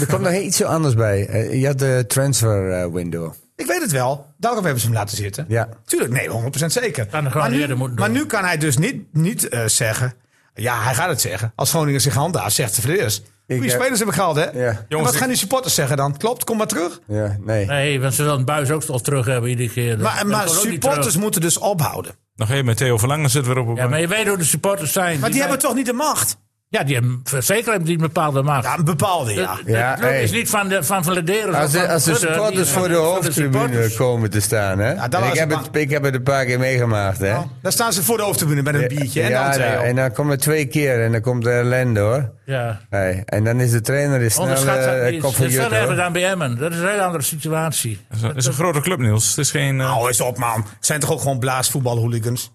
Speaker 2: Er komt nog iets anders bij. Eh, je had de transfer eh, window.
Speaker 1: Ik weet het wel. Daarom hebben ze hem laten zitten.
Speaker 2: Ja.
Speaker 1: Tuurlijk, nee, 100% zeker.
Speaker 3: Kan de
Speaker 1: maar,
Speaker 3: Groningen
Speaker 1: nu,
Speaker 3: eerder moeten
Speaker 1: maar
Speaker 3: doen.
Speaker 1: nu kan hij dus niet, niet eh, zeggen. Ja, hij gaat het zeggen. Als Groningen zich handhaaft, zegt de verdedigers. Goeie
Speaker 2: heb-
Speaker 1: spelers hebben gehaald, hè? En
Speaker 4: Jongens,
Speaker 1: wat gaan die supporters zeggen dan? Klopt, kom maar terug.
Speaker 2: Ja, nee.
Speaker 3: Nee, want ze willen het buis ook al terug hebben iedere keer. Dat-
Speaker 1: Maar,
Speaker 3: dat
Speaker 1: maar
Speaker 3: komt ook niet
Speaker 1: supporters
Speaker 3: terug.
Speaker 1: moeten dus ophouden.
Speaker 4: Nog even met Theo Verlangen zitten we weer op.
Speaker 3: Ja, maar je weet hoe de supporters zijn.
Speaker 1: Maar die hebben
Speaker 3: zijn-
Speaker 1: toch niet de macht?
Speaker 3: Ja, die hebben zeker hebben die een bepaalde macht.
Speaker 1: Ja, een bepaalde, ja.
Speaker 3: Het
Speaker 2: Ja, hey.
Speaker 3: is niet van, de, van Valderes.
Speaker 2: Als de, als de supporters voor de hoofdtribune komen te staan, hè?
Speaker 1: dat
Speaker 2: En
Speaker 1: was
Speaker 2: ik, heb
Speaker 1: het
Speaker 2: het, ik heb het een paar keer meegemaakt, hè?
Speaker 1: Dan staan ze voor de hoofdtribune met Oh, een biertje en
Speaker 2: ja,
Speaker 1: dan twee
Speaker 2: nou,
Speaker 1: op.
Speaker 2: en dan komt er twee keer en dan komt er ellende, hoor.
Speaker 3: Ja.
Speaker 2: Hey, en dan is de trainer is snel
Speaker 3: Onderschat dat
Speaker 2: eh,
Speaker 3: niet.
Speaker 2: kop
Speaker 3: Dat
Speaker 2: van
Speaker 3: is
Speaker 2: jut,
Speaker 3: veel erger
Speaker 2: hoor.
Speaker 3: dan bij Emmen. Dat is een hele andere situatie.
Speaker 4: Het is een- het is een grote club, Niels. Het is geen... eh,
Speaker 1: Nou, eens op, man. Het Zijn toch ook gewoon blaasvoetbalhooligans?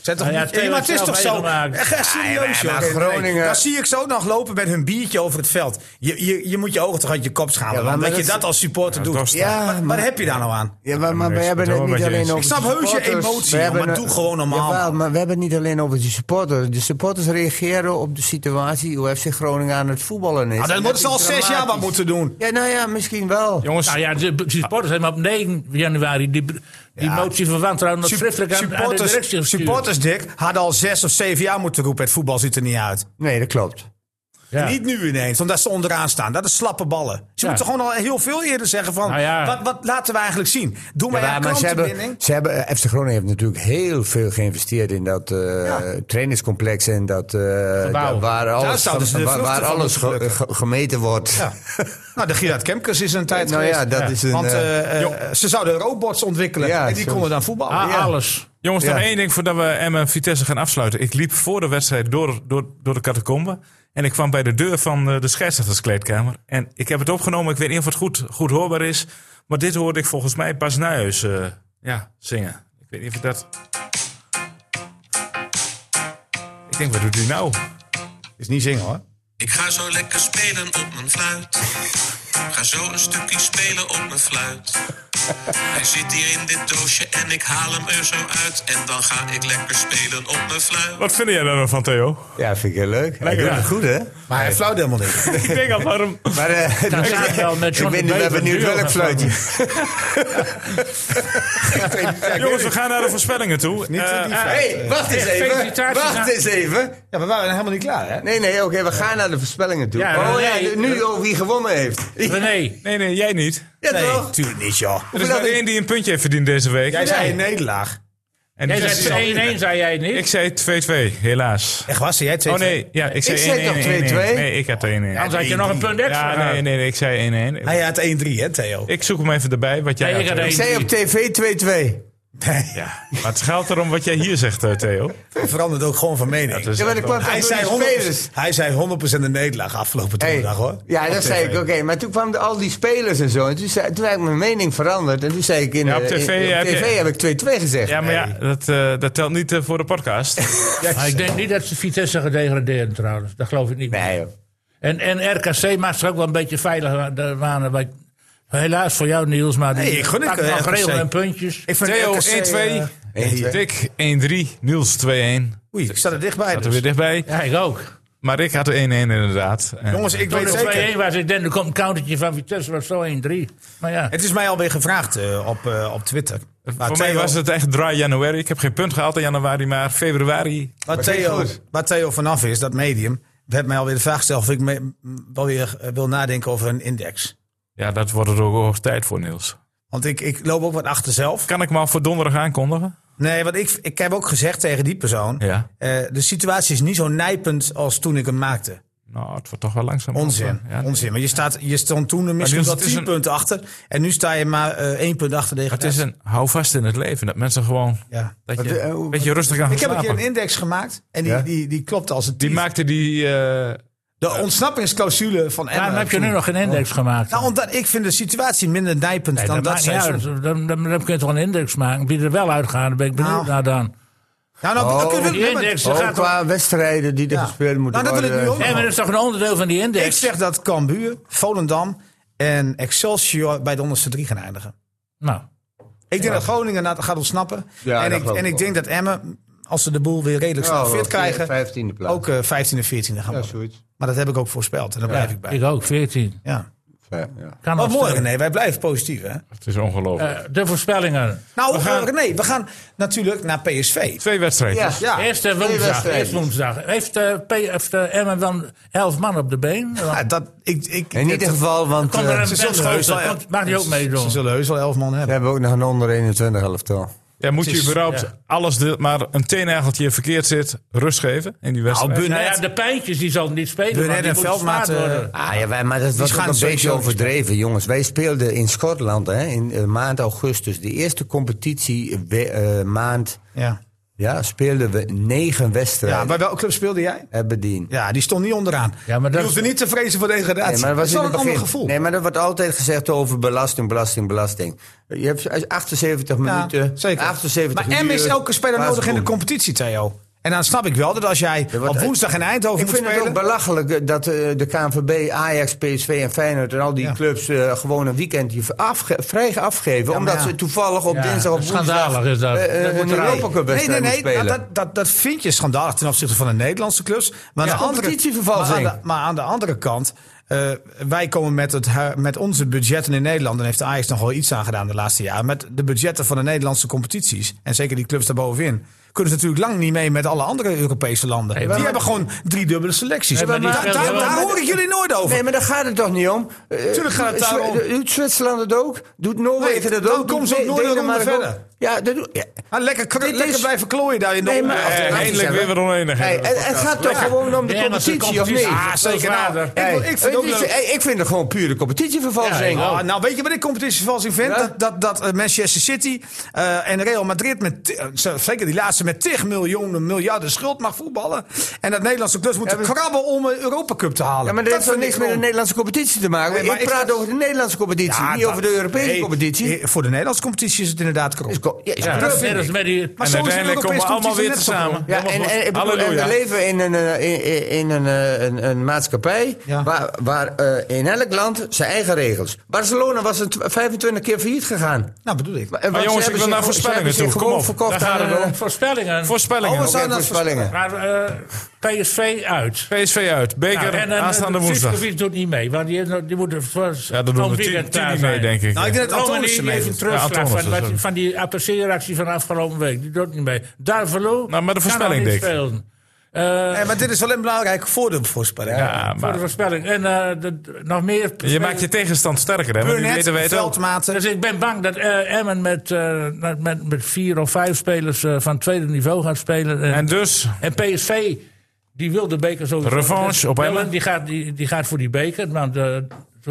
Speaker 1: Zijn toch
Speaker 3: Nou ja,
Speaker 1: niet-
Speaker 3: Theo
Speaker 1: Hey, maar het
Speaker 3: heeft
Speaker 1: is
Speaker 3: zelf
Speaker 1: toch zo?
Speaker 3: meegemaakt.
Speaker 1: Echt, echt serieus,
Speaker 2: maar
Speaker 1: joh. Nee,
Speaker 2: Groningen-
Speaker 1: nee. Dan zie ik ze ook nog lopen met hun biertje over het veld. Je, je, je moet je ogen toch uit je kop schalen.
Speaker 2: Ja, maar-
Speaker 1: want
Speaker 2: maar
Speaker 1: dat je
Speaker 2: dat-
Speaker 1: dat als supporter doet.
Speaker 4: dorst.
Speaker 2: Ja,
Speaker 1: maar,
Speaker 2: maar-
Speaker 1: wat heb je daar nou aan?
Speaker 2: Ja, maar, maar we
Speaker 4: ik
Speaker 2: hebben
Speaker 4: ben
Speaker 2: het
Speaker 4: het wel
Speaker 2: niet
Speaker 4: met je
Speaker 2: alleen
Speaker 4: eens.
Speaker 2: over
Speaker 4: Ik
Speaker 1: snap heus je
Speaker 2: supporters.
Speaker 1: emotie,
Speaker 2: We
Speaker 1: joh,
Speaker 2: hebben
Speaker 1: maar
Speaker 2: het-
Speaker 1: doe gewoon normaal.
Speaker 2: Jawel, maar we hebben het niet alleen over de supporters. De supporters reageren op de situatie hoe FC Groningen aan het voetballen is.
Speaker 1: Nou, dan
Speaker 2: En
Speaker 1: moeten ze
Speaker 2: dat
Speaker 1: al
Speaker 2: is
Speaker 1: zes jaar wat
Speaker 2: dramatisch.
Speaker 1: moeten doen.
Speaker 2: Ja, nou ja, misschien wel.
Speaker 4: Jongens,
Speaker 3: Nou ja, de, de supporters hebben op 9 januari die, die motie van wantrouwen nog
Speaker 1: Sup-
Speaker 3: schriftelijk aan, aan de directie
Speaker 1: Supporters,
Speaker 3: gestuurd.
Speaker 1: supporters Dick, hadden al zes of zeven jaar moeten roepen. Het voetbal ziet er niet uit.
Speaker 2: Nee, dat klopt.
Speaker 3: Ja.
Speaker 1: Niet nu ineens, omdat ze onderaan staan. Dat is slappe ballen. Ze
Speaker 3: Ja.
Speaker 1: moeten gewoon al heel veel eerder zeggen van...
Speaker 3: Nou ja.
Speaker 1: wat, wat laten we eigenlijk zien? Doe
Speaker 2: Ja,
Speaker 1: maar,
Speaker 2: maar ze hebben,
Speaker 1: krantenbinding.
Speaker 2: ze hebben, eh, FC Groningen heeft natuurlijk heel veel geïnvesteerd in dat eh, trainingscomplex en dat, eh,
Speaker 3: Gebouw.
Speaker 2: dat waar alles,
Speaker 1: zouden ze de
Speaker 2: waar,
Speaker 1: vruchten
Speaker 2: waar
Speaker 1: van
Speaker 2: alles
Speaker 1: moeten
Speaker 2: ge- ge- gemeten wordt.
Speaker 1: Ja. Nou, de Gerard Kemkers is een tijd
Speaker 2: Nou
Speaker 1: geweest.
Speaker 2: ja, dat is een,
Speaker 1: Want
Speaker 2: eh,
Speaker 1: eh, eh, ze zouden robots ontwikkelen
Speaker 2: Ja,
Speaker 1: en die
Speaker 2: zo-
Speaker 1: konden dan voetballen.
Speaker 3: Ah,
Speaker 1: Ja.
Speaker 3: Alles.
Speaker 4: jongens nog
Speaker 2: Ja.
Speaker 4: één ding voordat we Emmen Vitesse gaan afsluiten. Ik liep voor de wedstrijd door, door, door de catacombe. En ik kwam bij de deur van eh, de scheidsrechterskleedkamer. En ik heb het opgenomen. Ik weet niet of het goed, goed hoorbaar is. Maar dit hoorde ik volgens mij Bas Nijhuis eh, ja, zingen. Ik weet niet of dat... Ik denk, wat doet u nou?
Speaker 1: Is niet zingen hoor.
Speaker 10: Ik ga zo lekker spelen op mijn fluit. Ga zo een stukje spelen op mijn fluit. Hij zit hier in dit doosje en ik haal hem er zo uit. En dan ga ik lekker spelen op mijn fluit.
Speaker 4: Wat vind jij daar nou van, Theo?
Speaker 2: Ja, vind ik heel leuk. Hij doet het goed, hè?
Speaker 1: Maar hij flauwt helemaal niet.
Speaker 4: ik denk al, waarom...
Speaker 2: Maar, eh,
Speaker 3: Dan
Speaker 2: ik
Speaker 3: staat het wel met John
Speaker 2: ben
Speaker 3: de
Speaker 2: nu wel
Speaker 3: Bever
Speaker 2: benieuwd
Speaker 3: duo
Speaker 2: welk
Speaker 3: gaan
Speaker 2: fluitje.
Speaker 4: Jongens, we gaan naar de voorspellingen toe.
Speaker 1: Niet
Speaker 4: Eh,
Speaker 1: die
Speaker 4: eh,
Speaker 1: vraag.
Speaker 2: hey, wacht eens even.
Speaker 3: felicitaties
Speaker 2: Wacht
Speaker 3: aan-
Speaker 2: eens even.
Speaker 1: Ja, maar we waren helemaal niet klaar hè?
Speaker 2: Nee, nee, oké, we gaan naar de voorspellingen toe.
Speaker 3: Ja,
Speaker 2: oh
Speaker 3: nee.
Speaker 2: ja, nu over wie gewonnen heeft.
Speaker 3: René,
Speaker 4: nee, nee, jij niet.
Speaker 2: Ja,
Speaker 1: Nee,
Speaker 2: toch?
Speaker 1: natuurlijk niet joh.
Speaker 4: Er is maar één die een puntje heeft verdiend deze week.
Speaker 1: Jij zei een nederlaag.
Speaker 4: En
Speaker 3: jij
Speaker 4: die
Speaker 3: zei 1-1, zei jij niet?
Speaker 4: Ik zei 2-2, helaas.
Speaker 1: Echt was jij twee?
Speaker 4: Oh nee, ja, ik zei 1-1.
Speaker 2: Ik zei toch 2-2?
Speaker 4: Nee, ik had 1-1.
Speaker 3: Anders had je nog een punt extra.
Speaker 4: Ja, nee, nee, nee, ik zei 1-1.
Speaker 1: Hij had 1-3 hè Theo?
Speaker 4: Ik zoek hem even erbij, wat jij
Speaker 3: Nee, ik
Speaker 4: had.
Speaker 3: had
Speaker 2: Ik
Speaker 3: 1-3.
Speaker 2: zei op tv 2-2.
Speaker 1: Nee,
Speaker 4: Ja, maar het geldt erom wat jij hier zegt, eh, Theo.
Speaker 1: hij verandert ook gewoon van mening.
Speaker 4: is
Speaker 2: Ja, maar er kwam
Speaker 1: hij,
Speaker 2: toch
Speaker 1: zei
Speaker 2: door die
Speaker 1: 100%,
Speaker 2: spelers.
Speaker 1: hij zei 100% een nederlaag afgelopen
Speaker 2: Hey,
Speaker 1: donderdag hoor.
Speaker 2: Ja, dat zei ik, oké. Maar toen kwamen al die spelers en zo. En toen, zei, toen heb ik mijn mening veranderd. En toen zei ik in
Speaker 4: Ja, op
Speaker 2: eh,
Speaker 4: tv
Speaker 2: in- op
Speaker 4: heb je-
Speaker 2: TV heb ik 2-2 gezegd.
Speaker 4: Ja, maar ja, dat, eh, dat telt niet eh, voor de podcast.
Speaker 3: Maar ik denk niet dat ze Vitesse gedegradeerd trouwens. Dat geloof ik niet.
Speaker 2: Nee, joh.
Speaker 3: En, en RKC maakt zich ook wel een beetje veilig. wa- de- waren wij- Helaas voor jou Niels, maar die
Speaker 1: Nee, ik gun het,
Speaker 3: pakken
Speaker 1: eh,
Speaker 3: nog
Speaker 1: RKC.
Speaker 3: regel en puntjes.
Speaker 1: Ik vind
Speaker 4: Theo
Speaker 1: RKC, eh,
Speaker 4: 1-2, Dick 1-3, Niels 2-1.
Speaker 1: Oei, ik zat er dichtbij.
Speaker 4: Zat er
Speaker 1: dus.
Speaker 4: weer dichtbij.
Speaker 3: Ja, ik ook.
Speaker 4: Maar ik had 1-1 inderdaad. En- eh,
Speaker 1: Jongens, ik
Speaker 3: Toen
Speaker 1: weet
Speaker 3: er
Speaker 1: zeker.
Speaker 3: 2-1 was, ik denk, er komt een countertje van Vitesse, was zo 1-3. Maar ja.
Speaker 1: Het is mij alweer gevraagd eh, op, eh, op Twitter. Maar
Speaker 4: Voor mij
Speaker 1: Theo-
Speaker 4: was het echt dry januari. Ik heb geen punt gehaald in januari, maar februari.
Speaker 1: Waar Theo, waar Theo vanaf is, dat medium, werd mij alweer de vraag gesteld of ik me, m, wel weer eh, wil nadenken over een index.
Speaker 4: Ja, dat wordt er ook hoog tijd voor, Niels.
Speaker 1: Want ik, ik loop ook wat achter zelf.
Speaker 4: Kan ik me al voor donderdag aankondigen?
Speaker 1: Nee, want ik, ik heb ook gezegd tegen die persoon,
Speaker 4: Ja.
Speaker 1: eh, de situatie is niet zo nijpend als toen ik hem maakte.
Speaker 4: Nou, het wordt toch wel langzaam.
Speaker 1: Onzin,
Speaker 4: Ja.
Speaker 1: onzin. Maar je, staat, je stond toen er misschien
Speaker 4: Niels,
Speaker 1: wel
Speaker 4: het is
Speaker 1: 10
Speaker 4: een-
Speaker 1: punten achter en nu sta je maar eh 1 punt achter tegen
Speaker 4: Het is
Speaker 1: Nets.
Speaker 4: een hou vast in het leven. Dat mensen gewoon
Speaker 1: Ja. oh,
Speaker 4: dat
Speaker 2: Wat,
Speaker 4: je,
Speaker 2: eh, hoe-
Speaker 4: een beetje rustig aan
Speaker 1: Ik
Speaker 4: gaan
Speaker 1: heb een keer
Speaker 4: slapen.
Speaker 1: een index gemaakt en die,
Speaker 2: Ja?
Speaker 1: die, die klopte als het
Speaker 4: Die
Speaker 1: tief.
Speaker 4: maakte die... eh,
Speaker 1: De ontsnappingsclausule van Emma.
Speaker 3: Daarom heb je nu nog geen index gemaakt.
Speaker 1: Nou, omdat ik vind de situatie minder nijpend
Speaker 3: Nee,
Speaker 1: dan
Speaker 3: dat
Speaker 1: dat,
Speaker 3: maakt niet
Speaker 1: zij
Speaker 3: uit.
Speaker 1: soms-
Speaker 3: Dan, dan, dan kun je toch een index maken. Wie er wel uitgaat, dan ben ik benieuwd
Speaker 1: Nou.
Speaker 3: naar dan.
Speaker 1: Nou, nou, dan
Speaker 2: Oh,
Speaker 1: kunnen we-
Speaker 3: die
Speaker 1: nee, maar-
Speaker 3: index. Ze
Speaker 2: Ook
Speaker 3: gaat
Speaker 2: qua wedstrijden die er
Speaker 1: Ja.
Speaker 2: gespeeld moeten
Speaker 1: Nou, dat wil ik
Speaker 2: worden.
Speaker 1: nu ook
Speaker 3: Nee, maar dat is toch een onderdeel van die
Speaker 1: Ik
Speaker 3: index?
Speaker 1: zeg dat Cambuur, Volendam en Excelsior bij de onderste drie gaan eindigen.
Speaker 3: Nou,
Speaker 1: Ik denk dat Groningen na- gaat ontsnappen.
Speaker 2: Ja,
Speaker 1: en
Speaker 2: dat
Speaker 1: ik,
Speaker 2: geloof
Speaker 1: en
Speaker 2: ik
Speaker 1: ik
Speaker 2: wel.
Speaker 1: denk dat Emmen, als ze de boel weer redelijk snel fit krijgen,
Speaker 2: 15e plaats.
Speaker 1: ook eh 15 en 14 gaan
Speaker 2: ja,
Speaker 1: worden.
Speaker 2: zoiets.
Speaker 1: Maar dat heb ik ook voorspeld en daar blijf ik bij.
Speaker 3: ik ook, 14.
Speaker 2: Nou,
Speaker 1: Ja.
Speaker 2: Ja, ja.
Speaker 3: Kan
Speaker 1: Wat
Speaker 3: nog
Speaker 1: mooi
Speaker 3: steeds.
Speaker 1: René, wij blijven positief hè.
Speaker 4: het is ongelooflijk.
Speaker 3: Eh, de voorspellingen.
Speaker 1: Nou
Speaker 4: We gaan-
Speaker 1: eh, René, we gaan natuurlijk naar PSV.
Speaker 4: Twee wedstrijdjes.
Speaker 1: Ja,
Speaker 3: Eerste woensdag.
Speaker 2: Dus- wedstrijden.
Speaker 3: Eerste woensdag. Heeft eh P, heeft, eh, Emmen dan 11 man op de been? Dan
Speaker 1: Ja, Nou, dat, ik, ik,
Speaker 2: In ieder geval, want
Speaker 3: Komt
Speaker 2: eh,
Speaker 3: er een
Speaker 1: ze zullen
Speaker 3: bende,
Speaker 1: heus wel-
Speaker 3: dan komt- Mag die ook
Speaker 1: ze
Speaker 3: meedoen?
Speaker 1: zullen heus wel elf man
Speaker 2: we
Speaker 1: hebben.
Speaker 2: hebben ook nog een onder 21 elftal.
Speaker 4: Ja, moet
Speaker 1: Het
Speaker 4: je
Speaker 1: is-
Speaker 4: überhaupt
Speaker 3: ja.
Speaker 4: alles, de, maar een teenageltje verkeerd zit, rust geven in die wedstrijd?
Speaker 1: Nou, Bun-
Speaker 3: Nou ja,
Speaker 1: Net.
Speaker 3: de pijntjes die zal niet spelen.
Speaker 1: Burnett
Speaker 3: want die
Speaker 1: en
Speaker 3: moeten
Speaker 1: Veldmaat,
Speaker 3: gespaard
Speaker 1: eh,
Speaker 3: worden.
Speaker 2: Ah ja, wij, maar dat was ook
Speaker 1: gaan
Speaker 2: een beetje
Speaker 1: sowieso
Speaker 2: overdreven, jongens. Wij speelden in Schotland hè, in eh, maand augustus. De eerste competitie eh, we- eh, maand
Speaker 1: Ja.
Speaker 2: ja, speelden we negen
Speaker 1: ja,
Speaker 2: wedstrijden.
Speaker 1: bij welke club speelde jij?
Speaker 2: Aberdeen.
Speaker 1: Ja, die stond niet onderaan.
Speaker 3: Ja, maar dat-
Speaker 1: Je hoefde niet te vrezen voor degradatie.
Speaker 2: Nee, maar dat was
Speaker 1: wel
Speaker 2: in
Speaker 1: een
Speaker 2: het begin.
Speaker 1: ander gevoel.
Speaker 2: Nee, maar er wordt altijd gezegd over belasting, belasting, belasting. Je hebt 78 minuten.
Speaker 1: zeker.
Speaker 2: 78
Speaker 1: maar M is
Speaker 2: eh, uur,
Speaker 1: elke speler
Speaker 2: paas
Speaker 1: nodig in de
Speaker 2: goed.
Speaker 1: competitie, Theo. En dan snap ik wel dat als jij
Speaker 2: want
Speaker 1: op
Speaker 2: het-
Speaker 1: woensdag in Eindhoven
Speaker 2: Ik
Speaker 1: moet
Speaker 2: vind het
Speaker 1: spelen...
Speaker 2: ook belachelijk eh, dat eh, de KNVB, Ajax, PSV en Feyenoord en al die
Speaker 1: Ja.
Speaker 2: clubs eh, gewoon een weekendje afge vrij afgeven.
Speaker 1: maar
Speaker 2: omdat
Speaker 1: ja.
Speaker 2: ze toevallig op
Speaker 3: Ja,
Speaker 2: dinsdag of
Speaker 3: schandalig
Speaker 2: woensdag
Speaker 3: is dat.
Speaker 2: eh, eh,
Speaker 3: Dat moet
Speaker 2: een
Speaker 3: eruit.
Speaker 2: Europa Cup
Speaker 1: Nee, nee,
Speaker 2: wedstrijd
Speaker 1: nee.
Speaker 2: moeten
Speaker 1: nou,
Speaker 2: spelen.
Speaker 1: dat, dat, dat vind je schandalig ten opzichte van de Nederlandse clubs. Maar,
Speaker 2: Ja,
Speaker 1: aan, de andere, maar,
Speaker 2: competitievervalsing.
Speaker 1: aan, de, maar aan de andere kant... eh, wij komen met, het, hu- met onze budgetten in Nederland... en heeft de Ajax nog wel iets aan gedaan de laatste jaren... met de budgetten van de Nederlandse competities... en zeker die clubs daarbovenin... kunnen ze natuurlijk lang niet mee met alle andere Europese landen.
Speaker 3: Nee,
Speaker 1: die
Speaker 3: maar-
Speaker 1: hebben gewoon drie dubbele selecties.
Speaker 3: Nee, maar die
Speaker 1: daar,
Speaker 3: spelen
Speaker 1: daar-
Speaker 3: wel-
Speaker 1: daar hoor ik jullie nooit over.
Speaker 2: Nee, maar daar gaat het toch niet om? Eh,
Speaker 1: Tuurlijk gaat het
Speaker 2: Zwe-
Speaker 1: daarom.
Speaker 2: Doet Zwitserland het ook? Doet Noorwegen
Speaker 1: Nee,
Speaker 2: dat
Speaker 1: dan
Speaker 2: ook?
Speaker 1: komen ze
Speaker 2: Doet
Speaker 1: ook nooit een ronde
Speaker 2: Denemarken ook?
Speaker 1: verder.
Speaker 2: Ja, dat doet... ja.
Speaker 1: Ah, lekker, kru-
Speaker 2: Dit
Speaker 1: lekker
Speaker 2: is-
Speaker 1: blijven klooien daar in de
Speaker 2: Nee, maar-
Speaker 1: onderkant.
Speaker 2: Eh,
Speaker 4: Eh,
Speaker 2: laten we
Speaker 4: eindelijk weer
Speaker 2: zeggen.
Speaker 4: weer oneenigheid.
Speaker 2: Hey,
Speaker 1: eh,
Speaker 4: in
Speaker 2: het,
Speaker 4: de
Speaker 2: het
Speaker 4: podcast.
Speaker 2: gaat toch gewoon om de
Speaker 3: Ja, maar ze
Speaker 2: competitie,
Speaker 3: competitie-
Speaker 2: of niet?
Speaker 3: Ah, zeker.
Speaker 1: Nou,
Speaker 3: Hey,
Speaker 1: ik, wil- ik vind
Speaker 2: het
Speaker 1: ook
Speaker 2: is-
Speaker 1: leuk.
Speaker 2: hey, ik vind het gewoon pure competitievervalsing.
Speaker 3: Ja, ik ook.
Speaker 1: Ah, nou, weet je wat ik competitievervalsing vind?
Speaker 2: Ja?
Speaker 1: Dat, dat, dat eh, Manchester City eh, en Real Madrid, met, ti- eh, zo- zeker die laatste, met tig miljoen, miljarden schuld mag voetballen. En dat Nederlandse clubs moeten
Speaker 2: Ja, maar-
Speaker 1: krabben om een Europa Cup te halen.
Speaker 2: Ja, maar dat heeft toch niks met de
Speaker 1: Nederlandse
Speaker 2: Nederlandse competitie te maken?
Speaker 1: Nee, maar
Speaker 2: ik
Speaker 1: ik
Speaker 2: praat
Speaker 1: vind-
Speaker 2: over de Nederlandse competitie, niet over de Europese competitie.
Speaker 1: eh, Voor de Nederlandse competitie is het inderdaad krop.
Speaker 2: Is ko- ja, is
Speaker 3: Ja,
Speaker 2: prut.
Speaker 3: dat is net als met die...
Speaker 1: Maar
Speaker 4: En
Speaker 1: zo is de
Speaker 4: uiteindelijk komen we
Speaker 1: Europese
Speaker 4: allemaal
Speaker 1: competitie
Speaker 4: weer
Speaker 1: net zo krop.
Speaker 4: tezamen.
Speaker 2: Ja, en, en, ik bedoel, en we
Speaker 4: Halleluja.
Speaker 2: leven in een, eh, in, in- in een, eh, een, een maatschappij
Speaker 1: Ja.
Speaker 2: waar, waar eh, in elk land zijn eigen regels. Barcelona was een tw- 25 keer failliet gegaan.
Speaker 1: Nou, bedoel ik.
Speaker 2: Maar, eh, want
Speaker 4: jongens,
Speaker 2: ze
Speaker 4: ik
Speaker 2: hebben
Speaker 4: wil
Speaker 2: zich gewoon- ze
Speaker 4: naar
Speaker 2: hebben
Speaker 4: voorspellingen toe.
Speaker 2: zich
Speaker 4: Kom
Speaker 2: gewoon
Speaker 4: op.
Speaker 2: verkocht
Speaker 4: Daar
Speaker 2: aan
Speaker 4: gaan we
Speaker 2: eh,
Speaker 4: nog.
Speaker 3: Voorspellingen.
Speaker 4: Voorspellingen.
Speaker 1: Oh, we zijn-
Speaker 2: aan voorspellingen.
Speaker 3: Maar eh, PSV uit.
Speaker 4: PSV uit. Beker
Speaker 3: dan, eh,
Speaker 4: aanstaande woensdag.
Speaker 3: Sivkovic doet niet mee, want die, heeft nog- die moet er voor-
Speaker 4: Ja, dat doen
Speaker 3: van
Speaker 4: we
Speaker 3: weekend
Speaker 4: tien, tien
Speaker 3: klaar
Speaker 4: niet
Speaker 3: zijn.
Speaker 4: mee, denk ik.
Speaker 1: Nou, ik denk dat
Speaker 3: Romani
Speaker 1: Antonissen
Speaker 3: heeft een
Speaker 1: meedoet.
Speaker 3: terugslag
Speaker 4: Ja,
Speaker 3: van,
Speaker 4: Antonissen,
Speaker 3: wat-
Speaker 4: sorry.
Speaker 3: van die apprecieeractie van afgelopen week. Die doet niet mee. Darvelo
Speaker 4: Nou, maar de voorspelling,
Speaker 3: kan al niet
Speaker 4: Dick.
Speaker 3: spelen. Eh,
Speaker 1: Eh, maar dit is wel een belangrijk voordeel voor spelen.
Speaker 4: Ja,
Speaker 3: voor de
Speaker 4: maar
Speaker 3: voorspelling. En eh, de- nog meer...
Speaker 4: je maakt je tegenstand sterker, hè? Want die
Speaker 1: Burnett,
Speaker 4: weten wij het ook.
Speaker 1: Veldmaten.
Speaker 3: Dus ik ben bang dat eh, Emmen met, eh, met, met, met vier of vijf spelers eh, van tweede niveau gaat spelen. En,
Speaker 4: En
Speaker 3: en,
Speaker 4: dus,
Speaker 3: PSV, die wil de beker sowieso.
Speaker 4: Revanche op
Speaker 3: Ja,
Speaker 4: Emmen.
Speaker 3: want Die gaat, die, die gaat voor die beker. Want, eh, zo-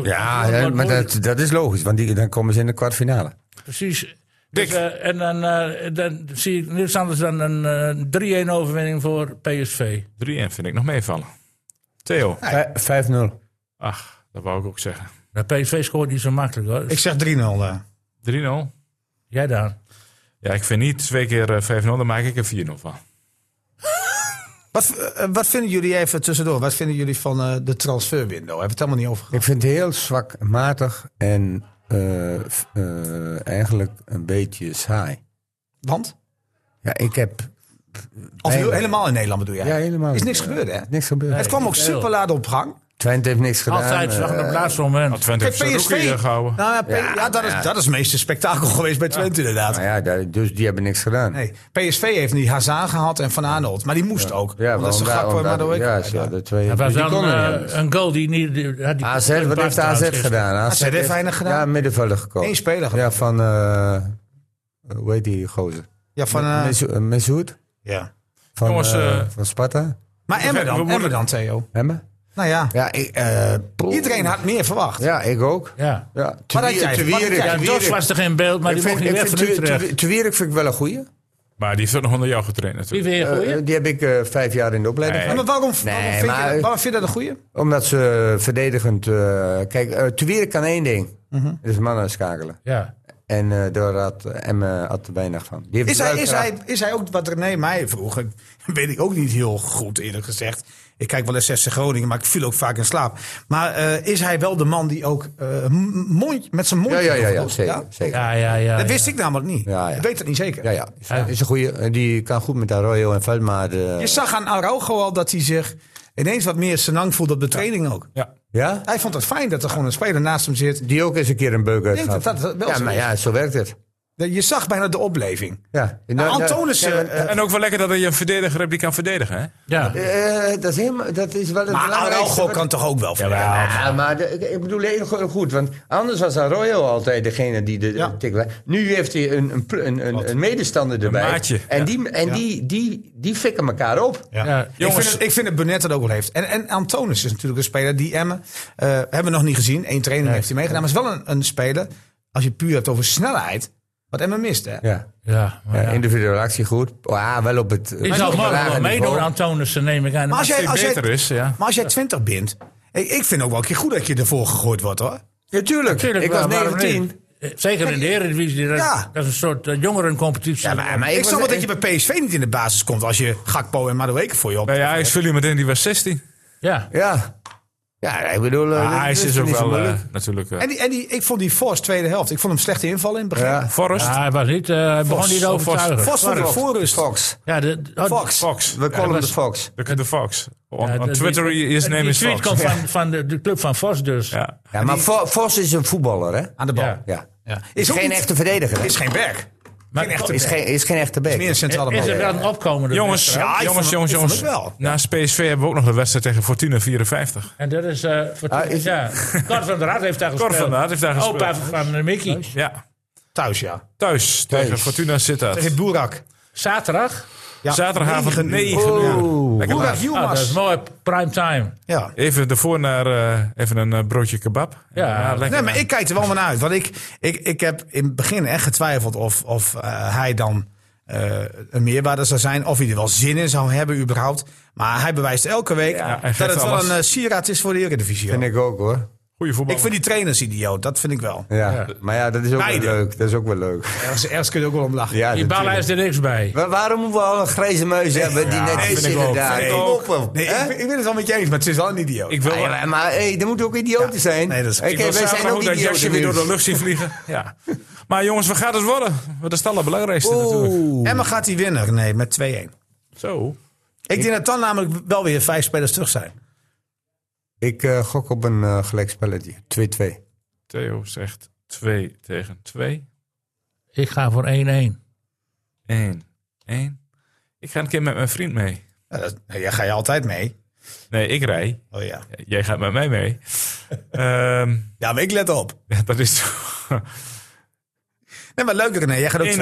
Speaker 2: Ja,
Speaker 3: wordt
Speaker 2: hè, maar
Speaker 3: moeilijk.
Speaker 2: dat, dat is logisch, want die, dan komen ze in de kwartfinale.
Speaker 3: Precies.
Speaker 4: Dick.
Speaker 3: Dus, eh, en dan, eh, dan zie ik niets anders dan een eh, 3-1 overwinning voor PSV.
Speaker 4: 3-1 vind ik nog meevallen. Theo.
Speaker 2: Vij- 5-0.
Speaker 4: Ach, dat wou ik ook zeggen. 3-0.
Speaker 3: Maar PSV scoort niet zo makkelijk hoor.
Speaker 1: Ik zeg eh. 3-0 daar.
Speaker 3: Jij daar.
Speaker 4: Ja, ik vind niet twee keer eh, 5-0, dan maak ik er 4-0 van.
Speaker 1: Wat, eh, wat vinden jullie even tussendoor? Wat vinden jullie van eh, de transferwindow? Hebben we het helemaal niet over gehad?
Speaker 2: Ik vind het heel zwak, matig en eh, f- eh, eigenlijk een beetje saai.
Speaker 1: Want?
Speaker 2: Ja, ik heb...
Speaker 1: Of
Speaker 2: Nee,
Speaker 1: heel- helemaal in Nederland bedoel jij?
Speaker 2: Ja, helemaal.
Speaker 1: Is
Speaker 2: niet.
Speaker 1: niks gebeurd, hè?
Speaker 2: Niks gebeurd.
Speaker 1: het kwam ook
Speaker 3: niet
Speaker 1: super
Speaker 3: veel.
Speaker 1: laat op gang.
Speaker 2: Twente heeft niks gedaan.
Speaker 3: Altijd
Speaker 2: eh,
Speaker 3: zag op het laatste moment.
Speaker 4: Twente heeft zijn rookie eh, gehouden.
Speaker 1: Nou, ja, P- ja, dat, is, dat is het meeste spektakel geweest bij Twente inderdaad.
Speaker 2: nou ja, daar- dus die hebben niks gedaan.
Speaker 1: Nee, PSV heeft nu Hazard gehad en Van Arnold. Maar die moest ook.
Speaker 2: Ja,
Speaker 1: omdat ze Gakpo en Madueke-
Speaker 2: ja, ze hadden twee.
Speaker 3: Dat was
Speaker 2: die
Speaker 3: dan
Speaker 2: konden
Speaker 3: eh,
Speaker 2: niet anders.
Speaker 3: een goal die niet... Die, had die
Speaker 2: AZ, wat heeft AZ gedaan?
Speaker 1: AZ heeft weinig gedaan.
Speaker 2: Ja, middenvelder gekocht.
Speaker 1: Eén speler
Speaker 2: Ja, van, eh hoe heet die gozer?
Speaker 1: Ja, van, eh,
Speaker 2: Mesou- eh, Mesut?
Speaker 1: ja.
Speaker 2: Van,
Speaker 4: Jongens,
Speaker 2: eh,
Speaker 4: eh,
Speaker 2: van Sparta?
Speaker 1: Maar Emmer
Speaker 4: We
Speaker 1: dan,
Speaker 4: moeten-
Speaker 1: Emmer dan, Theo.
Speaker 2: Hemme?
Speaker 1: Nou ja,
Speaker 2: Ja, ik, eh, poeh.
Speaker 1: iedereen had meer verwacht.
Speaker 2: Ja, ik ook.
Speaker 3: Ja.
Speaker 2: Ja,
Speaker 1: Wat had jij? Wat had jij?
Speaker 3: Ja, Dos was er geen beeld, maar die mocht niet weg van Utrecht.
Speaker 2: Twierik vind ik wel een goeie.
Speaker 4: Maar die heeft ook nog onder jou getraind
Speaker 3: Wie
Speaker 4: natuurlijk.
Speaker 3: weer
Speaker 2: Eh,
Speaker 3: gooien?
Speaker 2: die heb ik eh, vijf jaar in de opleiding
Speaker 1: Ja,
Speaker 2: gehad.
Speaker 1: maar waarom, waarom,
Speaker 2: Nee,
Speaker 1: vind
Speaker 2: maar-
Speaker 1: je, waarom vind je dat een goeie?
Speaker 2: Omdat ze verdedigend... eh, kijk, eh Twierik kan één ding.
Speaker 1: Mhm.
Speaker 2: Dus mannen schakelen.
Speaker 3: Ja.
Speaker 2: En eh, daar had Emme had er weinig van. Die heeft
Speaker 1: Is hij, is,
Speaker 2: draagkracht.
Speaker 1: hij, is hij ook wat René mij vroeg? en Weet ik ook niet heel goed eerlijk gezegd. Ik kijk wel eens 60 Groningen, maar ik viel ook vaak in slaap. Maar eh, is hij wel de man die ook eh, m- mond, met zijn mond...
Speaker 2: Ja, ja, ja, ja, zeker. zeker.
Speaker 3: Ja, ja, ja.
Speaker 1: Dat
Speaker 3: ja.
Speaker 1: wist ik namelijk niet.
Speaker 2: Ja, ja.
Speaker 1: Ik weet het niet zeker.
Speaker 2: Ja, ja. Is een goeie. En Die kan goed met Arroyo en Veldmaat. eh
Speaker 1: Je zag aan Araujo al dat hij zich ineens wat meer senang voelde op de training ook.
Speaker 4: Ja.
Speaker 2: ja?
Speaker 1: Hij vond het fijn dat er gewoon een speler naast hem zit.
Speaker 2: Die ook eens een keer een beuk
Speaker 1: denk
Speaker 2: uitgaat.
Speaker 1: dat dat wel
Speaker 2: ja,
Speaker 1: zo
Speaker 2: maar
Speaker 1: is.
Speaker 2: ja, zo werkt het.
Speaker 1: Je zag bijna de opleving.
Speaker 2: Ja.
Speaker 1: Nou,
Speaker 2: Nou,
Speaker 1: Antonissen,
Speaker 2: ja, maar,
Speaker 1: eh,
Speaker 4: En ook wel lekker dat je een verdediger hebt die kan verdedigen. Hè?
Speaker 3: Ja.
Speaker 2: eh, dat, is helemaal, dat is wel het
Speaker 1: maar
Speaker 2: belangrijkste
Speaker 1: Araujo
Speaker 2: wat-
Speaker 1: kan toch ook wel verdedigen?
Speaker 2: Ja, maar de- ik- ik bedoel heel go- goed, want anders was Arroyo altijd degene die de
Speaker 1: Ja.
Speaker 2: tik was. Nu heeft hij een, een, pl- een, een, een medestander erbij.
Speaker 4: maatje.
Speaker 2: En, die, en
Speaker 1: Ja.
Speaker 2: die, die, die fikken elkaar op.
Speaker 1: Ja.
Speaker 3: Ja,
Speaker 1: ik,
Speaker 4: jongens.
Speaker 1: vind het, ik vind het Burnett het ook wel heeft. En, en Antonis is natuurlijk een speler die Emmen eh, hebben we nog niet gezien. Eén training heeft hij meegedaan. Maar is wel een, een speler, als je het puur hebt over snelheid, wat Emmen mist. Hè?
Speaker 2: Ja.
Speaker 3: Ja, maar ja.
Speaker 2: individuele actie goed. Ja, wel op het...
Speaker 3: Die zou mogen wel meedoen,
Speaker 2: aan.
Speaker 3: Antonissen, neem ik aan.
Speaker 1: Maar als jij, als jij,
Speaker 4: beter is, ja.
Speaker 1: maar als jij 20 bent, ik, ik vind ook wel een keer goed dat je ervoor gegooid wordt hoor.
Speaker 2: Natuurlijk.
Speaker 3: Tuurlijk
Speaker 2: ik
Speaker 3: wel,
Speaker 2: was
Speaker 3: waarom
Speaker 2: 19.
Speaker 3: niet? Eh, Zeker in de Eredivisie. Dat,
Speaker 1: Ja.
Speaker 3: dat is een soort eh, jongerencompetitie.
Speaker 1: Ja, maar,
Speaker 2: maar
Speaker 1: ik, snap
Speaker 2: ik was- e-
Speaker 1: wel dat je bij PSV niet in de basis komt als je Gakpo en Madueke voor je op.
Speaker 4: Bij Ajax viel hij meteen, die was 16.
Speaker 3: Ja.
Speaker 2: Ja. Ja, ik bedoel... eh,
Speaker 4: Maar
Speaker 2: dat-
Speaker 4: Ajax
Speaker 2: dat
Speaker 4: Ah, is ook
Speaker 2: niet zo
Speaker 4: wel
Speaker 2: moeilijk.
Speaker 4: eh, natuurlijk... eh,
Speaker 1: En, die, en die, ik vond die Forst tweede helft. Ik vond hem slechte invallen in het begin.
Speaker 2: Ja.
Speaker 4: Forrest.
Speaker 3: Ja, hij was niet, eh, hij begon niet overtuigend.
Speaker 1: Forst vond ik
Speaker 2: Fox.
Speaker 1: voorrust.
Speaker 2: Fox.
Speaker 3: Ja, de, de-
Speaker 1: Fox.
Speaker 4: Fox.
Speaker 2: We callen hem
Speaker 3: was-
Speaker 2: de Fox.
Speaker 4: De, de Fox. On,
Speaker 3: ja,
Speaker 4: on
Speaker 3: de-
Speaker 4: Twitter,
Speaker 3: die-
Speaker 4: his
Speaker 3: die
Speaker 4: name is
Speaker 3: tweet
Speaker 4: Fox.
Speaker 3: komt van, van de, de club van Vos dus.
Speaker 4: Ja.
Speaker 2: Ja, maar Fo- Fox is een voetballer, hè?
Speaker 1: Aan de bal.
Speaker 3: Ja.
Speaker 2: Ja.
Speaker 1: Is
Speaker 2: Is
Speaker 1: ook
Speaker 2: geen
Speaker 1: niet-
Speaker 2: echte verdediger. hè?
Speaker 1: Is geen werk.
Speaker 3: Maar
Speaker 1: Geen echte
Speaker 2: Is geen, is geen echte back.
Speaker 1: Meer een centrale
Speaker 3: is
Speaker 1: man.
Speaker 3: er wel een opkomende
Speaker 4: Jongens,
Speaker 3: wedstrijd?
Speaker 1: ik vond
Speaker 4: jongens,
Speaker 1: het-
Speaker 4: jongens,
Speaker 1: ik vond
Speaker 4: jongens.
Speaker 1: het wel.
Speaker 4: Naast PSV hebben we ook nog de wedstrijd tegen Fortuna 54.
Speaker 3: En dat is... eh voor
Speaker 2: Ah, is-
Speaker 3: ja. Cor van der Raad heeft daar gespeeld.
Speaker 4: Cor van der Raad heeft daar gespeeld.
Speaker 3: Opa van eh, Mickey.
Speaker 4: Ja.
Speaker 1: Thuis, ja.
Speaker 4: Thuis, tegen Fortuna
Speaker 1: Tegen
Speaker 4: Sittard.
Speaker 1: Boerak.
Speaker 3: Zaterdag.
Speaker 1: Ja.
Speaker 4: Zaterdagavond
Speaker 1: Negen uur.
Speaker 4: 9 uur.
Speaker 1: Boerak
Speaker 4: Lekker laat.
Speaker 3: Ah, dat is
Speaker 1: Yilmaz.
Speaker 3: mooi. Prime time.
Speaker 1: ja.
Speaker 4: Even ervoor naar eh, even een eh, broodje kebab.
Speaker 3: Ja.
Speaker 4: lekker.
Speaker 1: Nee, maar ik kijk er wel van uit. Want ik, ik, ik heb in het begin echt getwijfeld of, of eh, hij dan eh, een meerwaarde zou zijn. Of hij er wel zin in zou hebben überhaupt. Maar hij bewijst elke week
Speaker 4: Ja, hij
Speaker 1: dat
Speaker 4: geeft
Speaker 1: het wel
Speaker 4: alles.
Speaker 1: een eh, sieraad is voor de Eredivisie.
Speaker 2: Vind
Speaker 1: hoor.
Speaker 2: ik ook, hoor.
Speaker 4: Goeie voetbal.
Speaker 1: Ik vind die trainers idioot, dat vind ik wel.
Speaker 2: Ja. Maar ja, dat is ook
Speaker 1: Beide.
Speaker 2: wel leuk. Dat is ook wel leuk.
Speaker 1: Ergens, ergens kun je ook wel om lachen.
Speaker 2: Ja,
Speaker 3: Die ballen
Speaker 2: natuurlijk.
Speaker 3: is er niks bij.
Speaker 2: Wa- Waarom moeten we al een grijze muis hebben die net
Speaker 4: vind
Speaker 2: is
Speaker 4: ik ook.
Speaker 2: inderdaad?
Speaker 4: Vind ik
Speaker 2: Kom
Speaker 4: ook.
Speaker 2: op, hoor.
Speaker 1: Nee,
Speaker 2: Hè?
Speaker 1: ik, ben- ik ben het wel met je eens, maar het is wel een idioot.
Speaker 4: Ik wil,
Speaker 2: Ah, ja, maar hey, er moeten ook idioten zijn.
Speaker 1: Nee, dat is-
Speaker 2: Hey,
Speaker 4: ik
Speaker 2: kijk,
Speaker 4: wil
Speaker 2: wij zijn
Speaker 4: zaterdag
Speaker 2: ook
Speaker 4: ook
Speaker 1: eh,
Speaker 4: dat Jesse
Speaker 2: idioten.
Speaker 4: weer door de
Speaker 2: nu.
Speaker 4: lucht zien vliegen. ja. Maar jongens, wat gaat het worden? Dat is het allerbelangrijkste natuurlijk.
Speaker 1: Emma gaat die winnen, nee, met 2-1. Ik,
Speaker 4: Zo.
Speaker 1: denk dat dan namelijk wel weer vijf spelers terug zijn.
Speaker 2: Ik eh, gok op een eh gelijkspelletje. 2-2.
Speaker 4: Theo zegt 2 tegen 2.
Speaker 3: Ik ga voor 1-1.
Speaker 4: 1. 1. Ik ga een keer met mijn vriend mee.
Speaker 1: Ja, dat, nou, ja, ga je altijd mee.
Speaker 4: Nee, ik rij.
Speaker 1: Oh ja.
Speaker 4: Jij gaat met mij mee. Ehm,
Speaker 1: Ja, maar ik let op.
Speaker 4: ja, dat is
Speaker 1: Nee, maar leuk René, jij gaat ook 2-1.
Speaker 4: 1-0.
Speaker 1: 1-0. 1-0.
Speaker 4: 1-0.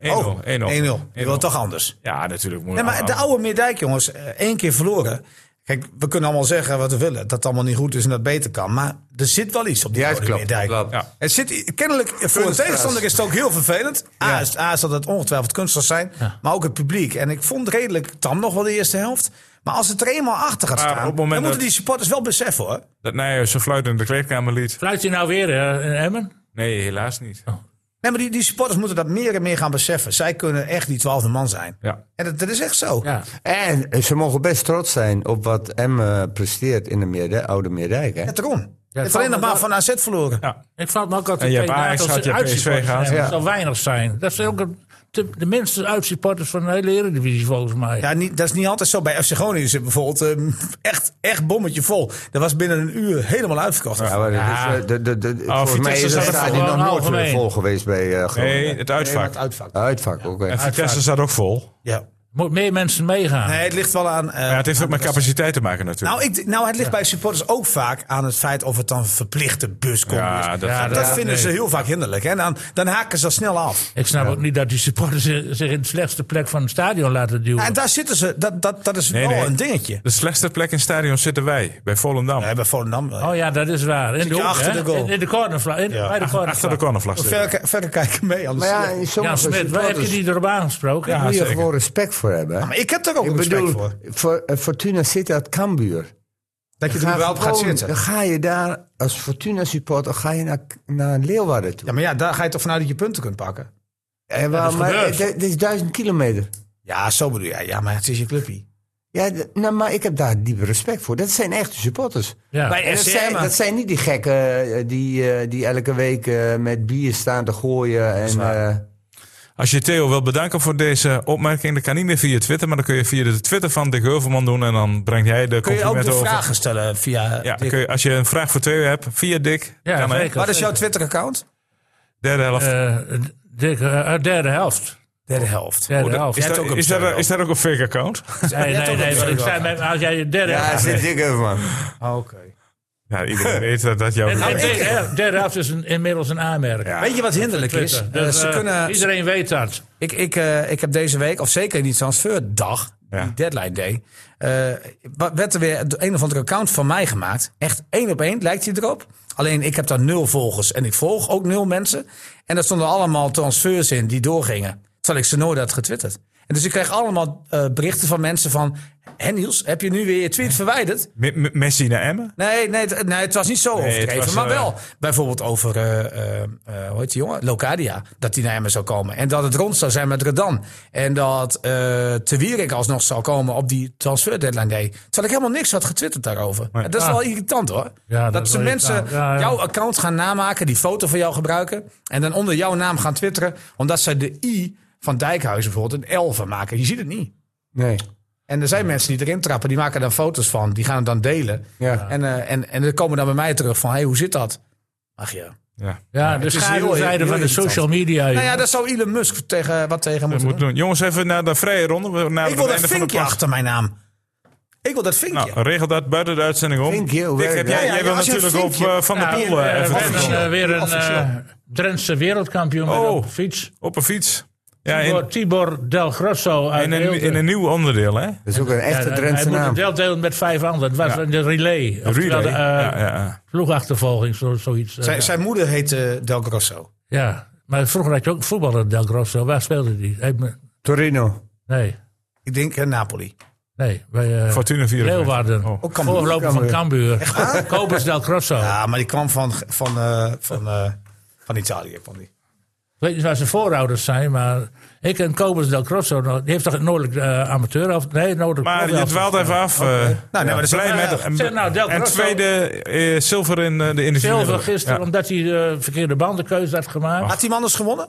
Speaker 1: Je wil
Speaker 4: 1-0.
Speaker 1: toch anders.
Speaker 4: Ja, natuurlijk. Moet
Speaker 1: Nee, maar de oude Meerdijk, jongens, eh, één keer verloren. Kijk, we kunnen allemaal zeggen wat we willen. Dat het allemaal niet goed is en dat het beter kan. Maar er zit wel iets op die
Speaker 2: Ja,
Speaker 1: oude
Speaker 2: klopt,
Speaker 1: Meerdijk.
Speaker 2: klopt.
Speaker 4: Ja.
Speaker 1: Het zit kennelijk, voor een tegenstander is het ook heel vervelend. A, is, A, zal het ongetwijfeld kunstig zijn. Maar ook het publiek. En ik vond redelijk tam nog wel de eerste helft. Maar als het er eenmaal achter gaat
Speaker 4: Maar op
Speaker 1: staan,
Speaker 4: het
Speaker 1: dan
Speaker 4: moment
Speaker 1: moeten
Speaker 4: dat-
Speaker 1: die supporters wel beseffen hoor.
Speaker 4: Dat Nijhuis zijn fluit in de kleedkamer liet.
Speaker 3: Fluit hij nou weer eh, in Emmen?
Speaker 4: Nee, helaas niet.
Speaker 1: Oh. Nee, maar die, die supporters moeten dat meer en meer gaan beseffen. Zij kunnen echt die twaalfde man zijn.
Speaker 4: Ja.
Speaker 1: En dat, dat is echt zo.
Speaker 3: Ja.
Speaker 2: En eh, ze mogen best trots zijn op wat Emme presteert in de Meerde- Oude Meerdijk. Hè?
Speaker 1: Net erom. Je hebt
Speaker 3: valt
Speaker 1: alleen nog
Speaker 3: me
Speaker 1: maar
Speaker 3: wel-
Speaker 1: van AZ verloren.
Speaker 4: ja.
Speaker 3: Ik val me ook
Speaker 4: En
Speaker 3: altijd
Speaker 4: je hebt
Speaker 3: tegen
Speaker 4: Ajax
Speaker 3: dat
Speaker 4: gehad, je hebt
Speaker 3: uitzien
Speaker 4: PSV
Speaker 3: wordt.
Speaker 4: gehad.
Speaker 3: Ja,
Speaker 2: Ja.
Speaker 3: Dat zal weinig zijn. Dat is ook een te- de minste uitsupporters van de hele Eredivisie volgens mij.
Speaker 1: Ja, niet, dat is niet altijd zo. Bij FC Groningen zit bijvoorbeeld ehm, echt, echt bommetje vol. Dat was binnen een uur helemaal uitverkocht.
Speaker 2: Ja, maar dat is,
Speaker 4: Ja.
Speaker 2: eh, de, de, de,
Speaker 4: Oh,
Speaker 2: volgens mij
Speaker 4: Vitesse
Speaker 2: is het
Speaker 4: staat er
Speaker 2: stadion nog
Speaker 3: gewoon
Speaker 2: nooit zo
Speaker 3: algemeen.
Speaker 2: vol geweest bij eh Groningen.
Speaker 4: Nee, het uitvak.
Speaker 2: Uitvak, oké.
Speaker 4: en Vitesse staat ook vol.
Speaker 1: Ja.
Speaker 3: Moet meer mensen meegaan.
Speaker 1: Nee, het ligt wel aan. eh,
Speaker 4: Ja, het heeft ook met capaciteit te maken
Speaker 1: nou,
Speaker 4: natuurlijk.
Speaker 1: ik, nou, het ligt bij supporters ook vaak aan het feit of het dan verplichte buscombi is.
Speaker 4: ja, dat,
Speaker 3: Ja,
Speaker 1: Dat vinden
Speaker 3: nee.
Speaker 1: ze heel vaak hinderlijk. Hè? Dan, dan haken ze al snel af.
Speaker 3: Ik snap ook niet dat die supporters zich zich in de slechtste plek van het stadion laten duwen.
Speaker 1: En daar zitten ze. Dat, dat, dat is
Speaker 4: Nee,
Speaker 1: wel
Speaker 4: nee.
Speaker 1: een dingetje.
Speaker 4: de slechtste plek in het stadion zitten wij, bij Volendam.
Speaker 1: We hebben Volendam. eh,
Speaker 3: Oh ja, dat is waar. In de,
Speaker 1: je
Speaker 3: hoek,
Speaker 1: achter
Speaker 3: hè?
Speaker 1: de goal.
Speaker 3: In, in de cornervlag. In, bij de cornervlag.
Speaker 4: Achter de cornervlag zitten.
Speaker 1: verder, verder kijken mee. Anders, eh,
Speaker 2: Maar ja, in
Speaker 3: Ja,
Speaker 2: sommige
Speaker 3: Smit, waar heb je
Speaker 2: supporters
Speaker 3: die erop aangesproken?
Speaker 4: Ja,
Speaker 2: moet je
Speaker 4: zeker.
Speaker 2: gewoon respect voor hebben.
Speaker 1: maar ik heb er ook
Speaker 2: ik
Speaker 1: respect
Speaker 2: bedoel,
Speaker 1: voor.
Speaker 2: voor, eh, Fortuna zit uit Cambuur.
Speaker 1: Dat je er wel op gaat
Speaker 2: gewoon-
Speaker 1: zitten.
Speaker 2: Dan ga je daar als Fortuna supporter ga je naar, naar Leeuwarden toe.
Speaker 1: Ja, maar ja, daar ga je toch vanuit dat je punten kunt pakken.
Speaker 2: en waar,
Speaker 3: is
Speaker 2: maar
Speaker 3: gebeurd.
Speaker 2: eh, dit dit is duizend kilometer.
Speaker 1: Ja, zo bedoel je. Ja, maar het is je clubje.
Speaker 2: Ja, d- nou, maar ik heb daar diep respect voor. Dat zijn echte supporters.
Speaker 3: Ja.
Speaker 1: Bij
Speaker 2: En dat,
Speaker 1: SC
Speaker 2: zijn,
Speaker 1: Emmen.
Speaker 2: dat zijn niet die gekken eh, die, eh, die elke week eh, met bier staan te gooien. En, eh,
Speaker 4: Als je Theo wil bedanken voor deze opmerking, dat kan niet meer via Twitter, maar dan kun je via de Twitter van Dick Heuvelman doen en dan brengt jij de
Speaker 1: Kun je ook
Speaker 4: complimenten
Speaker 1: de
Speaker 4: over.
Speaker 1: vragen stellen via.
Speaker 4: Ja,
Speaker 1: Dick?
Speaker 4: kun je, als je een vraag voor Theo hebt, via Dick,
Speaker 3: Ja,
Speaker 4: kan hij.
Speaker 3: zeker.
Speaker 1: Wat is jouw Twitter-account?
Speaker 4: Derde helft.
Speaker 3: Eh, Dick, eh, derde helft.
Speaker 1: Derde helft.
Speaker 3: Derde helft.
Speaker 4: is,
Speaker 1: hebt
Speaker 4: dat,
Speaker 1: ook een
Speaker 4: is, dat,
Speaker 1: pseudo.
Speaker 4: is dat ook een fake account?
Speaker 3: Nee,
Speaker 1: Jij
Speaker 3: nee,
Speaker 1: hebt ook
Speaker 3: nee.
Speaker 1: een
Speaker 3: want ik
Speaker 1: pseudo.
Speaker 3: zei, maar als jij je derde
Speaker 2: ja,
Speaker 3: helft...
Speaker 2: zit dik even, man.
Speaker 1: Oké.
Speaker 4: Ja, iedereen weet dat, dat jouw...
Speaker 3: En- en
Speaker 4: Ja,
Speaker 3: derde helft- Derde helft is een, inmiddels een aanmerking.
Speaker 4: Ja.
Speaker 1: Weet je wat hinderlijk is?
Speaker 3: Twitter.
Speaker 1: Eh,
Speaker 3: Dus,
Speaker 1: ze
Speaker 3: eh,
Speaker 1: kunnen,
Speaker 3: Iedereen weet dat.
Speaker 1: ik, ik, eh, ik heb deze week, of zeker in die transferdag,
Speaker 4: Ja.
Speaker 1: die deadline day, eh, wa- werd er weer door een of andere account van mij gemaakt. Echt één op één lijkt hij erop. Alleen ik heb daar nul volgers en ik volg ook nul mensen. En daar stonden allemaal transfers in die doorgingen. Terwijl ik ze nooit had getwitterd. En dus ik kreeg allemaal eh, berichten van mensen van... Hé Niels, heb je nu weer je tweet verwijderd?
Speaker 4: M- M- Messi naar Emmen?
Speaker 1: Nee, nee, het, nee, het was niet zo
Speaker 4: het
Speaker 1: overdreven.
Speaker 4: was,
Speaker 1: maar
Speaker 4: eh,
Speaker 1: wel bijvoorbeeld over, eh, eh, eh, hoe heet die jongen? Locadia. Dat die naar hem zou komen. En dat het rond zou zijn met Redan. En dat eh Te Wierik alsnog zou komen op die transfer deadline day. Terwijl ik helemaal niks had getwitterd daarover. En dat is
Speaker 3: Ah.
Speaker 1: wel irritant hoor.
Speaker 3: Ja,
Speaker 1: dat
Speaker 3: dat is
Speaker 1: ze
Speaker 3: wel
Speaker 1: mensen
Speaker 3: irritant. Ja, ja.
Speaker 1: jouw account gaan namaken, die foto van jou gebruiken. En dan onder jouw naam gaan twitteren. Omdat zij de I van Dijkhuizen bijvoorbeeld een L van maken. Je ziet het niet.
Speaker 2: Nee.
Speaker 1: En er zijn mensen die erin trappen, die maken daar foto's van. Die gaan het dan delen.
Speaker 2: Ja.
Speaker 1: En, eh, en, en dan komen dan bij mij terug van, hey, hoe zit dat? Ach ja.
Speaker 4: Ja,
Speaker 3: Ja, dus de
Speaker 1: is heel- heel
Speaker 3: schaduwzijde van de
Speaker 1: irritant.
Speaker 3: social media. joh.
Speaker 1: Nou ja, daar zou Elon Musk tegen, wat tegen
Speaker 4: dat
Speaker 1: moeten
Speaker 4: moet
Speaker 1: doen.
Speaker 4: doen. Jongens, even naar de vrije ronde. We naderen
Speaker 1: Ik wil
Speaker 4: het
Speaker 1: dat
Speaker 4: einde van de
Speaker 1: vinkje
Speaker 4: podcast.
Speaker 1: achter mijn naam. Ik wil dat vinkje.
Speaker 4: Nou, regel dat buiten de uitzending om.
Speaker 2: Vinkje, hoe
Speaker 4: Dick,
Speaker 2: werkt
Speaker 4: heb
Speaker 2: dat?
Speaker 4: jij,
Speaker 1: Ja, ja,
Speaker 4: jij wil
Speaker 1: als je een
Speaker 4: natuurlijk op
Speaker 1: vinkje-
Speaker 4: eh, Van der
Speaker 3: Ja,
Speaker 4: Poel eh,
Speaker 3: eh,
Speaker 4: even
Speaker 3: we hebben,
Speaker 4: vinkje.
Speaker 3: eh, weer een
Speaker 1: Officieel.
Speaker 3: eh, Drentse wereldkampioen met
Speaker 4: Oh.
Speaker 3: op de fiets.
Speaker 4: op een fiets. Ja,
Speaker 3: Tibor,
Speaker 4: in,
Speaker 3: Tibor Del Grosso uit
Speaker 4: in, een,
Speaker 3: Eelten.
Speaker 4: in een nieuw onderdeel, hè?
Speaker 2: Dat is ook een
Speaker 3: Ja,
Speaker 2: echte
Speaker 3: hij-
Speaker 2: Drentse
Speaker 3: Hij moet
Speaker 2: naam.
Speaker 3: het wel delen met vijf anderen. Het was
Speaker 4: Ja.
Speaker 3: een de relay. Oftewel De,
Speaker 4: Relay. ja, ja,
Speaker 3: eh,
Speaker 4: ja.
Speaker 3: Ploegachtervolging, zo, zoiets. eh,
Speaker 1: zijn,
Speaker 3: ja.
Speaker 1: zijn moeder heet eh, Del Grosso.
Speaker 3: ja, maar vroeger had je ook een voetballer Del Grosso. Waar speelde die? Hij me-
Speaker 2: Torino.
Speaker 3: Nee,
Speaker 1: Ik denk eh, Napoli.
Speaker 3: nee. Bij eh
Speaker 4: Fortuna 54.
Speaker 3: Leeuwarden.
Speaker 4: Oh.
Speaker 1: Ook Cambuur.
Speaker 3: Voorloper van Cambuur. Kobus Del Grosso.
Speaker 1: Ja, maar die kwam van, van, eh, van, eh, van Italië. Van die.
Speaker 3: Ik weet niet waar zijn voorouders zijn, maar ik en Kobus Del Grosso, nou, die heeft toch een noordelijk eh, amateur of nee, noordelijk
Speaker 4: Maar je
Speaker 3: profhelft?
Speaker 4: dwaalt even af. eh.
Speaker 1: Nou, maar
Speaker 4: Ja,
Speaker 1: dat is ook
Speaker 4: blij
Speaker 1: wel
Speaker 4: met.
Speaker 1: erg.
Speaker 4: en-
Speaker 3: Zeg nou, Del
Speaker 4: en
Speaker 3: Grosso.
Speaker 4: tweede eh, zilver in eh, de industrie.
Speaker 3: Zilver gisteren, omdat hij eh, verkeerde bandenkeuze had gemaakt.
Speaker 1: Had die man dus gewonnen?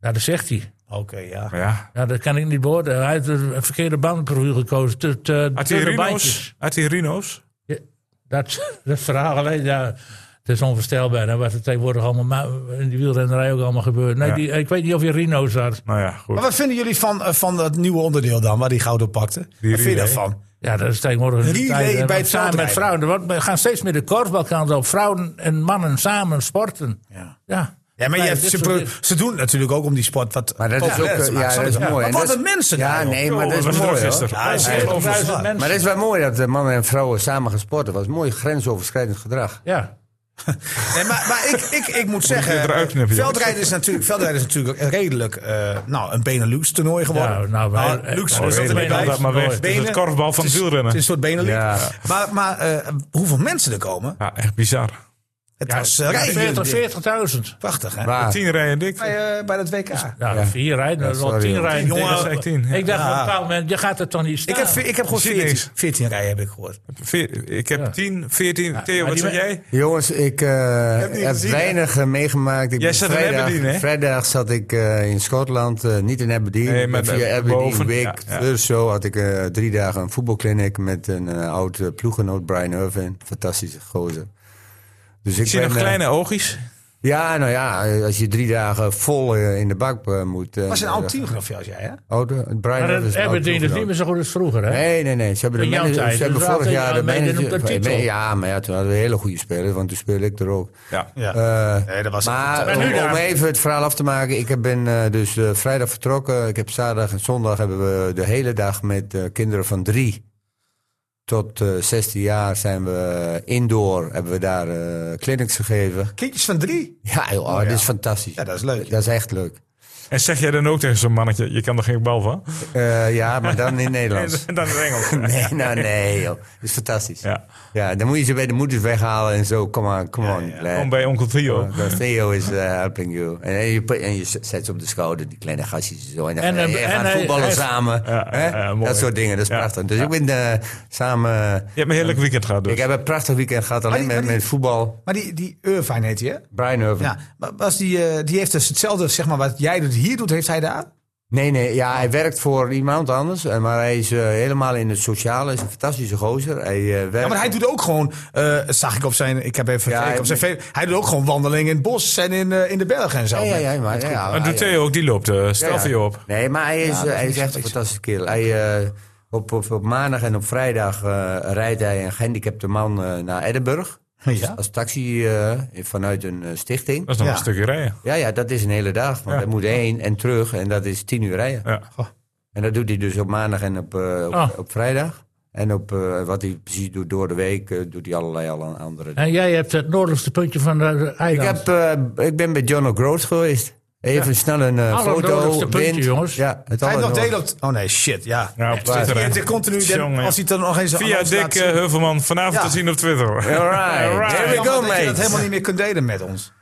Speaker 3: Nou, dat zegt hij.
Speaker 1: Oké, ja.
Speaker 4: Ja. Ja.
Speaker 3: Ja, dat kan ik niet beoordelen. Hij heeft een verkeerde bandenprofiel gekozen. Te, te,
Speaker 4: Had hij
Speaker 3: dunne
Speaker 4: rino's?
Speaker 3: bandjes.
Speaker 4: Had hij rino's?
Speaker 3: Ja, dat, dat verhaal alleen, ja, het is onvoorstelbaar. hè, Wat er tegenwoordig allemaal ma- in die wielrennerij ook allemaal gebeurt. Nee,
Speaker 4: Ja.
Speaker 3: die, ik weet niet of je rino's had.
Speaker 4: Nou ja, goed.
Speaker 1: Maar wat vinden jullie van, eh, van dat nieuwe onderdeel dan, waar die goud op pakte? Wat vind je
Speaker 4: relay.
Speaker 1: daarvan?
Speaker 3: Ja, dat is tegenwoordig een
Speaker 1: Relay
Speaker 3: tijd, hè,
Speaker 1: bij
Speaker 3: want
Speaker 1: het
Speaker 3: samen met
Speaker 1: veldrijden.
Speaker 3: vrouwen. er wordt- We gaan steeds meer de korfbalkant op. Vrouwen en mannen samen sporten.
Speaker 1: Ja.
Speaker 3: Ja,
Speaker 1: Ja, maar je
Speaker 3: Nee,
Speaker 1: hebt-
Speaker 3: dit
Speaker 1: ze,
Speaker 3: soort
Speaker 1: pro-
Speaker 3: dingen.
Speaker 1: ze doen het natuurlijk ook om die sport wat
Speaker 2: Maar dat is ook,
Speaker 1: populair te
Speaker 2: eh,
Speaker 1: maken,
Speaker 2: ja,
Speaker 1: snap
Speaker 2: dat is
Speaker 1: je?
Speaker 2: mooi.
Speaker 1: Maar
Speaker 2: En
Speaker 1: wat
Speaker 2: dat-
Speaker 1: een mensen
Speaker 2: Ja,
Speaker 1: daar, joh.
Speaker 2: nee, maar dat is
Speaker 4: was
Speaker 2: mooi. hoor.
Speaker 4: druk gisteren.
Speaker 1: Ja,
Speaker 4: Ja,
Speaker 1: is
Speaker 4: ja.
Speaker 1: echt
Speaker 3: duizend
Speaker 1: onvoorstelbaar.
Speaker 3: mensen.
Speaker 2: Maar dat is wel mooi dat de mannen en vrouwen samen gesporten. Dat was mooi grensoverschrijdend gedrag.
Speaker 3: Ja.
Speaker 1: Nee, maar maar ik, ik, ik moet zeggen,
Speaker 4: het eruit knippen, joh.
Speaker 1: veldrijden is natuurlijk, veldrijden is natuurlijk een redelijk eh, nou, een Benelux-toernooi geworden.
Speaker 3: Ja, nou, wij- eh,
Speaker 1: luxe
Speaker 3: oh,
Speaker 1: is dat er
Speaker 3: redelijk,
Speaker 1: niet bij.
Speaker 3: laat dat maar weg.
Speaker 4: Het is het
Speaker 1: Benen,
Speaker 4: korfbal van
Speaker 1: het is-
Speaker 4: wielrennen.
Speaker 1: Het is een soort Benelux.
Speaker 2: Ja.
Speaker 1: Maar, maar eh, hoeveel mensen er komen,
Speaker 4: Ja, echt bizar.
Speaker 1: Het
Speaker 3: Ja,
Speaker 1: was
Speaker 3: ja,
Speaker 1: eh, rijden.
Speaker 3: 40 40.000.
Speaker 1: Prachtig, hè?
Speaker 2: Waar?
Speaker 4: Tien rijen dik.
Speaker 1: Bij, eh, bij dat WK.
Speaker 3: Ja, vier rijden, dat is wel
Speaker 2: sorry,
Speaker 3: tien
Speaker 2: hoor.
Speaker 3: rijden.
Speaker 1: Jongen,
Speaker 3: Ik dacht,
Speaker 1: dat is
Speaker 4: echt tien, ja.
Speaker 3: Ik dacht op een
Speaker 1: Ja.
Speaker 3: bepaald moment, je gaat het toch niet staan.
Speaker 1: Ik heb, ik heb gewoon
Speaker 4: zie
Speaker 1: 14,
Speaker 4: niks.
Speaker 1: 14 rijen, heb ik gehoord.
Speaker 4: Veer- ik heb 10, 14. Theo,
Speaker 3: maar
Speaker 4: wat
Speaker 3: die
Speaker 4: zeg
Speaker 3: me-
Speaker 4: jij?
Speaker 2: Jongens, ik eh, heb,
Speaker 4: niet gezien, hè?
Speaker 2: weinig eh, meegemaakt. Ik
Speaker 4: Jij
Speaker 2: ben
Speaker 4: zat in Aberdeen, hè?
Speaker 2: Vrijdag zat ik eh, in Schotland, eh, niet in Aberdeen.
Speaker 4: Nee,
Speaker 2: ik ben
Speaker 4: maar
Speaker 2: via Aberdeen,
Speaker 4: boven,
Speaker 2: Wick,
Speaker 4: ja, ja.
Speaker 2: Thurso had ik eh, drie dagen een voetbalclinic met een eh, oud eh, ploeggenoot, Brian Irvin. Fantastische gozer. Dus
Speaker 4: Ik zie nog
Speaker 2: eh,
Speaker 4: kleine oogjes.
Speaker 2: Ja, nou ja, eh, als je drie dagen vol eh, in de bak eh, moet. eh,
Speaker 1: was een oud
Speaker 2: eh,
Speaker 1: teamgenoot van jou, zei je, hè?
Speaker 2: Oude, Brian
Speaker 3: Maar
Speaker 2: Irvin is
Speaker 3: dat
Speaker 2: een oud
Speaker 3: Aberdeen is niet
Speaker 2: ploeggenoot.
Speaker 3: meer zo goed als vroeger, hè?
Speaker 2: Nee, nee, nee. Ze hebben, de
Speaker 3: In jouw
Speaker 2: manager-
Speaker 3: tijd,
Speaker 2: ze hebben
Speaker 3: dus we
Speaker 2: vorig
Speaker 3: hadden
Speaker 2: jaar de
Speaker 3: meiden op
Speaker 2: manager...
Speaker 3: de titel.
Speaker 2: ja, maar ja, toen hadden we hele goede spelers, want toen speelde ik er ook.
Speaker 4: Ja.
Speaker 1: Ja.
Speaker 2: Eh,
Speaker 1: nee, dat was
Speaker 2: maar
Speaker 3: En nu
Speaker 2: om,
Speaker 3: daar?
Speaker 2: om even het verhaal af te maken. Ik heb- ben eh, dus eh, vrijdag vertrokken. Ik heb zaterdag en zondag hebben we de hele dag met eh, kinderen van drie tot eh 16 jaar zijn we indoor. Hebben we daar eh, clinics gegeven.
Speaker 1: Kindjes van drie.
Speaker 2: Ja, joh, oh, dit is fantastisch.
Speaker 1: Ja, dat is leuk.
Speaker 2: Dat is echt leuk.
Speaker 4: En zeg jij dan ook tegen zo'n mannetje, je kan er geen bal van?
Speaker 2: Eh, ja, maar dan in Nederlands.
Speaker 4: En dan in het Engels.
Speaker 2: Nee, nou nee, joh. Dat is fantastisch.
Speaker 4: Ja.
Speaker 2: Ja, dan moet je ze bij de moeders weghalen en zo. Come on, come on. lad.
Speaker 4: Kom bij onkel Theo.
Speaker 2: Uh, Theo is eh, helping you. En, eh, je, put- en je zet zet ze op de schouder, die kleine gastjes zo. En dan
Speaker 3: En,
Speaker 2: gaan-
Speaker 3: eh,
Speaker 2: je
Speaker 3: en
Speaker 2: gaan
Speaker 3: hij-
Speaker 2: voetballen
Speaker 3: hij-
Speaker 2: samen.
Speaker 4: Ja,
Speaker 2: hè?
Speaker 4: ja, ja, mooi.
Speaker 2: dat soort dingen, dat is
Speaker 4: Ja,
Speaker 2: prachtig. Dus ik ben eh, samen...
Speaker 4: Je hebt een heerlijk weekend gehad dus.
Speaker 2: Ik heb een prachtig weekend gehad, alleen
Speaker 1: Maar die-
Speaker 2: met,
Speaker 1: maar die-
Speaker 2: met voetbal.
Speaker 1: Maar die, die Irvine heet hij, hè?
Speaker 2: Brian Irvin.
Speaker 1: Ja, maar was die, eh, die heeft dus hetzelfde, zeg maar, wat jij doet, hier doet, heeft hij daar?
Speaker 2: Nee, nee, ja, hij werkt voor iemand anders. eh, Maar hij is eh, helemaal in het sociale. Hij is een fantastische gozer. Hij, eh, werkt...
Speaker 1: Ja, maar hij doet ook gewoon, eh, dat zag ik op zijn, ik heb even
Speaker 2: Ja,
Speaker 1: gekeken op zijn
Speaker 2: hij-
Speaker 1: fe- Hij doet ook gewoon wandelingen in het bos en in, eh, in de bergen en zo.
Speaker 2: Ja, ja, ja, maar, ja, ja,
Speaker 4: En
Speaker 2: hij-
Speaker 1: Ah,
Speaker 4: doet Theo ook, die loopt eh straf
Speaker 2: Ja, ja.
Speaker 4: je op.
Speaker 2: Nee, maar hij is, eh,
Speaker 1: dat is
Speaker 2: hij is
Speaker 1: niet
Speaker 2: echt een
Speaker 1: zoiets.
Speaker 2: fantastische kerel. Hij, eh, op, op, op maandag en op vrijdag eh, rijdt hij een gehandicapte man eh, naar Edinburgh. Dus
Speaker 1: Ja.
Speaker 2: Als taxi eh, vanuit een eh, stichting.
Speaker 4: Dat is nog
Speaker 1: Ja.
Speaker 4: een stukje rijden.
Speaker 2: Ja, ja, dat is een hele dag. Want
Speaker 4: Ja.
Speaker 2: hij moet heen en terug en dat is tien uur rijden.
Speaker 4: Ja.
Speaker 2: En dat doet hij dus op maandag en op, eh, op,
Speaker 3: Ah.
Speaker 2: op vrijdag. En op, eh, wat hij precies doet door de week, eh, doet hij allerlei alle andere dingen.
Speaker 3: En jij hebt het noordelijkste puntje van de- de
Speaker 2: Ik,
Speaker 3: eiland.
Speaker 2: heb, eh, ik ben bij John O'Groats geweest. Even snel een eh, foto.
Speaker 3: Allernodigste puntje,
Speaker 2: wind.
Speaker 3: jongens.
Speaker 2: Ja, het
Speaker 1: Hij heeft nog
Speaker 2: allernodigste.
Speaker 1: delen op... Oh nee, shit, ja.
Speaker 4: Ja, op Twitter, hè.
Speaker 1: Het is continu, dan-
Speaker 4: Jongen.
Speaker 1: als hij het er nog eens...
Speaker 4: Via
Speaker 1: anders laat
Speaker 4: Dick
Speaker 1: zien.
Speaker 4: eh, Heuvelman, vanavond
Speaker 1: Ja.
Speaker 4: te zien op Twitter.
Speaker 2: All right.
Speaker 4: Alright.
Speaker 2: There we
Speaker 1: Jammer
Speaker 2: go,
Speaker 1: dat je dat
Speaker 2: mate.
Speaker 1: helemaal niet meer kunt delen met ons.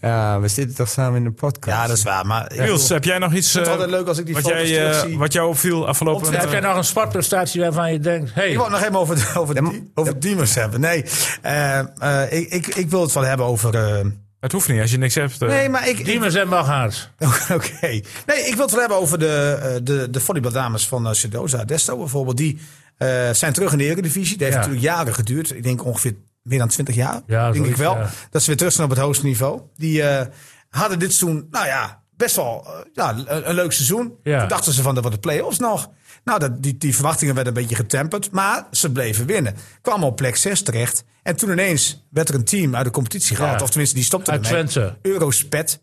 Speaker 2: Ja, we zitten toch samen in de podcast.
Speaker 1: Ja, dat is waar, maar...
Speaker 4: Niels, heb jij nog iets
Speaker 1: het
Speaker 4: eh,
Speaker 1: altijd leuk als ik die
Speaker 4: wat,
Speaker 1: foto's
Speaker 4: jij, eh,
Speaker 1: terugzie.
Speaker 4: wat jou opviel
Speaker 1: Op
Speaker 4: afgelopen
Speaker 1: Twitter.
Speaker 3: Heb jij nog een sportprestatie waarvan je denkt...
Speaker 1: Ik wil
Speaker 3: Hey,
Speaker 1: het nog even over, de- over, die- over Diemers hebben. Nee, eh, eh, ik, ik, ik wil het wel hebben over... eh,
Speaker 4: Het hoeft niet als je niks hebt. eh.
Speaker 1: nee, maar ik... ik-
Speaker 3: Diemers en Malgaard.
Speaker 1: Oké. Nee, ik wil het wel hebben over de, eh, de, de volleybaldames van eh, Sedoza Desto bijvoorbeeld. Die eh, zijn terug in de Eredivisie. Die heeft
Speaker 3: Ja.
Speaker 1: natuurlijk jaren geduurd. Ik denk ongeveer meer dan 20 jaar.
Speaker 3: Ja,
Speaker 1: denk
Speaker 3: zoiets,
Speaker 1: ik wel.
Speaker 3: ja.
Speaker 1: Dat ze weer terug zijn op het hoogste niveau. Die eh, hadden dit seizoen, nou ja, best wel eh, ja, een, een leuk seizoen.
Speaker 3: Ja.
Speaker 1: Toen dachten ze van, er worden play-offs nog. Nou, dat, die, die verwachtingen werden een beetje getemperd. Maar ze bleven winnen. Kwamen op plek 6 terecht. En toen ineens werd er een team uit de competitie gehaald.
Speaker 3: Ja.
Speaker 1: Of tenminste, die stopte
Speaker 3: Uit
Speaker 1: ermee.
Speaker 3: Twente.
Speaker 1: Eurospet.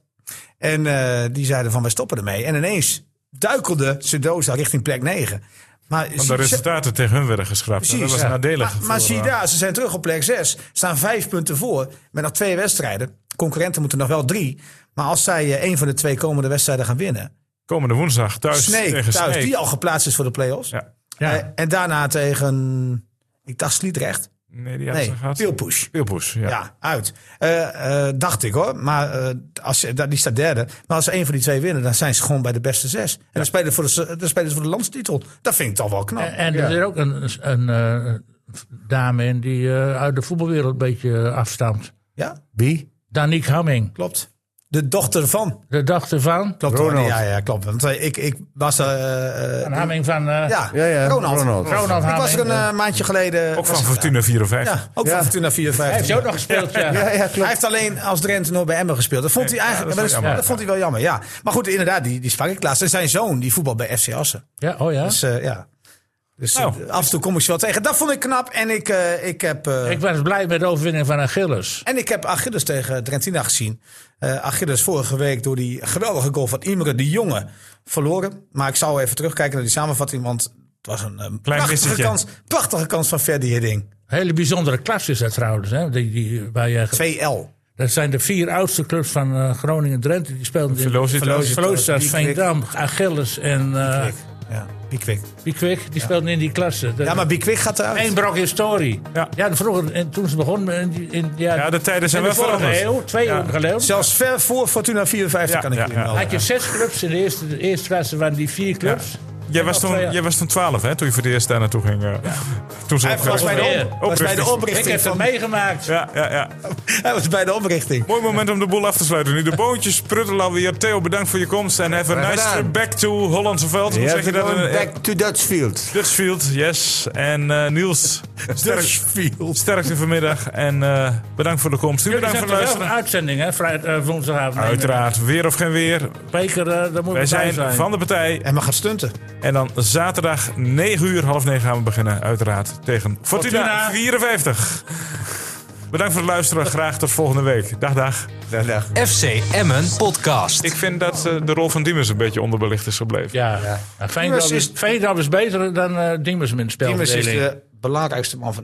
Speaker 1: En eh, die zeiden van, wij stoppen ermee. En ineens duikelde Sedoza richting plek 9. Maar
Speaker 4: Want
Speaker 1: zie-
Speaker 4: de resultaten tegen hun werden geschrapt.
Speaker 1: Precies,
Speaker 4: dat was
Speaker 1: ja.
Speaker 4: nadelig.
Speaker 1: Maar, maar
Speaker 4: voor,
Speaker 1: zie
Speaker 4: eh,
Speaker 1: daar, ze zijn terug op plek 6. Staan vijf punten voor. Met nog twee wedstrijden. Concurrenten moeten nog wel drie. Maar als zij eh, één van de twee komende wedstrijden gaan winnen.
Speaker 4: Komende woensdag thuis
Speaker 1: Snake
Speaker 4: tegen
Speaker 1: thuis,
Speaker 4: Snake.
Speaker 1: die al geplaatst is voor de play-offs.
Speaker 4: Ja.
Speaker 3: Ja.
Speaker 1: Eh, en daarna tegen, ik dacht Sliedrecht.
Speaker 4: Nee, die had
Speaker 1: Nee,
Speaker 4: ze gehad.
Speaker 1: Pilpush.
Speaker 4: Pilpoes, ja.
Speaker 1: Ja, uit. Eh, eh, dacht ik hoor. Maar eh, als, ze- dat- die staat derde. Maar als ze één van die twee winnen, dan zijn ze gewoon bij de beste zes. En dan spelen, ze voor de, se- dan spelen ze voor de landstitel. Dat vind ik toch wel
Speaker 4: Eh,
Speaker 1: knap.
Speaker 3: En, en er zit ook een, een eh, dame in die eh, uit de voetbalwereld een beetje afstamt.
Speaker 1: ja,
Speaker 2: Wie?
Speaker 3: Danique Hamming.
Speaker 1: klopt. De dochter van.
Speaker 3: De dochter van...
Speaker 1: Klopt hoor.
Speaker 2: Ronald.
Speaker 1: Ja, ja, klopt. Want eh, ik, ik was... eh, eh,
Speaker 3: Van Hamming van... eh,
Speaker 1: ja,
Speaker 2: Ja, ja,
Speaker 1: Ronald.
Speaker 2: Ronald.
Speaker 3: Ronald
Speaker 1: Ik was er
Speaker 3: Hamming,
Speaker 1: een eh, maandje geleden...
Speaker 4: Ook
Speaker 1: was
Speaker 4: van
Speaker 1: ik daar.
Speaker 4: Fortuna 54.
Speaker 1: Ja, ook
Speaker 2: Ja.
Speaker 1: van Fortuna
Speaker 3: Hij
Speaker 1: 54.
Speaker 3: heeft ze ook nog gespeeld, ja.
Speaker 1: Hij heeft alleen als Drenthe nooit bij Emmen gespeeld. Dat vond hij eigenlijk
Speaker 4: dat
Speaker 1: dat
Speaker 4: is wel jammer.
Speaker 1: dat vond hij wel jammer. Ja. Maar goed, inderdaad, die, die sprak ik laatst. En zijn zoon, die voetbal bij FC Assen.
Speaker 3: Ja, oh ja.
Speaker 1: Dus eh, ja. Dus
Speaker 4: Nou.
Speaker 1: eh, af en toe kom ik ze wel tegen. Dat vond ik knap. En ik, eh, ik heb. eh,
Speaker 3: Ik was blij met de overwinning van Achilles.
Speaker 1: en ik heb Achilles tegen Drentina gezien. Eh Achilles vorige week door die geweldige goal van Imre de Jonge verloren. Maar ik zou even terugkijken naar die samenvatting. Want het was een eh, prachtige,
Speaker 4: missetje.
Speaker 1: kans, prachtige kans van Ferdi Hidding.
Speaker 3: Hele bijzondere klas is dat trouwens. Hè? Die, die, waar je,
Speaker 1: 2L.
Speaker 3: dat zijn de vier oudste clubs van eh Groningen en Drenthe. Die speelden in
Speaker 4: Velocitas.
Speaker 3: Velocitas,
Speaker 1: Velocitas,
Speaker 3: Veendam, Achilles en eh,
Speaker 1: Klik. Ja, Bikwik.
Speaker 3: Bikwik, die speelde in die klasse. Dat-
Speaker 1: Ja, maar Bikwik gaat eruit.
Speaker 3: Eén brok historie. Ja, vroeger, en toen ze begonnen. In, in, ja,
Speaker 4: Ja, de tijden zijn
Speaker 3: in de
Speaker 4: wel
Speaker 3: vorige
Speaker 4: veranderd.
Speaker 3: eeuw, twee
Speaker 4: Ja.
Speaker 3: eeuwen geleden.
Speaker 1: Zelfs ver voor Fortuna 54 kan ik
Speaker 4: ja,
Speaker 1: jullie
Speaker 4: ja.
Speaker 1: melden.
Speaker 3: Had je zes clubs in de eerste, de eerste klasse, waren die vier clubs.
Speaker 4: Jij was,
Speaker 3: nog
Speaker 4: toen,
Speaker 3: twee-
Speaker 4: jij was toen 12, hè? Toen je voor de eerste daar naartoe ging. eh, Toen ze
Speaker 1: Hij was bij de, op- was bij de
Speaker 3: Ik
Speaker 1: oprichting
Speaker 3: heb het
Speaker 1: van...
Speaker 3: meegemaakt.
Speaker 4: Ja, ja, ja.
Speaker 1: Hij was bij de oprichting.
Speaker 4: Mooi moment om de boel af te sluiten. Nu de boontjes, pruttel alweer. Theo, bedankt voor je komst. En have a
Speaker 2: Graag
Speaker 4: nice
Speaker 2: gedaan.
Speaker 4: trip back to Hollandse veld. Hoe
Speaker 2: Ja,
Speaker 4: zeg je dat? Eh,
Speaker 2: gewoon
Speaker 4: in-
Speaker 2: Back to Dutchfield.
Speaker 4: Dutchfield, yes. En eh, Niels, sterk, sterkte vanmiddag. En eh, bedankt voor de komst. U
Speaker 3: Jullie
Speaker 4: bedankt
Speaker 3: zijn
Speaker 4: voor
Speaker 3: er
Speaker 4: het
Speaker 3: wel een
Speaker 4: luisteren.
Speaker 3: uitzending, hè? Vrijdag, eh, woensdagavond.
Speaker 4: Uiteraard, weer of geen weer.
Speaker 3: Beker, eh, daar moet
Speaker 4: Wij
Speaker 3: bij
Speaker 4: zijn van de partij.
Speaker 1: En maar gaat stunten.
Speaker 4: En dan zaterdag 9 uur, half 9 gaan we beginnen. Uiteraard tegen Fortuna,
Speaker 3: Fortuna.
Speaker 4: 54. Bedankt voor het luisteren. Graag tot volgende week. Dag, dag.
Speaker 2: Dag, dag.
Speaker 5: FC Emmen Podcast.
Speaker 4: Ik vind dat eh, de rol van Diemers een beetje onderbelicht is gebleven.
Speaker 3: Ja, ja. Veendam
Speaker 1: Diemers is-
Speaker 3: is, Veendam is beter dan eh Diemers in het spel.
Speaker 1: Immers is
Speaker 3: verdeling.
Speaker 1: de belangrijkste man van